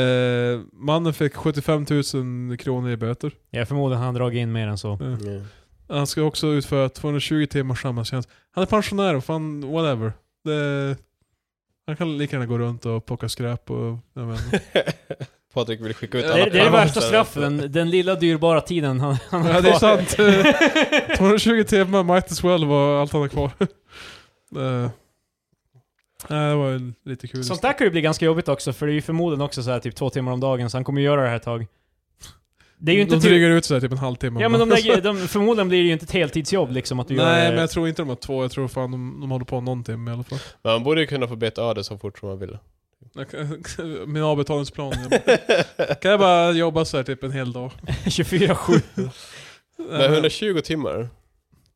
Speaker 2: Eh, mannen fick 75 000 kronor i böter.
Speaker 1: Jag förmodar han har dragit in mer än så.
Speaker 3: Mm.
Speaker 2: Han ska också utföra 220 timmars samhällstjänst. Han är pensionär och fan whatever. Det, han kan lika gärna gå runt och plocka skräp och... Jag vet inte.
Speaker 3: Patrik vill skicka ut
Speaker 1: Det är, det är
Speaker 3: alla
Speaker 1: det värsta
Speaker 3: pannor.
Speaker 1: straffet, den, den lilla dyrbara tiden han, han har
Speaker 2: ja, det är
Speaker 1: kvar.
Speaker 2: sant. 220 timmar might as well var allt han har kvar. Eh, Nej, det var ju lite kul.
Speaker 1: Sånt där kan ju bli ganska jobbigt också, för det är ju förmodligen också så här typ två timmar om dagen, så han kommer ju göra det här ett tag. Det är ju inte...
Speaker 2: de
Speaker 1: Typ,
Speaker 2: drygar ut sådär typ en halvtimme.
Speaker 1: ja
Speaker 2: om
Speaker 1: men de
Speaker 2: dagen.
Speaker 1: lägger, de, förmodligen blir det ju inte ett heltidsjobb liksom att du gör
Speaker 2: Nej,
Speaker 1: det.
Speaker 2: men jag tror inte de har två. Jag tror fan de, de håller på någon timme i alla fall.
Speaker 3: Men man borde ju kunna få beta av det så fort som man vill.
Speaker 2: Jag kan- Min avbetalningsplan. jag bara- Kan jag bara jobba sådär typ en hel dag?
Speaker 1: 24-7.
Speaker 3: Men 120 timmar?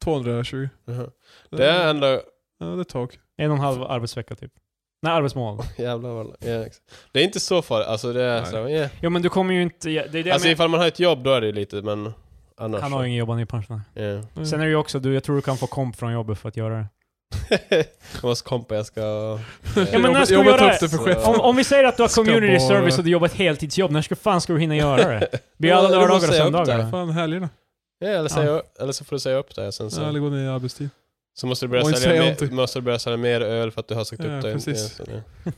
Speaker 2: 220.
Speaker 3: Jaha. Det är ändå...
Speaker 2: Ja, det är ett tag.
Speaker 1: En och en halv arbetsvecka typ. Nej, arbetsmål.
Speaker 3: Jävlar vad... Ja, exakt. det är inte så farligt. Alltså det är
Speaker 2: Nej.
Speaker 3: så, yeah.
Speaker 1: Jo men du kommer ju inte... ja, Det är det
Speaker 3: Alltså
Speaker 1: jag
Speaker 3: ifall man har ett jobb då är det ju lite, men annars
Speaker 1: menar. Han har ju ingen jobb, han är ju pensionär.
Speaker 3: så. Yeah.
Speaker 2: Mm.
Speaker 1: Sen är det ju också, du, jag tror du kan få komp från jobbet för att göra det.
Speaker 3: Jag måste kompa, jag ska...
Speaker 1: Ja, men när ska
Speaker 2: Jobba
Speaker 1: vi göra
Speaker 2: upp det för
Speaker 3: det?
Speaker 2: chefen.
Speaker 1: Om, om vi säger att du har
Speaker 2: Ska
Speaker 1: community
Speaker 2: bara-
Speaker 1: service och du jobbar ett heltidsjobb, när ska fan ska du hinna göra det? Blir
Speaker 3: Ja,
Speaker 1: alla
Speaker 3: du måste
Speaker 1: lördagar och
Speaker 3: säga upp
Speaker 1: söndagar?
Speaker 2: Fan helgerna.
Speaker 3: Ja, eller, säga, eller så får du säga upp det sen så.
Speaker 2: Ja, eller gå ner i arbetstid.
Speaker 3: så måste du, börja
Speaker 2: Oj, säg
Speaker 3: sälja mer,
Speaker 2: inte.
Speaker 3: måste du börja sälja mer öl för att du har sagt
Speaker 2: Ja,
Speaker 3: upp dig.
Speaker 2: precis.
Speaker 3: Ja, så, ja.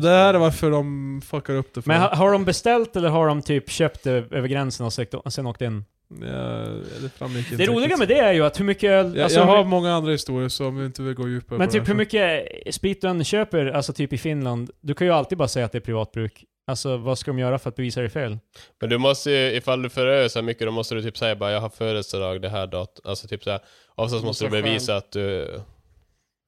Speaker 2: Det här är varför de fuckar upp det. för
Speaker 1: Men
Speaker 2: dem.
Speaker 1: ha, har de beställt eller har de typ köpt det över gränsen och sökt, och sen åkt in?
Speaker 2: ja, det framgick inte
Speaker 1: Det roliga
Speaker 2: riktigt.
Speaker 1: med det är ju att hur mycket öl...
Speaker 2: Jag,
Speaker 1: alltså,
Speaker 2: jag
Speaker 1: hur
Speaker 2: har
Speaker 1: my-
Speaker 2: många andra historier som vi inte vill gå djupare
Speaker 1: men
Speaker 2: på
Speaker 1: typ
Speaker 2: det
Speaker 1: hur
Speaker 2: här.
Speaker 1: mycket sprit du än köper, alltså typ i Finland, du kan ju alltid bara säga att det är privatbruk. Alltså vad ska de göra för att bevisa det fel?
Speaker 3: Men du måste ju, ifall du föröar så här mycket, då måste du typ säga bara jag har födelsedag det här datum. Alltså typ såhär, oftast måste du
Speaker 2: Måste vara
Speaker 3: bevisa att du...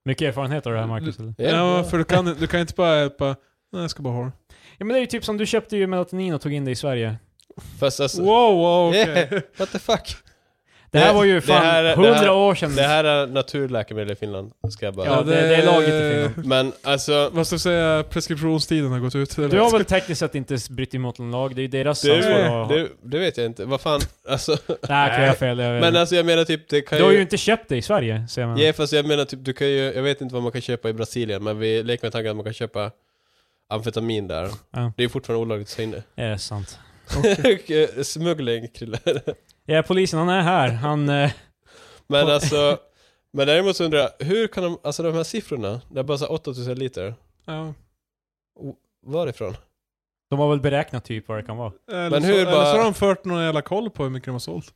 Speaker 1: Mycket erfarenhet av det här
Speaker 3: Mm,
Speaker 1: Marcus? Eller?
Speaker 2: Ja, för du kan, du kan inte bara hjälpa... Nej, jag ska bara ha den.
Speaker 1: Ja men det är ju typ som du köpte ju melatonin och tog in det i Sverige.
Speaker 3: Fast alltså,
Speaker 2: Wow, wow, okej.
Speaker 3: Yeah. what the fuck?
Speaker 1: Det här
Speaker 3: Det-
Speaker 1: var ju
Speaker 3: det här- det
Speaker 1: fan
Speaker 3: här-
Speaker 1: hundra år sedan.
Speaker 3: Det här är naturläkemedel i Finland, ska jag bara...
Speaker 1: Ja, det- det är laget i Finland.
Speaker 3: Men alltså,
Speaker 2: Vad ska jag säga? Preskriptionstiden har gått ut. eller?
Speaker 1: Du har väl tekniskt sett inte brutit mot någon lag? Det är ju deras
Speaker 3: det,
Speaker 1: ansvar
Speaker 2: är-
Speaker 1: att... Det,
Speaker 3: det, det vet jag inte. Vad fan, alltså.
Speaker 1: Nej, kan jag fel. Jag vet.
Speaker 3: Men alltså jag menar typ, det kan
Speaker 1: du har ju inte köpt det i Sverige, säger man.
Speaker 3: Ja, fast jag menar typ, du kan ju, jag vet inte vad man kan köpa i Brasilien, men vi leker med tanken att man kan köpa amfetamin där.
Speaker 1: Ja.
Speaker 3: Det är ju fortfarande olagligt att ta in det.
Speaker 1: Ja, det är sant.
Speaker 3: Och, eh, Smuggling, Krille.
Speaker 1: Ja, polisen, han är här. Han... Eh,
Speaker 3: Men alltså, men däremot så undrar jag, hur kan de, alltså de här siffrorna, det är bara så här 8000 liter,
Speaker 2: Ja.
Speaker 3: varifrån?
Speaker 1: de har väl beräknat typ vad det kan vara.
Speaker 2: Eller,
Speaker 3: Men
Speaker 2: så,
Speaker 3: hur
Speaker 2: eller så har
Speaker 3: bara-
Speaker 2: de fört någon jävla koll på hur mycket de har sålt.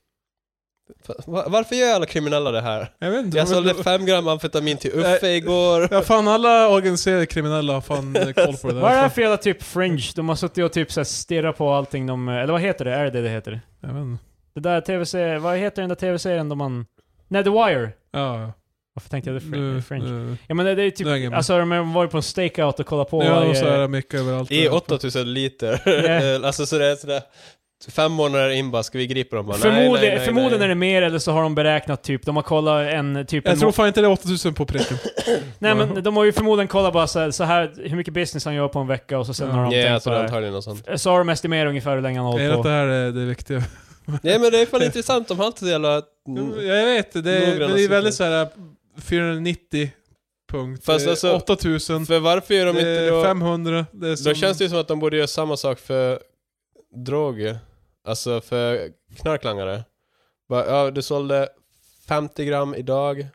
Speaker 3: Fa- va- Varför gör alla kriminella det här?
Speaker 2: Jag vet inte.
Speaker 3: Jag
Speaker 2: de-
Speaker 3: sålde 5 gram amfetamin till Uffe
Speaker 2: Nej.
Speaker 3: igår.
Speaker 2: Ja, fan alla organiserade kriminella har fan eh, koll på det där.
Speaker 1: Vad är det här för jävla typ fringe? De har suttit och typ såhär stirrat på allting de... Eller vad heter det? Är det det det heter?
Speaker 2: Jag vet inte.
Speaker 1: Det där tv-serien... Vad heter den där tv-serien då man... Nej, The Wire!
Speaker 2: Ja, ja.
Speaker 1: Varför tänkte jag det fringe?
Speaker 2: Nu,
Speaker 1: fringe?
Speaker 2: nu.
Speaker 1: Ja men det, det är
Speaker 2: Nu hänger
Speaker 1: typ...
Speaker 2: man.
Speaker 1: Alltså de har varit på en stakeout och kollat på eh,
Speaker 2: Nu har de
Speaker 1: varje-
Speaker 2: så här mycket överallt.
Speaker 3: Det är 8000 liter.
Speaker 1: Ja.
Speaker 3: alltså så det är sådär, fem månader in bara, ska vi gripa dem? Bara, nej, nej,
Speaker 1: Förmodligen,
Speaker 3: nej, nej.
Speaker 1: förmodligen är det mer eller så har de beräknat typ, de har kollat en typ... en
Speaker 2: Jag tror
Speaker 1: må-
Speaker 2: fan inte det är 8000 på pricken.
Speaker 1: nej men de har ju förmodligen kollat bara så här, så här hur mycket business han gör på en vecka och så sen
Speaker 2: Ja.
Speaker 1: har de
Speaker 3: Ja, jag
Speaker 1: tänkt
Speaker 3: tror
Speaker 1: på
Speaker 3: antagligen något sånt.
Speaker 1: det. Eh, Så har de estimerat ungefär hur länge han har
Speaker 2: Är
Speaker 1: hållit
Speaker 2: det att det
Speaker 1: på.
Speaker 2: här är det viktiga?
Speaker 3: Nej men det är fan intressant, de har alltid så jävla...
Speaker 2: Jag vet det, det är,
Speaker 3: Noggranna
Speaker 2: men det är väldigt
Speaker 3: siffror.
Speaker 2: såhär 490 punkt.
Speaker 3: Fast
Speaker 2: eh,
Speaker 3: alltså,
Speaker 2: 8000,
Speaker 3: För varför gör de
Speaker 2: det
Speaker 3: inte
Speaker 2: är
Speaker 3: då?
Speaker 2: 500. Det är som,
Speaker 3: Då känns det ju som att de borde göra samma sak för droger. Alltså för knarklangare. Bara, ja, du sålde 50 gram idag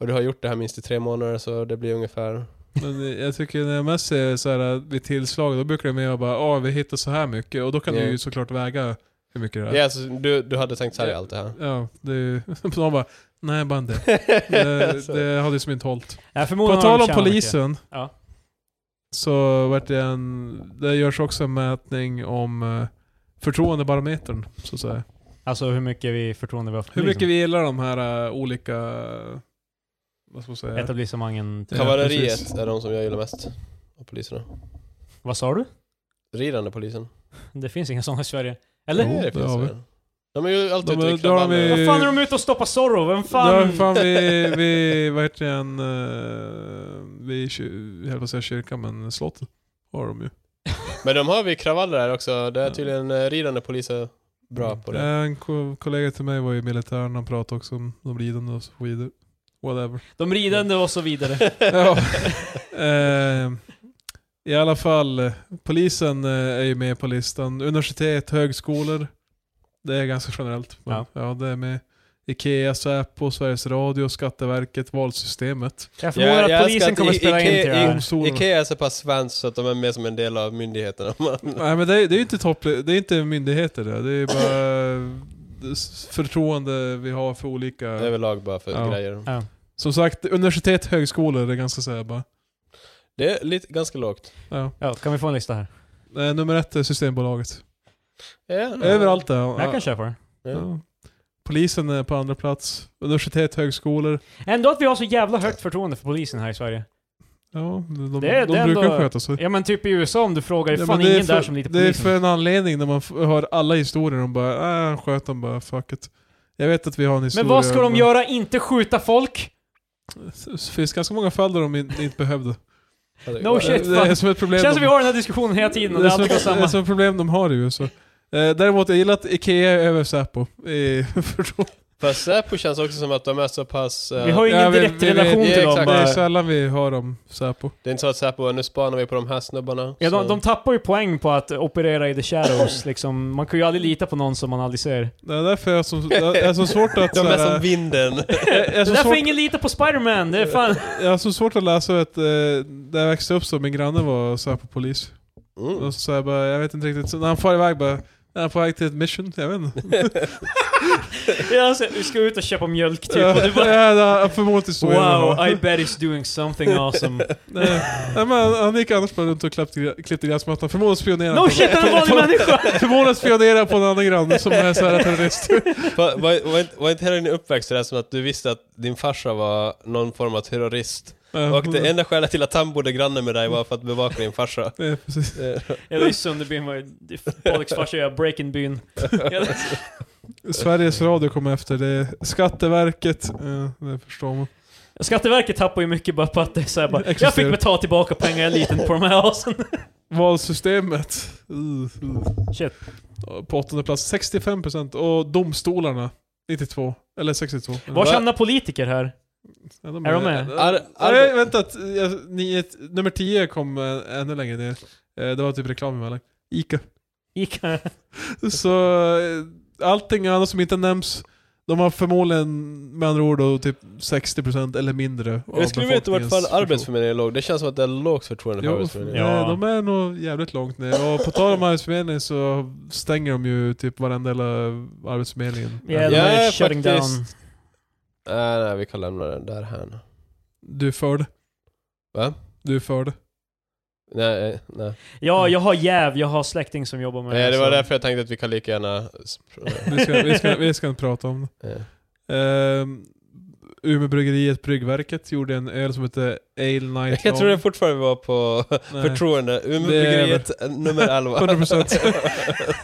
Speaker 3: och du har gjort det här minst i tre månader så det blir ungefär...
Speaker 2: men jag tycker när jag mest ser såhär vid tillslag, då brukar det mer vara bara ah, vi hittar så här mycket. Och då kan
Speaker 3: Ja.
Speaker 2: du ju såklart väga hur mycket det
Speaker 3: Ja,
Speaker 2: är.
Speaker 3: alltså, du, du hade tänkt sälja allt det här.
Speaker 2: Ja, det är ju... De bara, nej bara inte. Det,
Speaker 3: Alltså.
Speaker 2: det hade ju som inte hållit.
Speaker 1: Ja,
Speaker 2: På
Speaker 1: förmodligen har
Speaker 2: tal
Speaker 1: de
Speaker 2: om
Speaker 1: tjänat mycket.
Speaker 2: polisen.
Speaker 1: Ja.
Speaker 2: Så vart det en... Det görs också en mätning om eh, förtroendebarometern, så att säga.
Speaker 1: Alltså hur mycket vi förtroende vi har för
Speaker 2: Hur
Speaker 1: polisen.
Speaker 2: mycket vi gillar de här eh, olika... Vad ska man säga?
Speaker 1: Etablissemangen. typ.
Speaker 2: Ja,
Speaker 3: Kavalleriet
Speaker 2: precis.
Speaker 3: är de som jag gillar mest. Och poliserna.
Speaker 1: Vad sa du?
Speaker 3: Ridande polisen.
Speaker 1: Det finns inga sådana i Sverige. Eller?
Speaker 2: Jo.
Speaker 3: Nej,
Speaker 2: det har vi.
Speaker 3: väl. De är ju alltid
Speaker 2: De är-
Speaker 3: ute i
Speaker 2: då har vi-
Speaker 3: reklambanden.
Speaker 1: Vad fan är de ute och stoppar Zorro? Vem
Speaker 2: Ja,
Speaker 1: fan?
Speaker 2: fan vi, vi vad heter den, eh, vi, kyr- jag höll på att säga kyrkan, men slottet har de ju.
Speaker 3: Men de har vi kravaller här också. Det är
Speaker 2: Ja. Eh.
Speaker 3: tydligen eh, ridande poliser bra på det.
Speaker 2: En ko- kollega till mig var ju i militären, han pratade också om de lidande och så vidare. Whatever.
Speaker 1: De ridande och så vidare.
Speaker 2: ja. eh, I alla fall, eh, polisen eh, är ju med på listan. Universitet, högskolor. Det är ganska generellt. Men,
Speaker 1: Ja.
Speaker 2: ja. det är med. Ikea, Säpo, Sveriges Radio, Skatteverket, valsystemet.
Speaker 1: Jag förmodar att polisen kommer spela in till det här.
Speaker 2: Domstolarna.
Speaker 3: Ikea är så pass svenskt så att de är med som en del av myndigheterna.
Speaker 2: Nej men det är, det är ju inte topp, det är inte myndigheter det. Det är bara eh, s- förtroende vi har för olika...
Speaker 3: Överlag bara för
Speaker 2: Ja.
Speaker 3: grejer.
Speaker 1: Ja.
Speaker 2: Som sagt, universitet, högskolor är ganska såhär bara.
Speaker 3: Det är lite, ganska lågt.
Speaker 2: Ja.
Speaker 1: Ja, kan vi få en lista här?
Speaker 2: Eh, Nummer ett är Systembolaget.
Speaker 3: Ja.
Speaker 1: Mm.
Speaker 2: Överallt där.
Speaker 1: Jag kan köpa den.
Speaker 2: Ja. Polisen är på andra plats. Universitet, högskolor.
Speaker 1: Ändå att vi har så jävla högt förtroende för polisen här i Sverige.
Speaker 2: Ja, de, de,
Speaker 1: Det är-
Speaker 2: de
Speaker 1: det är
Speaker 2: brukar
Speaker 1: ändå-
Speaker 2: sköta sig.
Speaker 1: Ja men typ i USA om du frågar, det är
Speaker 2: Ja,
Speaker 1: fan
Speaker 2: men det är
Speaker 1: ingen
Speaker 2: för-
Speaker 1: där som litar på
Speaker 2: Det är
Speaker 1: polisen.
Speaker 2: för en anledning när man f- hör alla historier. De bara, äh, han sköt dem bara, fuck it. Jag vet att vi har en historia.
Speaker 1: Men vad ska de
Speaker 2: om-
Speaker 1: göra? Inte skjuta folk?
Speaker 2: Det finns ganska många fall där de in- inte behövde.
Speaker 1: No shit,
Speaker 2: det är
Speaker 1: fan.
Speaker 2: som ett problem.
Speaker 1: Känns som
Speaker 2: de-
Speaker 1: vi har den här diskussionen hela tiden och det
Speaker 2: det
Speaker 1: är
Speaker 2: som,
Speaker 1: alltid på
Speaker 2: det är
Speaker 1: samma.
Speaker 2: som ett problem de har i USA. Eh, däremot, jag gillar att Ikea är över Säpo. Eh, förstå-
Speaker 3: Fast Säpo känns också som att de är så pass... eh,
Speaker 1: Vi har ju ingen
Speaker 2: Ja, vi-
Speaker 1: direkt
Speaker 2: vi- vi-
Speaker 1: relation
Speaker 3: ja,
Speaker 1: till dem eh.
Speaker 3: exakt.
Speaker 2: det
Speaker 1: bara.
Speaker 2: är sällan vi hör om Säpo.
Speaker 3: Det är inte så att Säpo, nu spanar vi på de här snubbarna.
Speaker 1: Ja, de,
Speaker 3: så-
Speaker 1: de tappar ju poäng på att operera i the shadows liksom. Man kan ju aldrig lita på någon som man aldrig ser.
Speaker 2: Det är därför jag som, det är så svårt att...
Speaker 3: de är
Speaker 2: såhär,
Speaker 3: som vinden.
Speaker 2: jag, jag, är
Speaker 1: Det
Speaker 2: så
Speaker 1: är därför
Speaker 2: svårt,
Speaker 1: ingen litar på Spiderman, det är fan...
Speaker 2: jag har så svårt att läsa att eh, där jag växte upp så, min granne var Säpo-polis.
Speaker 3: Mm.
Speaker 2: Och så sa jag bara, jag vet inte riktigt. Så när han far iväg bara, är han på väg till ett mission? Jag vet inte.
Speaker 1: Jag ser- vi ska ut och köpa mjölk typ och du bara...
Speaker 2: Ja, ja, Förmodligen så är det
Speaker 1: Wow,
Speaker 2: bara.
Speaker 1: I bet he's doing something awesome.
Speaker 2: Nej, nej, men han- han gick annars bara runt och klippte, gr- klippte gräsmattan. Förmodligen spionerade
Speaker 1: No
Speaker 2: han
Speaker 1: shit, han är en vanlig människa!
Speaker 2: Förmodligen spionerar på en annan granne som är såhär terrorist.
Speaker 3: Va- Var, var, inte- var inte hela din uppväxt sådär som att du visste att din farsa var någon form av terrorist? Och det enda skälet till att han bodde granne med dig var för att bevaka din farsa.
Speaker 2: Ja, precis.
Speaker 3: Eh,
Speaker 1: Eller i Sunderbyn var ju... Paliks farsa gör break-in-byn.
Speaker 2: Sveriges Radio kom efter det. Skatteverket, ja, det förstår man.
Speaker 1: Skatteverket tappar ju mycket bara på att det är så här bara, Jag fick
Speaker 2: Existerar.
Speaker 1: betala tillbaka pengar jag litat på de här asen.
Speaker 2: Valsystemet. Uh, uh.
Speaker 1: Shit.
Speaker 2: På åttonde plats, 65%. Och domstolarna, 92. Eller 62.
Speaker 1: Var
Speaker 3: Va?
Speaker 1: hamnar politiker här?
Speaker 2: Ja, de
Speaker 1: Är de med?
Speaker 3: Ar-
Speaker 2: Ja,
Speaker 3: ar-
Speaker 2: nej, vänta, att, eh, ni, ett- nummer 10 kom eh, ännu längre ner. Eh, Det var typ reklam emellan. Ica.
Speaker 1: Ica?
Speaker 2: Så eh, allting annat som inte nämns, de har förmodligen med andra ord då, typ 60% eller mindre av
Speaker 3: Jag skulle veta vart fan
Speaker 2: befolkningens förtroende.
Speaker 3: Arbetsförmedlingen låg. Det känns som att det är lågt förtroende för
Speaker 2: Jo,
Speaker 3: Arbetsförmedlingen.
Speaker 1: Ja.
Speaker 2: nej, de är nog jävligt långt ner. Och på tal om arbetsförmedling så stänger de ju typ varenda hela arbetsförmedlingen.
Speaker 1: Ja, de
Speaker 3: Jag
Speaker 1: är
Speaker 3: är
Speaker 1: shutting
Speaker 3: faktiskt-
Speaker 1: down.
Speaker 3: Äh, Nej, nej, vi kan lämna den där här.
Speaker 2: Du är för det.
Speaker 3: Va?
Speaker 2: Du är för det.
Speaker 3: Nej, eh, nej.
Speaker 1: Ja, jag har jäv, jag har släkting som jobbar med
Speaker 3: nej. Det var
Speaker 1: så-
Speaker 3: därför jag tänkte att vi kan lika gärna... eh, sp-
Speaker 2: Vi ska, vi ska, vi ska inte prata om det.
Speaker 3: eh,
Speaker 2: Ehm, Umeåbryggeriet Bryggverket gjorde en öl som hette Ale Night
Speaker 3: Jag tror
Speaker 2: Long.
Speaker 3: det fortfarande var på
Speaker 2: Nej,
Speaker 3: förtroende.
Speaker 2: Det är-
Speaker 3: Umeåbryggeriet nummer 11.
Speaker 2: 100%.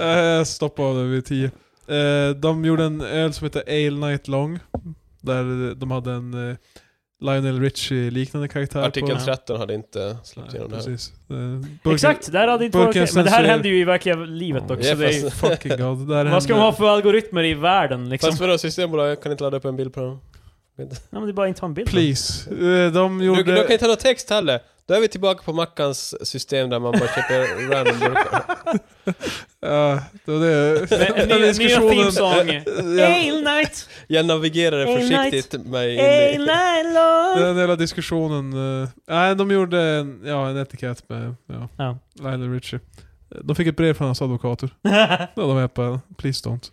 Speaker 2: Jag stoppade Eh, av det vid 10. Ehm, de gjorde en öl som hette Ale Night Long. Där de hade en eh, Lionel Richie-liknande karaktär
Speaker 3: Artikel
Speaker 2: på.
Speaker 3: 13 hade inte släppt
Speaker 2: Nej,
Speaker 3: igenom det här.
Speaker 2: precis. Eh, burken-
Speaker 1: Exakt, det här hade inte
Speaker 2: burken
Speaker 1: varit okej. Men det här
Speaker 2: censurerar-
Speaker 1: hände ju i verkliga livet också.
Speaker 3: Ja,
Speaker 1: det är, ju-
Speaker 3: fast-
Speaker 2: Fucking god. Det där
Speaker 1: vad ska man ha
Speaker 2: hände-
Speaker 1: för algoritmer i världen liksom?
Speaker 3: Fast vadå, Systembolaget kan inte ladda upp en bild på dem?
Speaker 1: Nej, men det är bara inte ha en bild.
Speaker 2: Please. Eh, de
Speaker 3: Du,
Speaker 2: gjorde...
Speaker 3: du kan inte ha någon text heller. Då är vi tillbaka på Mackans system där man bara köper random burkar.
Speaker 2: Ja, det var det.
Speaker 1: Men,
Speaker 2: Den
Speaker 1: nya, nya
Speaker 2: diskussionen-
Speaker 1: theme song.
Speaker 2: Ja.
Speaker 1: Ale night,
Speaker 3: Jag navigerade
Speaker 1: Hey, night.
Speaker 3: försiktigt mig in
Speaker 1: ale
Speaker 3: i...
Speaker 1: night long.
Speaker 2: Den hela diskussionen. eh, Nej, de gjorde en, ja, en etikett med ja,
Speaker 1: Ja.
Speaker 2: Lionel Richie. De fick ett brev från hans advokater. Ja, de är på please don't.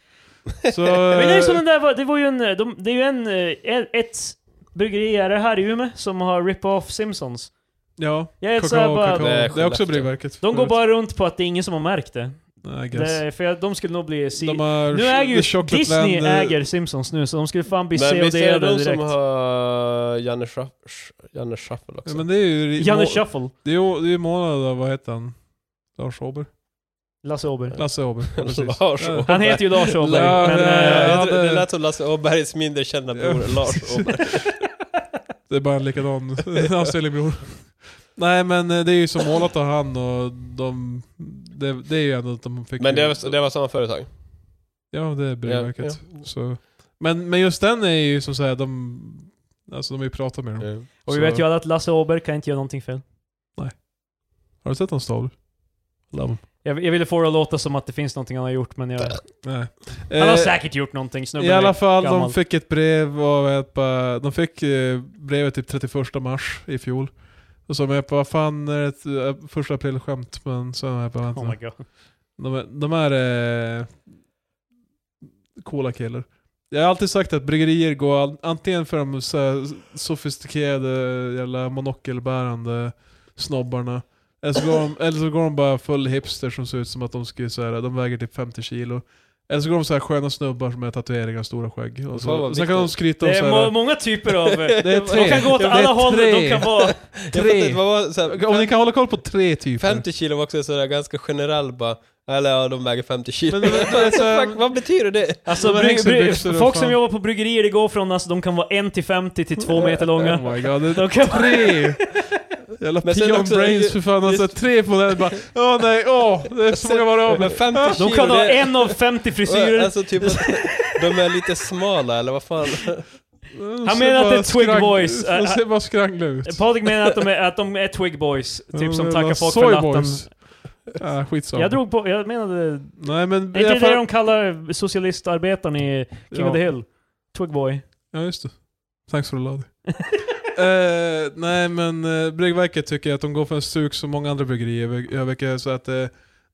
Speaker 2: Så,
Speaker 1: Men det är som
Speaker 2: eh,
Speaker 1: den där, var- det var ju en, de, det är ju en, eh, ett bryggeri, är det här i Umeå, som har rip-off Simpsons.
Speaker 2: ja,
Speaker 1: Jag är så här
Speaker 2: kakao,
Speaker 1: bara,
Speaker 2: kakao.
Speaker 3: Nej,
Speaker 2: Det är också
Speaker 3: Skellefteå.
Speaker 2: Bryggverket.
Speaker 1: de går bara runt på att det är ingen som har märkt det.
Speaker 2: I guess.
Speaker 1: det för jag, de skulle nog bli... Si,
Speaker 2: de har
Speaker 1: nu äger
Speaker 2: The
Speaker 1: ju
Speaker 2: Chocolate
Speaker 1: Disney
Speaker 2: Land, eh,
Speaker 1: äger Simpsons nu, så de skulle fan bli
Speaker 3: Men
Speaker 1: COD
Speaker 3: visst är det de
Speaker 1: direkt.
Speaker 3: som har Janne, Schaff, Janne Schaffel också?
Speaker 2: Ja, men det är ju...
Speaker 1: Janne
Speaker 2: må-
Speaker 1: Shuffle.
Speaker 2: det är ju det är ju månad av, vad heter han? Lars Åberg?
Speaker 1: Lasse Åberg.
Speaker 2: Lasse Åberg. ja, precis.
Speaker 3: Lars
Speaker 2: Ja.
Speaker 3: Åberg.
Speaker 1: Han heter ju Lars Åberg,
Speaker 2: Ja,
Speaker 1: men...
Speaker 2: ja,
Speaker 1: eh,
Speaker 2: ja.
Speaker 3: Jag tror- Det
Speaker 2: det-
Speaker 3: lät som Lasse Åbergs mindre kända bror, Lars Åberg.
Speaker 2: Det är bara en likadan avställningsbror. Nej men eh, det är ju som målat av han och de... Det, det är ju ändå att de fick...
Speaker 3: Men det
Speaker 2: ju-
Speaker 3: var, det var samma företag?
Speaker 2: Ja, det är Bryggverket.
Speaker 3: Ja,
Speaker 2: Så. Men, men just den är ju som säger de... Alltså de har ju pratat
Speaker 3: Eh,
Speaker 2: med dem.
Speaker 1: och vi
Speaker 2: Så-
Speaker 1: vet ju alla att Lasse Åberg kan inte göra någonting fel.
Speaker 2: Har du sett hans tavlor? Lamm.
Speaker 1: Jag, jag ville få det att låta som att det finns någonting han har gjort, men jag, han
Speaker 2: Nej.
Speaker 1: har
Speaker 2: Eh,
Speaker 1: säkert gjort någonting. Snubben
Speaker 2: I alla fall,
Speaker 1: gammal.
Speaker 2: de fick ett brev och vet, bara- de fick eh, brevet typ 31 mars i fjol. Och så jag bara, vad fan är det ett eh, första april-skämt? Men så är jag bara, vänta.
Speaker 1: Oh my god.
Speaker 2: de, de är eh, coola killar. Jag har alltid sagt att bryggerier går an- antingen för de så här sofistikerade jävla monokelbärande snobbarna. Eller så, går de, eller så går de bara full hipster som ser ut som att de skulle så här, de väger typ 50 kilo. Eller så går de så här sköna snubbar som har tatueringar och stora skägg. Och
Speaker 3: Fan,
Speaker 2: så,
Speaker 3: vad
Speaker 2: sen kan de
Speaker 3: viktigt.
Speaker 2: skryta om
Speaker 1: Det
Speaker 2: så
Speaker 1: är
Speaker 2: här,
Speaker 1: må, många typer av...
Speaker 2: Det är
Speaker 1: De kan
Speaker 2: tre.
Speaker 1: gå åt
Speaker 2: Det är
Speaker 1: alla håll, de
Speaker 2: tre.
Speaker 1: kan vara...
Speaker 3: Jag fattar inte, vad var så här,
Speaker 2: Om ni kan hålla koll på tre typer.
Speaker 3: 50 kilo var också sådär ganska generell bara. Eller ja, de väger 50 kilo. Alltså,
Speaker 2: Men- men- men-
Speaker 3: Fuck, vad betyder det?
Speaker 1: Alltså,
Speaker 2: De har
Speaker 1: bry,
Speaker 2: hängselbyxor
Speaker 1: bry,
Speaker 2: och
Speaker 1: folk
Speaker 2: fan.
Speaker 1: som jobbar på bryggerier, det går från alltså, de kan vara 1 till 50 till 2 meter långa.
Speaker 2: Oh my god, det
Speaker 1: De kan vara
Speaker 2: Tre! Jävla
Speaker 3: Men sen
Speaker 2: peon
Speaker 3: också-
Speaker 2: brains för fan, alltså tre på den bara Åh nej, åh! Det är så många varav.
Speaker 3: Men 50 kilo,
Speaker 1: De kan ha
Speaker 3: det-
Speaker 1: en av 50 frisyrer.
Speaker 3: Alltså typ att de är lite smala eller vad fan?
Speaker 2: Ah,
Speaker 1: Han menar att det är Twig Boys.
Speaker 2: De ser bara skrangla ut.
Speaker 1: Patrik menar att de är, att de är twig boys, typ som
Speaker 2: alltså- Ja,
Speaker 1: tackar
Speaker 2: jävla
Speaker 1: folk
Speaker 2: soy
Speaker 1: för natten.
Speaker 2: boys. Ja, skitsamma.
Speaker 1: Jag drog på, jag menade...
Speaker 2: Nej men...
Speaker 1: Är inte
Speaker 2: i
Speaker 1: det
Speaker 2: alla
Speaker 1: det
Speaker 2: fall-
Speaker 1: de kallar socialistarbetaren i King of the
Speaker 2: Ja.
Speaker 1: Hill? Twigboy.
Speaker 2: Ja, just det. Thanks for the load. Eh, nej men uh, Bryggverket tycker jag att de går för en stuk som många andra bryggerier vil- gör, vilket är så att eh,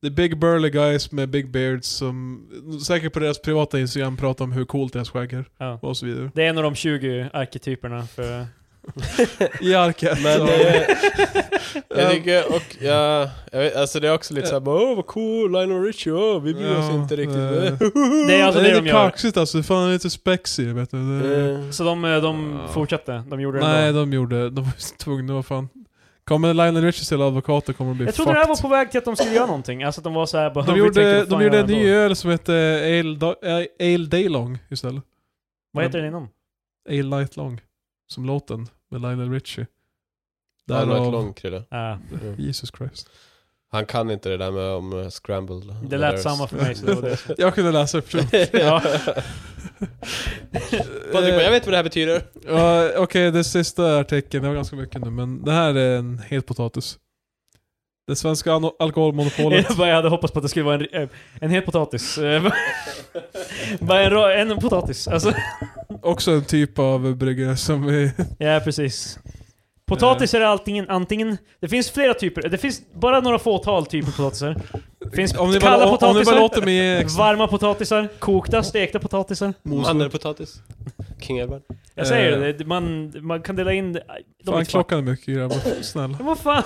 Speaker 2: det är big burly guys med big beards som säkert på deras privata instagram pratar om hur coolt deras skägg är
Speaker 1: Ja.
Speaker 2: och så vidare.
Speaker 1: Det är en av de 20 arketyperna för...
Speaker 2: I arket.
Speaker 3: Men
Speaker 2: så-
Speaker 1: alltså
Speaker 3: eh, jag tycker, och ja, jag vet, alltså det är också lite såhär bara åh vad cool, Lionel Richie, åh vi bryr oss
Speaker 2: Ja,
Speaker 3: inte riktigt.
Speaker 2: eh.
Speaker 1: Det är alltså
Speaker 2: det
Speaker 1: det
Speaker 2: är
Speaker 1: de
Speaker 2: lite
Speaker 1: gör.
Speaker 2: kaxigt alltså, fan det är lite spexig vet du. Det,
Speaker 3: Eh,
Speaker 1: Så de, de fortsatte, de gjorde det
Speaker 2: nej
Speaker 1: ändå.
Speaker 2: de gjorde, de var tvungna, vad fan. Kommer Lionel Richie till advokater kommer de bli
Speaker 1: Jag trodde
Speaker 2: fucked.
Speaker 1: det här var på väg till att de skulle göra någonting, alltså att de var såhär bara...
Speaker 2: de
Speaker 1: vi
Speaker 2: gjorde,
Speaker 1: tänker, fan,
Speaker 2: de gjorde
Speaker 1: gör
Speaker 2: en
Speaker 1: det ändå.
Speaker 2: ny öl som hette Ale, Da- eh, Ale Day Long istället.
Speaker 1: Vad heter den innan?
Speaker 2: Ale Night Long. Som låten med Lionel Richie.
Speaker 3: Han har
Speaker 2: Därav-
Speaker 3: ett långt krille.
Speaker 1: Ja,
Speaker 2: Jesus Christ.
Speaker 3: Han kan inte det där med om eh, scrambled.
Speaker 1: det lät samma för mig så det var det.
Speaker 2: Jag kunde läsa upp
Speaker 1: Ja.
Speaker 3: Patrik bara, jag vet vad det här betyder.
Speaker 2: Ja, Okej, det sista artikeln, det var ganska mycket nu, men det här är en het potatis. Det svenska ano- alkoholmonopolet.
Speaker 1: Jag bara- jag hade hoppats på att det skulle vara en, eh, en hel potatis. Eh, bara en, rå- en potatis. Alltså,
Speaker 2: Också en typ av bryggare som är...
Speaker 1: ja, precis. Potatis
Speaker 2: Eh.
Speaker 1: är det antingen, antingen... Det finns flera typer. Det finns bara några fåtal typer potatisar. Det finns
Speaker 2: Om ni
Speaker 1: kalla
Speaker 2: bara, om, om ni bara
Speaker 1: potatisar,
Speaker 2: låter mig ge ex-
Speaker 1: varma potatisar, kokta, stekta potatisar.
Speaker 2: Mosor.
Speaker 3: Mandelpotatis. King Edward.
Speaker 1: Jag säger
Speaker 2: Eh.
Speaker 1: det, det, man, man kan dela in... De är
Speaker 2: Fan
Speaker 1: inte smak.
Speaker 2: klockan är mycket grabbar, snälla.
Speaker 1: Vad fan?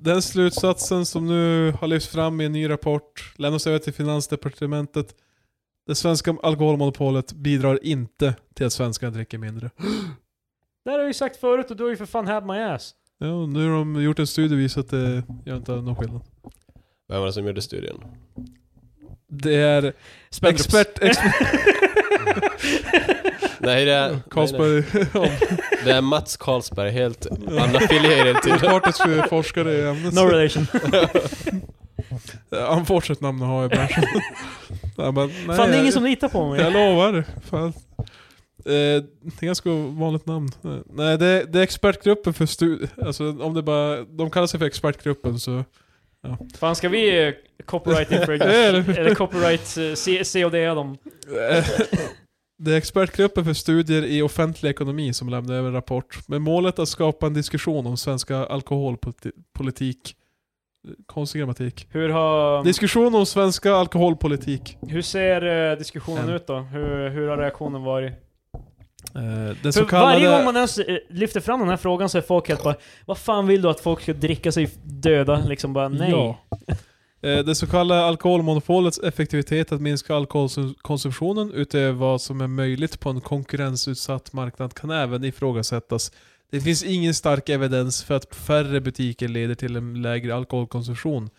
Speaker 2: Den slutsatsen som nu har lyfts fram i en ny rapport lämnas över till Finansdepartementet. Det svenska alkoholmonopolet bidrar inte till att svenskar dricker mindre.
Speaker 1: Det här har jag ju sagt förut och du har ju för fan had my ass.
Speaker 2: Ja, och nu har de gjort en studie och visat att det gör inte någon skillnad.
Speaker 3: Vem var det som gjorde studien?
Speaker 2: Det är expert... expert
Speaker 3: Nej det är... nej,
Speaker 2: Carlsberg,
Speaker 3: nej. Det är Mats Carlsberg, helt unaffilierad till.
Speaker 2: opartisk forskare i ämnet.
Speaker 1: No relation.
Speaker 2: Han får sitt namn att ha i branschen. Ja, men,
Speaker 1: Fan
Speaker 2: nej,
Speaker 1: det är ingen
Speaker 2: jag-
Speaker 1: som litar på mig.
Speaker 2: Jag lovar. Fan. Eh, det är ganska vanligt namn. Eh, Nej, det, det är expertgruppen för studier. Alltså, om det bara... De kallar sig för expertgruppen så...
Speaker 1: Fan ska vi eh, copyright infringe?
Speaker 2: Eller-
Speaker 1: eller copyright eh, C- COD dem?
Speaker 2: Eh, det är expertgruppen för studier i offentlig ekonomi som lämnar över en rapport med målet att skapa en diskussion om svenska alkoholpolitik. Konstig grammatik.
Speaker 1: Hur har...
Speaker 2: Diskussion om svenska alkoholpolitik.
Speaker 1: Hur ser eh, diskussionen
Speaker 2: Mm.
Speaker 1: ut då? Hur, hur har reaktionen varit?
Speaker 2: Eh, Den
Speaker 1: För
Speaker 2: så kallade...
Speaker 1: varje gång man ens eh, lyfter fram den här frågan så är folk helt bara Vad fan vill du att folk ska dricka sig döda? Liksom bara nej.
Speaker 2: Ja. Eh, Det så kallade alkoholmonopolets effektivitet att minska alkoholkonsumtionen utöver vad som är möjligt på en konkurrensutsatt marknad kan även ifrågasättas. Det finns ingen stark evidens för att färre butiker leder till en lägre alkoholkonsumtion.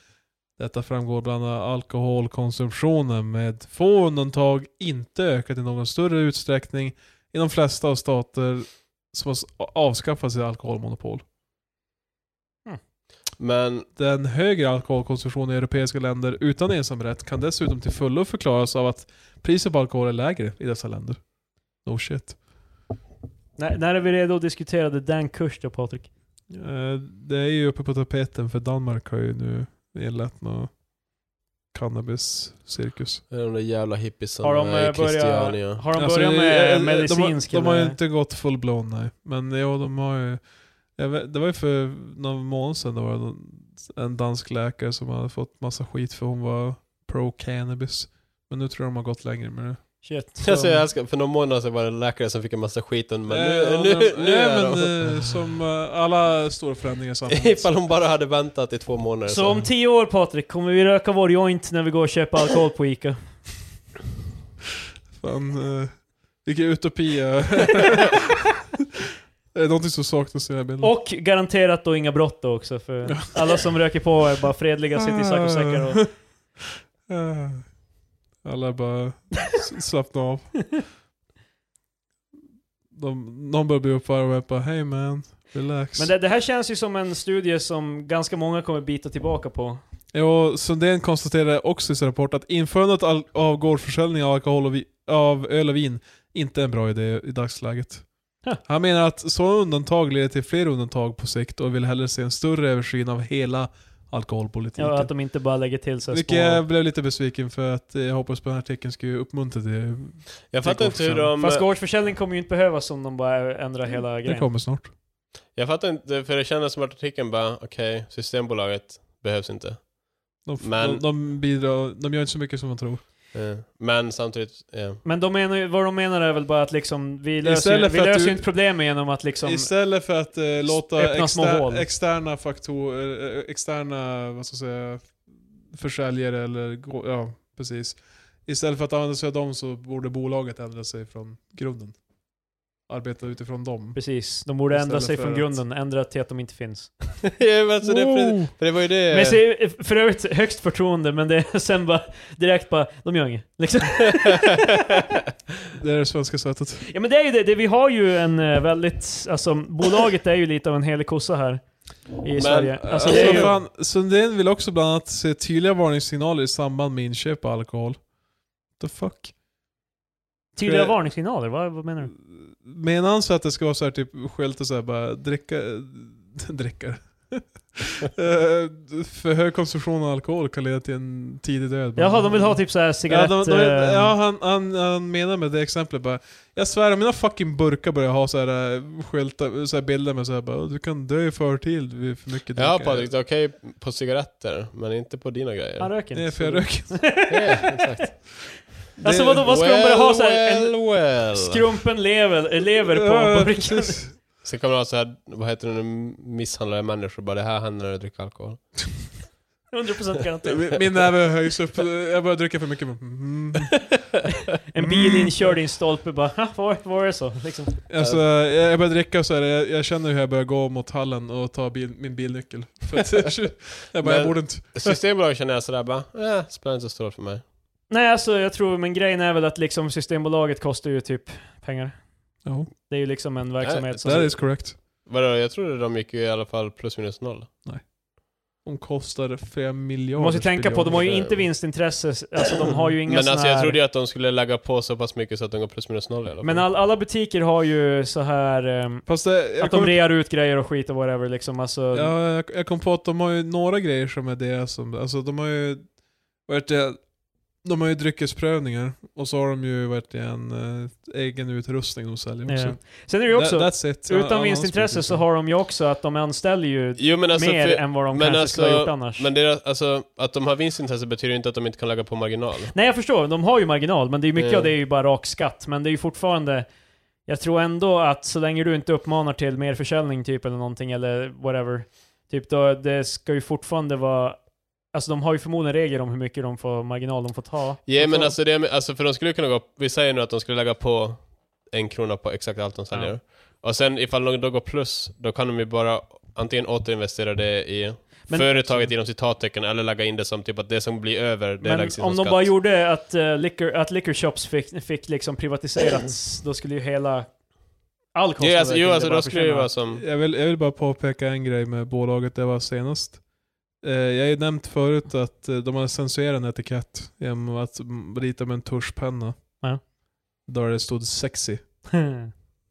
Speaker 2: Detta framgår bland annat alkoholkonsumtionen med få undantag inte ökat i någon större utsträckning i de flesta av stater som har s- avskaffat sitt alkoholmonopol.
Speaker 3: Men
Speaker 2: Den högre alkoholkonsumtionen i europeiska länder utan ensamrätt kan dessutom till fullo förklaras av att priset på alkohol är lägre i dessa länder. No shit.
Speaker 1: När, när är vi redo att diskutera The Dan Kush då Patrik?
Speaker 2: Eh, Det är ju uppe på tapeten för Danmark har ju nu inlett någon cannabis-cirkus.
Speaker 3: det är de där jävla hippiesarna
Speaker 1: Har de
Speaker 3: med
Speaker 1: eh,
Speaker 3: Christiania.
Speaker 1: börjat, har de
Speaker 2: Alltså,
Speaker 1: börjat
Speaker 2: det-
Speaker 1: med
Speaker 2: eh,
Speaker 1: medicinsk
Speaker 2: De har, de har ju
Speaker 1: eller?
Speaker 2: inte gått full-blown nej. Men ja, de har ju... Jag vet, det var ju för någon månad sedan det var någon- en dansk läkare som hade fått massa skit för hon var pro-cannabis. Men nu tror jag de har gått längre med det.
Speaker 1: Shit.
Speaker 3: Jag
Speaker 1: Så-
Speaker 3: säger, jag älskar, för några månader sedan var det en läkare som fick en massa skit men nu,
Speaker 2: Eh,
Speaker 3: nu,
Speaker 2: ja,
Speaker 3: nu,
Speaker 2: men-
Speaker 3: är
Speaker 2: eh,
Speaker 3: de...
Speaker 2: men, eh, Som eh, alla stora förändringar i
Speaker 1: eh,
Speaker 2: samhället.
Speaker 3: Ifall hon bara hade väntat i två månader
Speaker 1: Så om tio år Patrik, kommer vi röka vår joint när vi går och köper alkohol på Ica?
Speaker 2: Mm. Fan, eh, vilken utopi. eh. det är någonting som saknas i den här bilden.
Speaker 1: Och garanterat då inga brott då också, för alla som röker på är bara fredliga, sitter i sack
Speaker 2: Ah.
Speaker 1: och säckar och...
Speaker 2: Eh, Alla bara s- slappna av. De, någon börjar bli uppvarvad och bara hey man, relax.
Speaker 1: Men det, det här känns ju som en studie som ganska många kommer bita tillbaka på.
Speaker 2: Jo, Sundén konstaterade också i sin rapport att införandet al- av gårdsförsäljning av, alkohol och vi- av öl och vin inte är en bra idé i dagsläget.
Speaker 1: Huh.
Speaker 2: Han menar att sådana undantag leder till fler undantag på sikt och vill hellre se en större översyn av hela alkoholpolitiken.
Speaker 1: Ja, att de inte bara lägger till sig
Speaker 2: Vilket jag blev lite besviken för att jag hoppas på den här artikeln skulle uppmuntra till.
Speaker 3: Jag fattar inte hur
Speaker 2: Fast
Speaker 3: de...
Speaker 1: Fast gårdsförsäljning kommer ju inte behövas om de bara ändrar hela
Speaker 2: Det
Speaker 1: grejen.
Speaker 2: kommer snart.
Speaker 3: Jag fattar inte, för det kändes som att artikeln bara, okej, Systembolaget behövs inte.
Speaker 2: De, f-
Speaker 3: Men-
Speaker 2: de, de, bidrar, de gör inte så mycket som man tror.
Speaker 3: Eh, Men samtidigt, ja.
Speaker 1: Men de menar, ju- vad de menar är väl bara att liksom, vi löser, ju,
Speaker 2: Istället
Speaker 1: vi
Speaker 2: för att
Speaker 1: löser
Speaker 2: du-
Speaker 1: ju inte problemet genom att liksom...
Speaker 2: Istället för att eh, låta
Speaker 1: öppna små hål.
Speaker 2: exter, externa faktorer, eh, externa, vad ska jag säga, försäljare eller, gå- ja precis. Istället för att använda sig av dem så borde bolaget ändra sig från grunden. Arbeta utifrån dem.
Speaker 1: Precis, de borde ändra
Speaker 2: Istället
Speaker 1: sig
Speaker 2: för
Speaker 1: från
Speaker 2: att-
Speaker 1: grunden, ändra till att de inte finns.
Speaker 3: ja men alltså, det, för,
Speaker 2: Wow!
Speaker 3: för det var ju det...
Speaker 1: Men se, för övrigt, högst förtroende, men det är sen bara, direkt bara, de gör inget. Liksom.
Speaker 2: Det är det svenska sättet.
Speaker 1: Ja men det är ju det, det vi har ju en eh, väldigt, alltså bolaget är ju lite av en helig kossa här i
Speaker 3: Men,
Speaker 1: Sverige. Alltså,
Speaker 3: eh,
Speaker 2: Alltså,
Speaker 1: det är ju,
Speaker 2: fan, Sundin vill också bland annat se tydliga varningssignaler i samband med inköp av alkohol. The fuck?
Speaker 1: tydliga
Speaker 2: eh,
Speaker 1: varningssignaler, vad, vad menar du?
Speaker 2: Mm. Menar han så att det ska vara så här typ skyltar såhär bara dricka, dricka. Eh, för hög konsumtion av alkohol kan leda till en tidig död.
Speaker 1: Jaha, de vill ha typ såhär cigarett...
Speaker 2: Ja, de, de,
Speaker 1: eh,
Speaker 2: ja han, han, han menar med det exemplet bara, jag svär om mina fucking burkar börjar ha så här eh, skyltar, så här bilder med såhär bara, du kan dö i förtid vid för mycket
Speaker 3: Ja liksom. Patrik, det är okej på cigaretter, men inte på dina
Speaker 1: Han
Speaker 3: grejer.
Speaker 1: röker
Speaker 2: Nej,
Speaker 1: inte.
Speaker 2: för jag röker.
Speaker 3: Ja, exakt.
Speaker 1: Alltså vadå, vad ska
Speaker 3: well,
Speaker 1: de börja ha såhär?
Speaker 3: Well,
Speaker 1: En
Speaker 3: well.
Speaker 1: skrumpen lever, eh, lever
Speaker 2: Ja,
Speaker 1: på burken?
Speaker 2: precis.
Speaker 3: Sen kommer de ha såhär, vad heter det nu, misshandlade människor bara, det här händer när du dricker alkohol.
Speaker 1: 100% garanterat.
Speaker 2: Min- Min näve höjs upp, jag börjar dricka för mycket. Mm.
Speaker 1: En bil inkörd i en stolpe bara, "Ha, var, var är det så? Liksom.
Speaker 2: Alltså, jag jag börjar dricka och så här, jag, jag känner hur jag börjar gå mot hallen och ta bil, min bilnyckel. För att, jag bara, jag
Speaker 3: Men-
Speaker 2: borde inte...
Speaker 3: Systembolaget känner jag sådär bara, eh, spelar inte så stor roll för mig.
Speaker 1: Nej alltså jag tror, men grejen är väl att liksom Systembolaget kostar ju typ pengar.
Speaker 2: Ja,
Speaker 1: Det är ju liksom en verksamhet som...
Speaker 2: that is correct.
Speaker 3: Vadå, jag trodde de gick ju i alla fall plus minus noll.
Speaker 2: De kostar flera
Speaker 1: Man
Speaker 2: miljarder.
Speaker 1: måste ju tänka på, de har ju
Speaker 3: biljoner.
Speaker 1: inte vinstintresse, alltså de har ju inga
Speaker 3: Men
Speaker 1: såna
Speaker 3: alltså jag
Speaker 1: här...
Speaker 3: trodde ju att de skulle lägga på så pass mycket så att de går plus minus noll i alla fall.
Speaker 1: Men all, alla butiker har ju så här ehm,
Speaker 2: Fast det, jag,
Speaker 1: att de
Speaker 2: kom,
Speaker 1: rear ut grejer och skit och whatever liksom, alltså...
Speaker 2: ja, jag, jag kom på att de har ju några grejer som är deras som, alltså de har ju, vad heter det, de har ju dryckesprövningar och så har de ju vad heter det, en eh, egen utrustning de säljer också.
Speaker 1: ja. Sen är det ju också,
Speaker 2: That- that's it.
Speaker 1: utan vinstintresse så har de ju också att de anställer ju
Speaker 3: Jo men alltså,
Speaker 1: mer
Speaker 3: för,
Speaker 1: än vad de
Speaker 3: men
Speaker 1: kanske skulle ha
Speaker 3: alltså-
Speaker 1: gjort annars.
Speaker 3: men deras, alltså, att de har vinstintresse betyder inte att de inte kan lägga på marginal.
Speaker 1: Nej jag förstår, de har ju marginal, men det är ju mycket
Speaker 3: Ja.
Speaker 1: av det är ju bara rak skatt. Men det är ju fortfarande... Jag tror ändå att så länge du inte uppmanar till mer försäljning typ eller någonting eller whatever. Typ då, det ska ju fortfarande vara... Alltså de har ju förmodligen regler om hur mycket de får marginal de får ta.
Speaker 3: Ja men alltså, det, alltså, för de skulle kunna gå, vi säger nu att de skulle lägga på en krona på exakt allt de säljer. Och sen ifall de då går plus, då kan de ju bara antingen återinvestera det i
Speaker 1: Men-
Speaker 3: företaget inom citattecken eller lägga in det som typ att det som blir över, det
Speaker 1: Men
Speaker 3: läggs in
Speaker 1: om
Speaker 3: som
Speaker 1: de
Speaker 3: skatt.
Speaker 1: bara gjorde att, uh, liquor, att liquor shops fick, fick liksom privatiserats, då skulle ju hela... All kostnad
Speaker 3: Jo, alltså,
Speaker 1: kring
Speaker 3: jo,
Speaker 1: det
Speaker 3: alltså
Speaker 1: bara
Speaker 3: då skulle det
Speaker 1: försvinna.
Speaker 3: vara som...
Speaker 2: Jag vill, jag vill bara påpeka en grej med bolaget det var senast. Eh, jag har ju nämnt förut att eh, de hade censurerat en etikett genom att mm, rita med en tuschpenna.
Speaker 1: Ja.
Speaker 2: Där det stod sexy.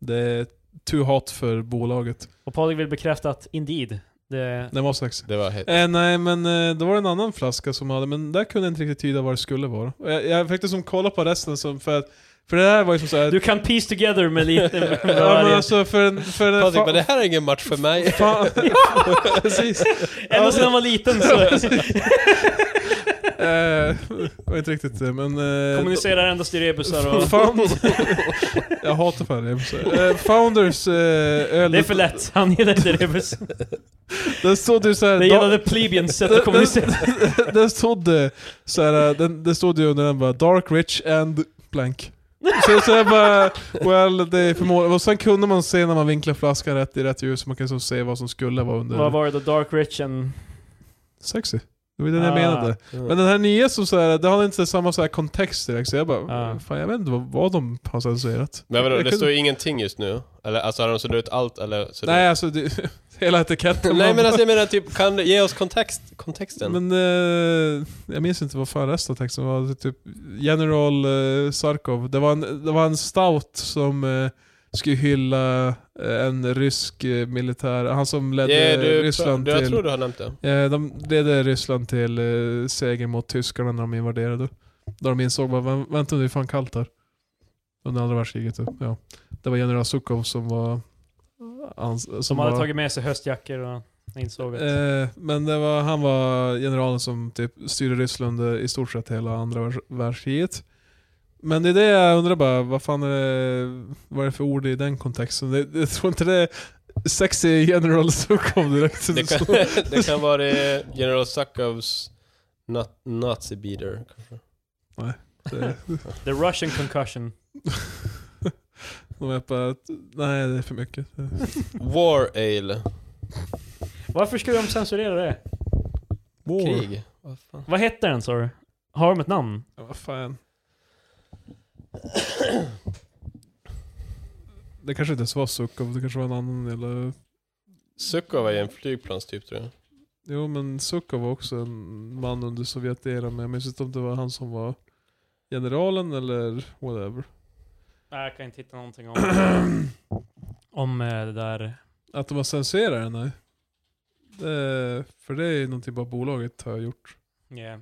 Speaker 2: Det är too hot för bolaget.
Speaker 1: Och Patrik vill bekräfta att Indeed, det...
Speaker 2: Den var sexy.
Speaker 3: Det var helt...
Speaker 2: Eh, nej men eh, det var en annan flaska som hade, men där kunde jag inte riktigt tyda vad det skulle vara. Och Jag, jag fick liksom kolla på resten som för att, för det här var ju som såhär...
Speaker 1: Du kan piece together med lite... med
Speaker 2: ja, men
Speaker 1: varje-
Speaker 2: alltså för en... För en
Speaker 3: Patrik, men det här är ingen match för mig.
Speaker 2: Fan, precis.
Speaker 1: Ända sedan han var liten så
Speaker 2: Eh, jag vet inte riktigt eh, men... eh,
Speaker 1: kommunicerar endast i rebusar och...
Speaker 2: Found... jag hatar fan rebusar. Eh, Founders eh, öl...
Speaker 1: Det är för lätt, han gillar inte rebus.
Speaker 2: Den stod ju såhär...
Speaker 1: Det gillade plebeians sätt att kommunicera.
Speaker 2: den, den stod eh, såhär, eh, den, den stod ju under den bara Dark, Rich and blank. Så, så jag bara, well, det är förmodligen... Och sen kunde man se när man vinklar flaskan rätt i rätt ljus, så man kan så se vad som skulle vara under...
Speaker 1: Vad var det då? Dark Rich and...
Speaker 2: Sexy. Det var det jag
Speaker 1: Ah.
Speaker 2: menade.
Speaker 3: Mm.
Speaker 2: Men den här nya som såhär, det har inte samma så här kontext direkt, så jag bara,
Speaker 1: Ah.
Speaker 2: fan jag vet inte vad, vad de har censurerat.
Speaker 3: Men vadå,
Speaker 2: Jag
Speaker 3: det
Speaker 2: kunde-
Speaker 3: står ju ingenting just nu? Eller alltså har de suddat ut allt eller? suddat-
Speaker 2: Nej alltså, det, hela etiketten.
Speaker 3: Nej
Speaker 2: man-
Speaker 3: men alltså jag menar typ, kan du ge oss kontext, kontexten?
Speaker 2: Men eh, jag minns inte vad fan resten av texten var. Det är Typ General eh, Sarkov. Det var, en, det var en stout som eh, skulle hylla eh, en rysk eh, militär. Han som ledde
Speaker 3: Ge, du,
Speaker 2: Ryssland
Speaker 3: du, jag
Speaker 2: till...
Speaker 3: tror du har nämnt det.
Speaker 2: Eh, de ledde Ryssland till eh, seger mot tyskarna när de invaderade. Då de insåg bara, "Vä- vänta nu, det är fan kallt här. Under andra världskriget. typ. Ja. Det var general Sukov som var... Ans- som
Speaker 1: Som hade
Speaker 2: var-
Speaker 1: tagit med sig höstjackor och insåg att...
Speaker 2: Eh, men det var, han var generalen som typ styrde Ryssland eh, i stort sett hela andra världs- världskriget. Men det är det jag undrar bara, vad fan är det, vad är det för ord i den kontexten? Det, jag tror inte det är sexy general som kom direkt.
Speaker 3: Det kan, det kan vara det General Suckovs nat- Nazi beater.
Speaker 2: Det-
Speaker 1: The Russian concussion.
Speaker 2: De är bara, att, nej det är för mycket.
Speaker 3: War ale.
Speaker 1: Varför skulle de censurera det?
Speaker 2: War.
Speaker 3: Krig. Vad fan?
Speaker 1: Vad heter den sa du? Har de ett namn?
Speaker 2: Ja, vad fan. Det kanske inte ens var Sukov, det kanske var en annan eller...
Speaker 3: Suckov var ju en flygplanstyp tror jag.
Speaker 2: Eh, Jo men Sukov var också en man under Sovjeteran men jag minns inte om det var han som var generalen eller whatever.
Speaker 1: Nej, jag kan inte hitta någonting om... om eh, det där...
Speaker 2: Att de var censurerade, nej. Det, för det är ju någonting bara bolaget har gjort.
Speaker 1: Yeah.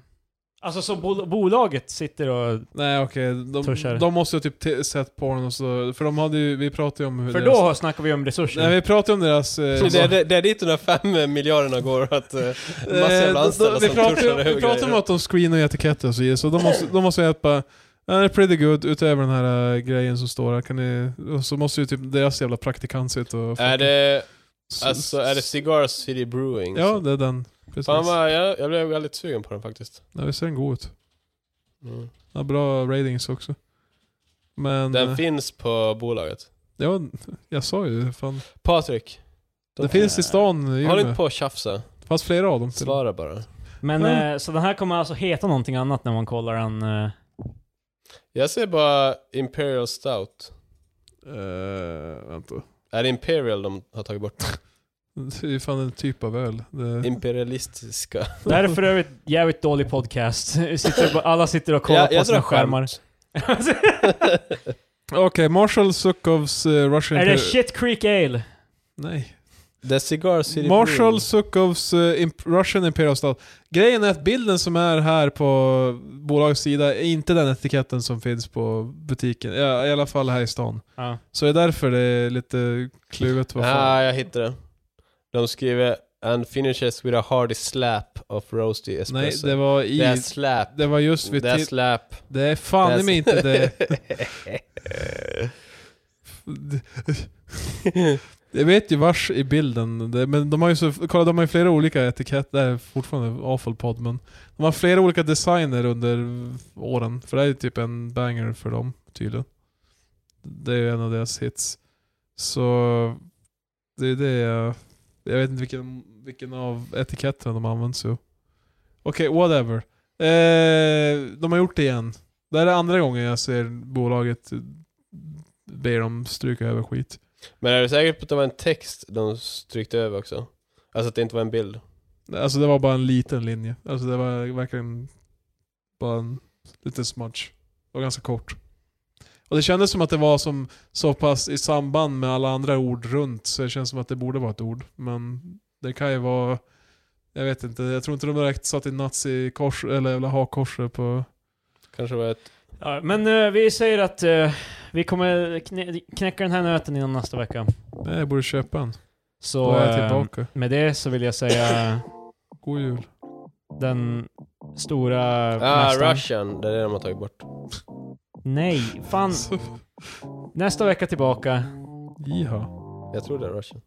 Speaker 1: Alltså så bol- bolaget sitter och...
Speaker 2: Nej okej, de,
Speaker 1: Tuschar.
Speaker 2: de måste ju typ te- sett på den och så, för de hade ju, vi pratade ju om hur
Speaker 1: För
Speaker 2: deras,
Speaker 1: då snackar vi om resurser.
Speaker 2: Nej vi pratade om deras... eh,
Speaker 3: Så det, är, det är dit de där fem miljarderna går att uh, massa
Speaker 2: Eh,
Speaker 3: jävla
Speaker 2: då- då-
Speaker 3: anställda
Speaker 2: vi
Speaker 3: som
Speaker 2: pratar-
Speaker 3: tuschar över
Speaker 2: Vi pratar om
Speaker 3: grejer.
Speaker 2: att de screenar etiketter och så vidare, så de måste, de måste hjälpa den är pretty good utöver den här eh, grejen som står här. Kan ni, och så måste ju typ deras jävla praktikant sitta och...
Speaker 3: Är det,
Speaker 2: s-
Speaker 3: alltså, är det Cigar City Brewing?
Speaker 2: Ja, det är den. Precis.
Speaker 3: Fan vad, jag, jag blev väldigt sugen på den faktiskt.
Speaker 2: Ja, visst ser den god ut.
Speaker 3: Mm.
Speaker 2: Den har bra ratings också. Men...
Speaker 3: Den
Speaker 2: eh,
Speaker 3: finns på bolaget.
Speaker 2: ja, jag sa ju det. Fan.
Speaker 3: Patrik,
Speaker 2: Den finns i stan i
Speaker 3: håll
Speaker 2: Umeå.
Speaker 3: inte på och tjafsa.
Speaker 2: Det fanns flera av dem. till.
Speaker 3: Svara bara.
Speaker 1: Men
Speaker 2: Ja.
Speaker 1: eh, så den här kommer alltså heta någonting annat när man kollar den... Eh,
Speaker 3: Jag ser bara Imperial Stout.
Speaker 2: Eh, vänta.
Speaker 3: Är det Imperial de har tagit bort?
Speaker 2: Det är ju fan en typ av öl. Det...
Speaker 3: Imperialistiska.
Speaker 1: det här är för övrigt jävligt dålig podcast. Sitter, alla sitter och kollar
Speaker 3: Jag- jag
Speaker 1: på sina
Speaker 3: drar
Speaker 1: skärmar.
Speaker 3: skämt.
Speaker 2: Okej, Marshall Sukovs eh, Russian...
Speaker 1: är det
Speaker 2: Imperial-
Speaker 1: Shit Creek Ale?
Speaker 2: Nej.
Speaker 3: The Cigar City
Speaker 2: Marshall
Speaker 3: Brewing.
Speaker 2: Sukovs eh, imp Russian Imperial Stout. Grejen är att bilden som är här på bolagets sida är inte den etiketten som finns på butiken. Ja, I alla fall här i stan.
Speaker 1: Ja.
Speaker 2: Så det är därför det är lite kluvet. Vad fan.
Speaker 3: ah, jag hittade det. De skriver And finishes with a hearty slap of roasty
Speaker 2: Nej,
Speaker 3: espresso.
Speaker 2: det var
Speaker 3: det är
Speaker 2: i...
Speaker 3: slap.
Speaker 2: Det var just vid...
Speaker 3: Det är
Speaker 2: Det,
Speaker 3: slap.
Speaker 2: det är fan i mig inte det. Jag vet ju vars i bilden, det, men de har ju så, kolla de har ju flera olika etiketter, det här är fortfarande avfallpodd men De har flera olika designer under åren, för det här är ju typ en banger för dem tydligen Det är ju en av deras hits Så det är det jag, jag vet inte vilken vilken av etiketterna de använt sig av. Okej, whatever. Eh, de har gjort det igen. Det här är andra gången jag ser bolaget be dem stryka över skit.
Speaker 3: Men är du säker på att det var en text de strykte över också? Alltså att det inte var en bild?
Speaker 2: Alltså det var bara en liten linje. Alltså det var verkligen bara en liten smudge. Det var ganska kort. Och det kändes som att det var som så pass i samband med alla andra ord runt, så det känns som att det borde vara ett ord. Men det kan ju vara... Jag vet inte, jag tror inte de direkt satt i nazi-kors, eller jävla hakkorset på...
Speaker 3: Kanske var ett...
Speaker 1: Ja, men eh, vi säger att eh, vi kommer knä knäcka den här nöten innan nästa vecka.
Speaker 2: Nej, jag borde köpa en. Då
Speaker 1: Så
Speaker 2: är jag
Speaker 1: eh,
Speaker 2: tillbaka.
Speaker 1: med det så vill jag säga
Speaker 2: God jul.
Speaker 1: den stora
Speaker 3: Ah,
Speaker 1: mästaren.
Speaker 3: Russian. Det är det de har tagit bort.
Speaker 1: Nej, fan.
Speaker 2: Så,
Speaker 1: Nästa vecka tillbaka.
Speaker 2: Jiha.
Speaker 3: Jag tror det är Russian.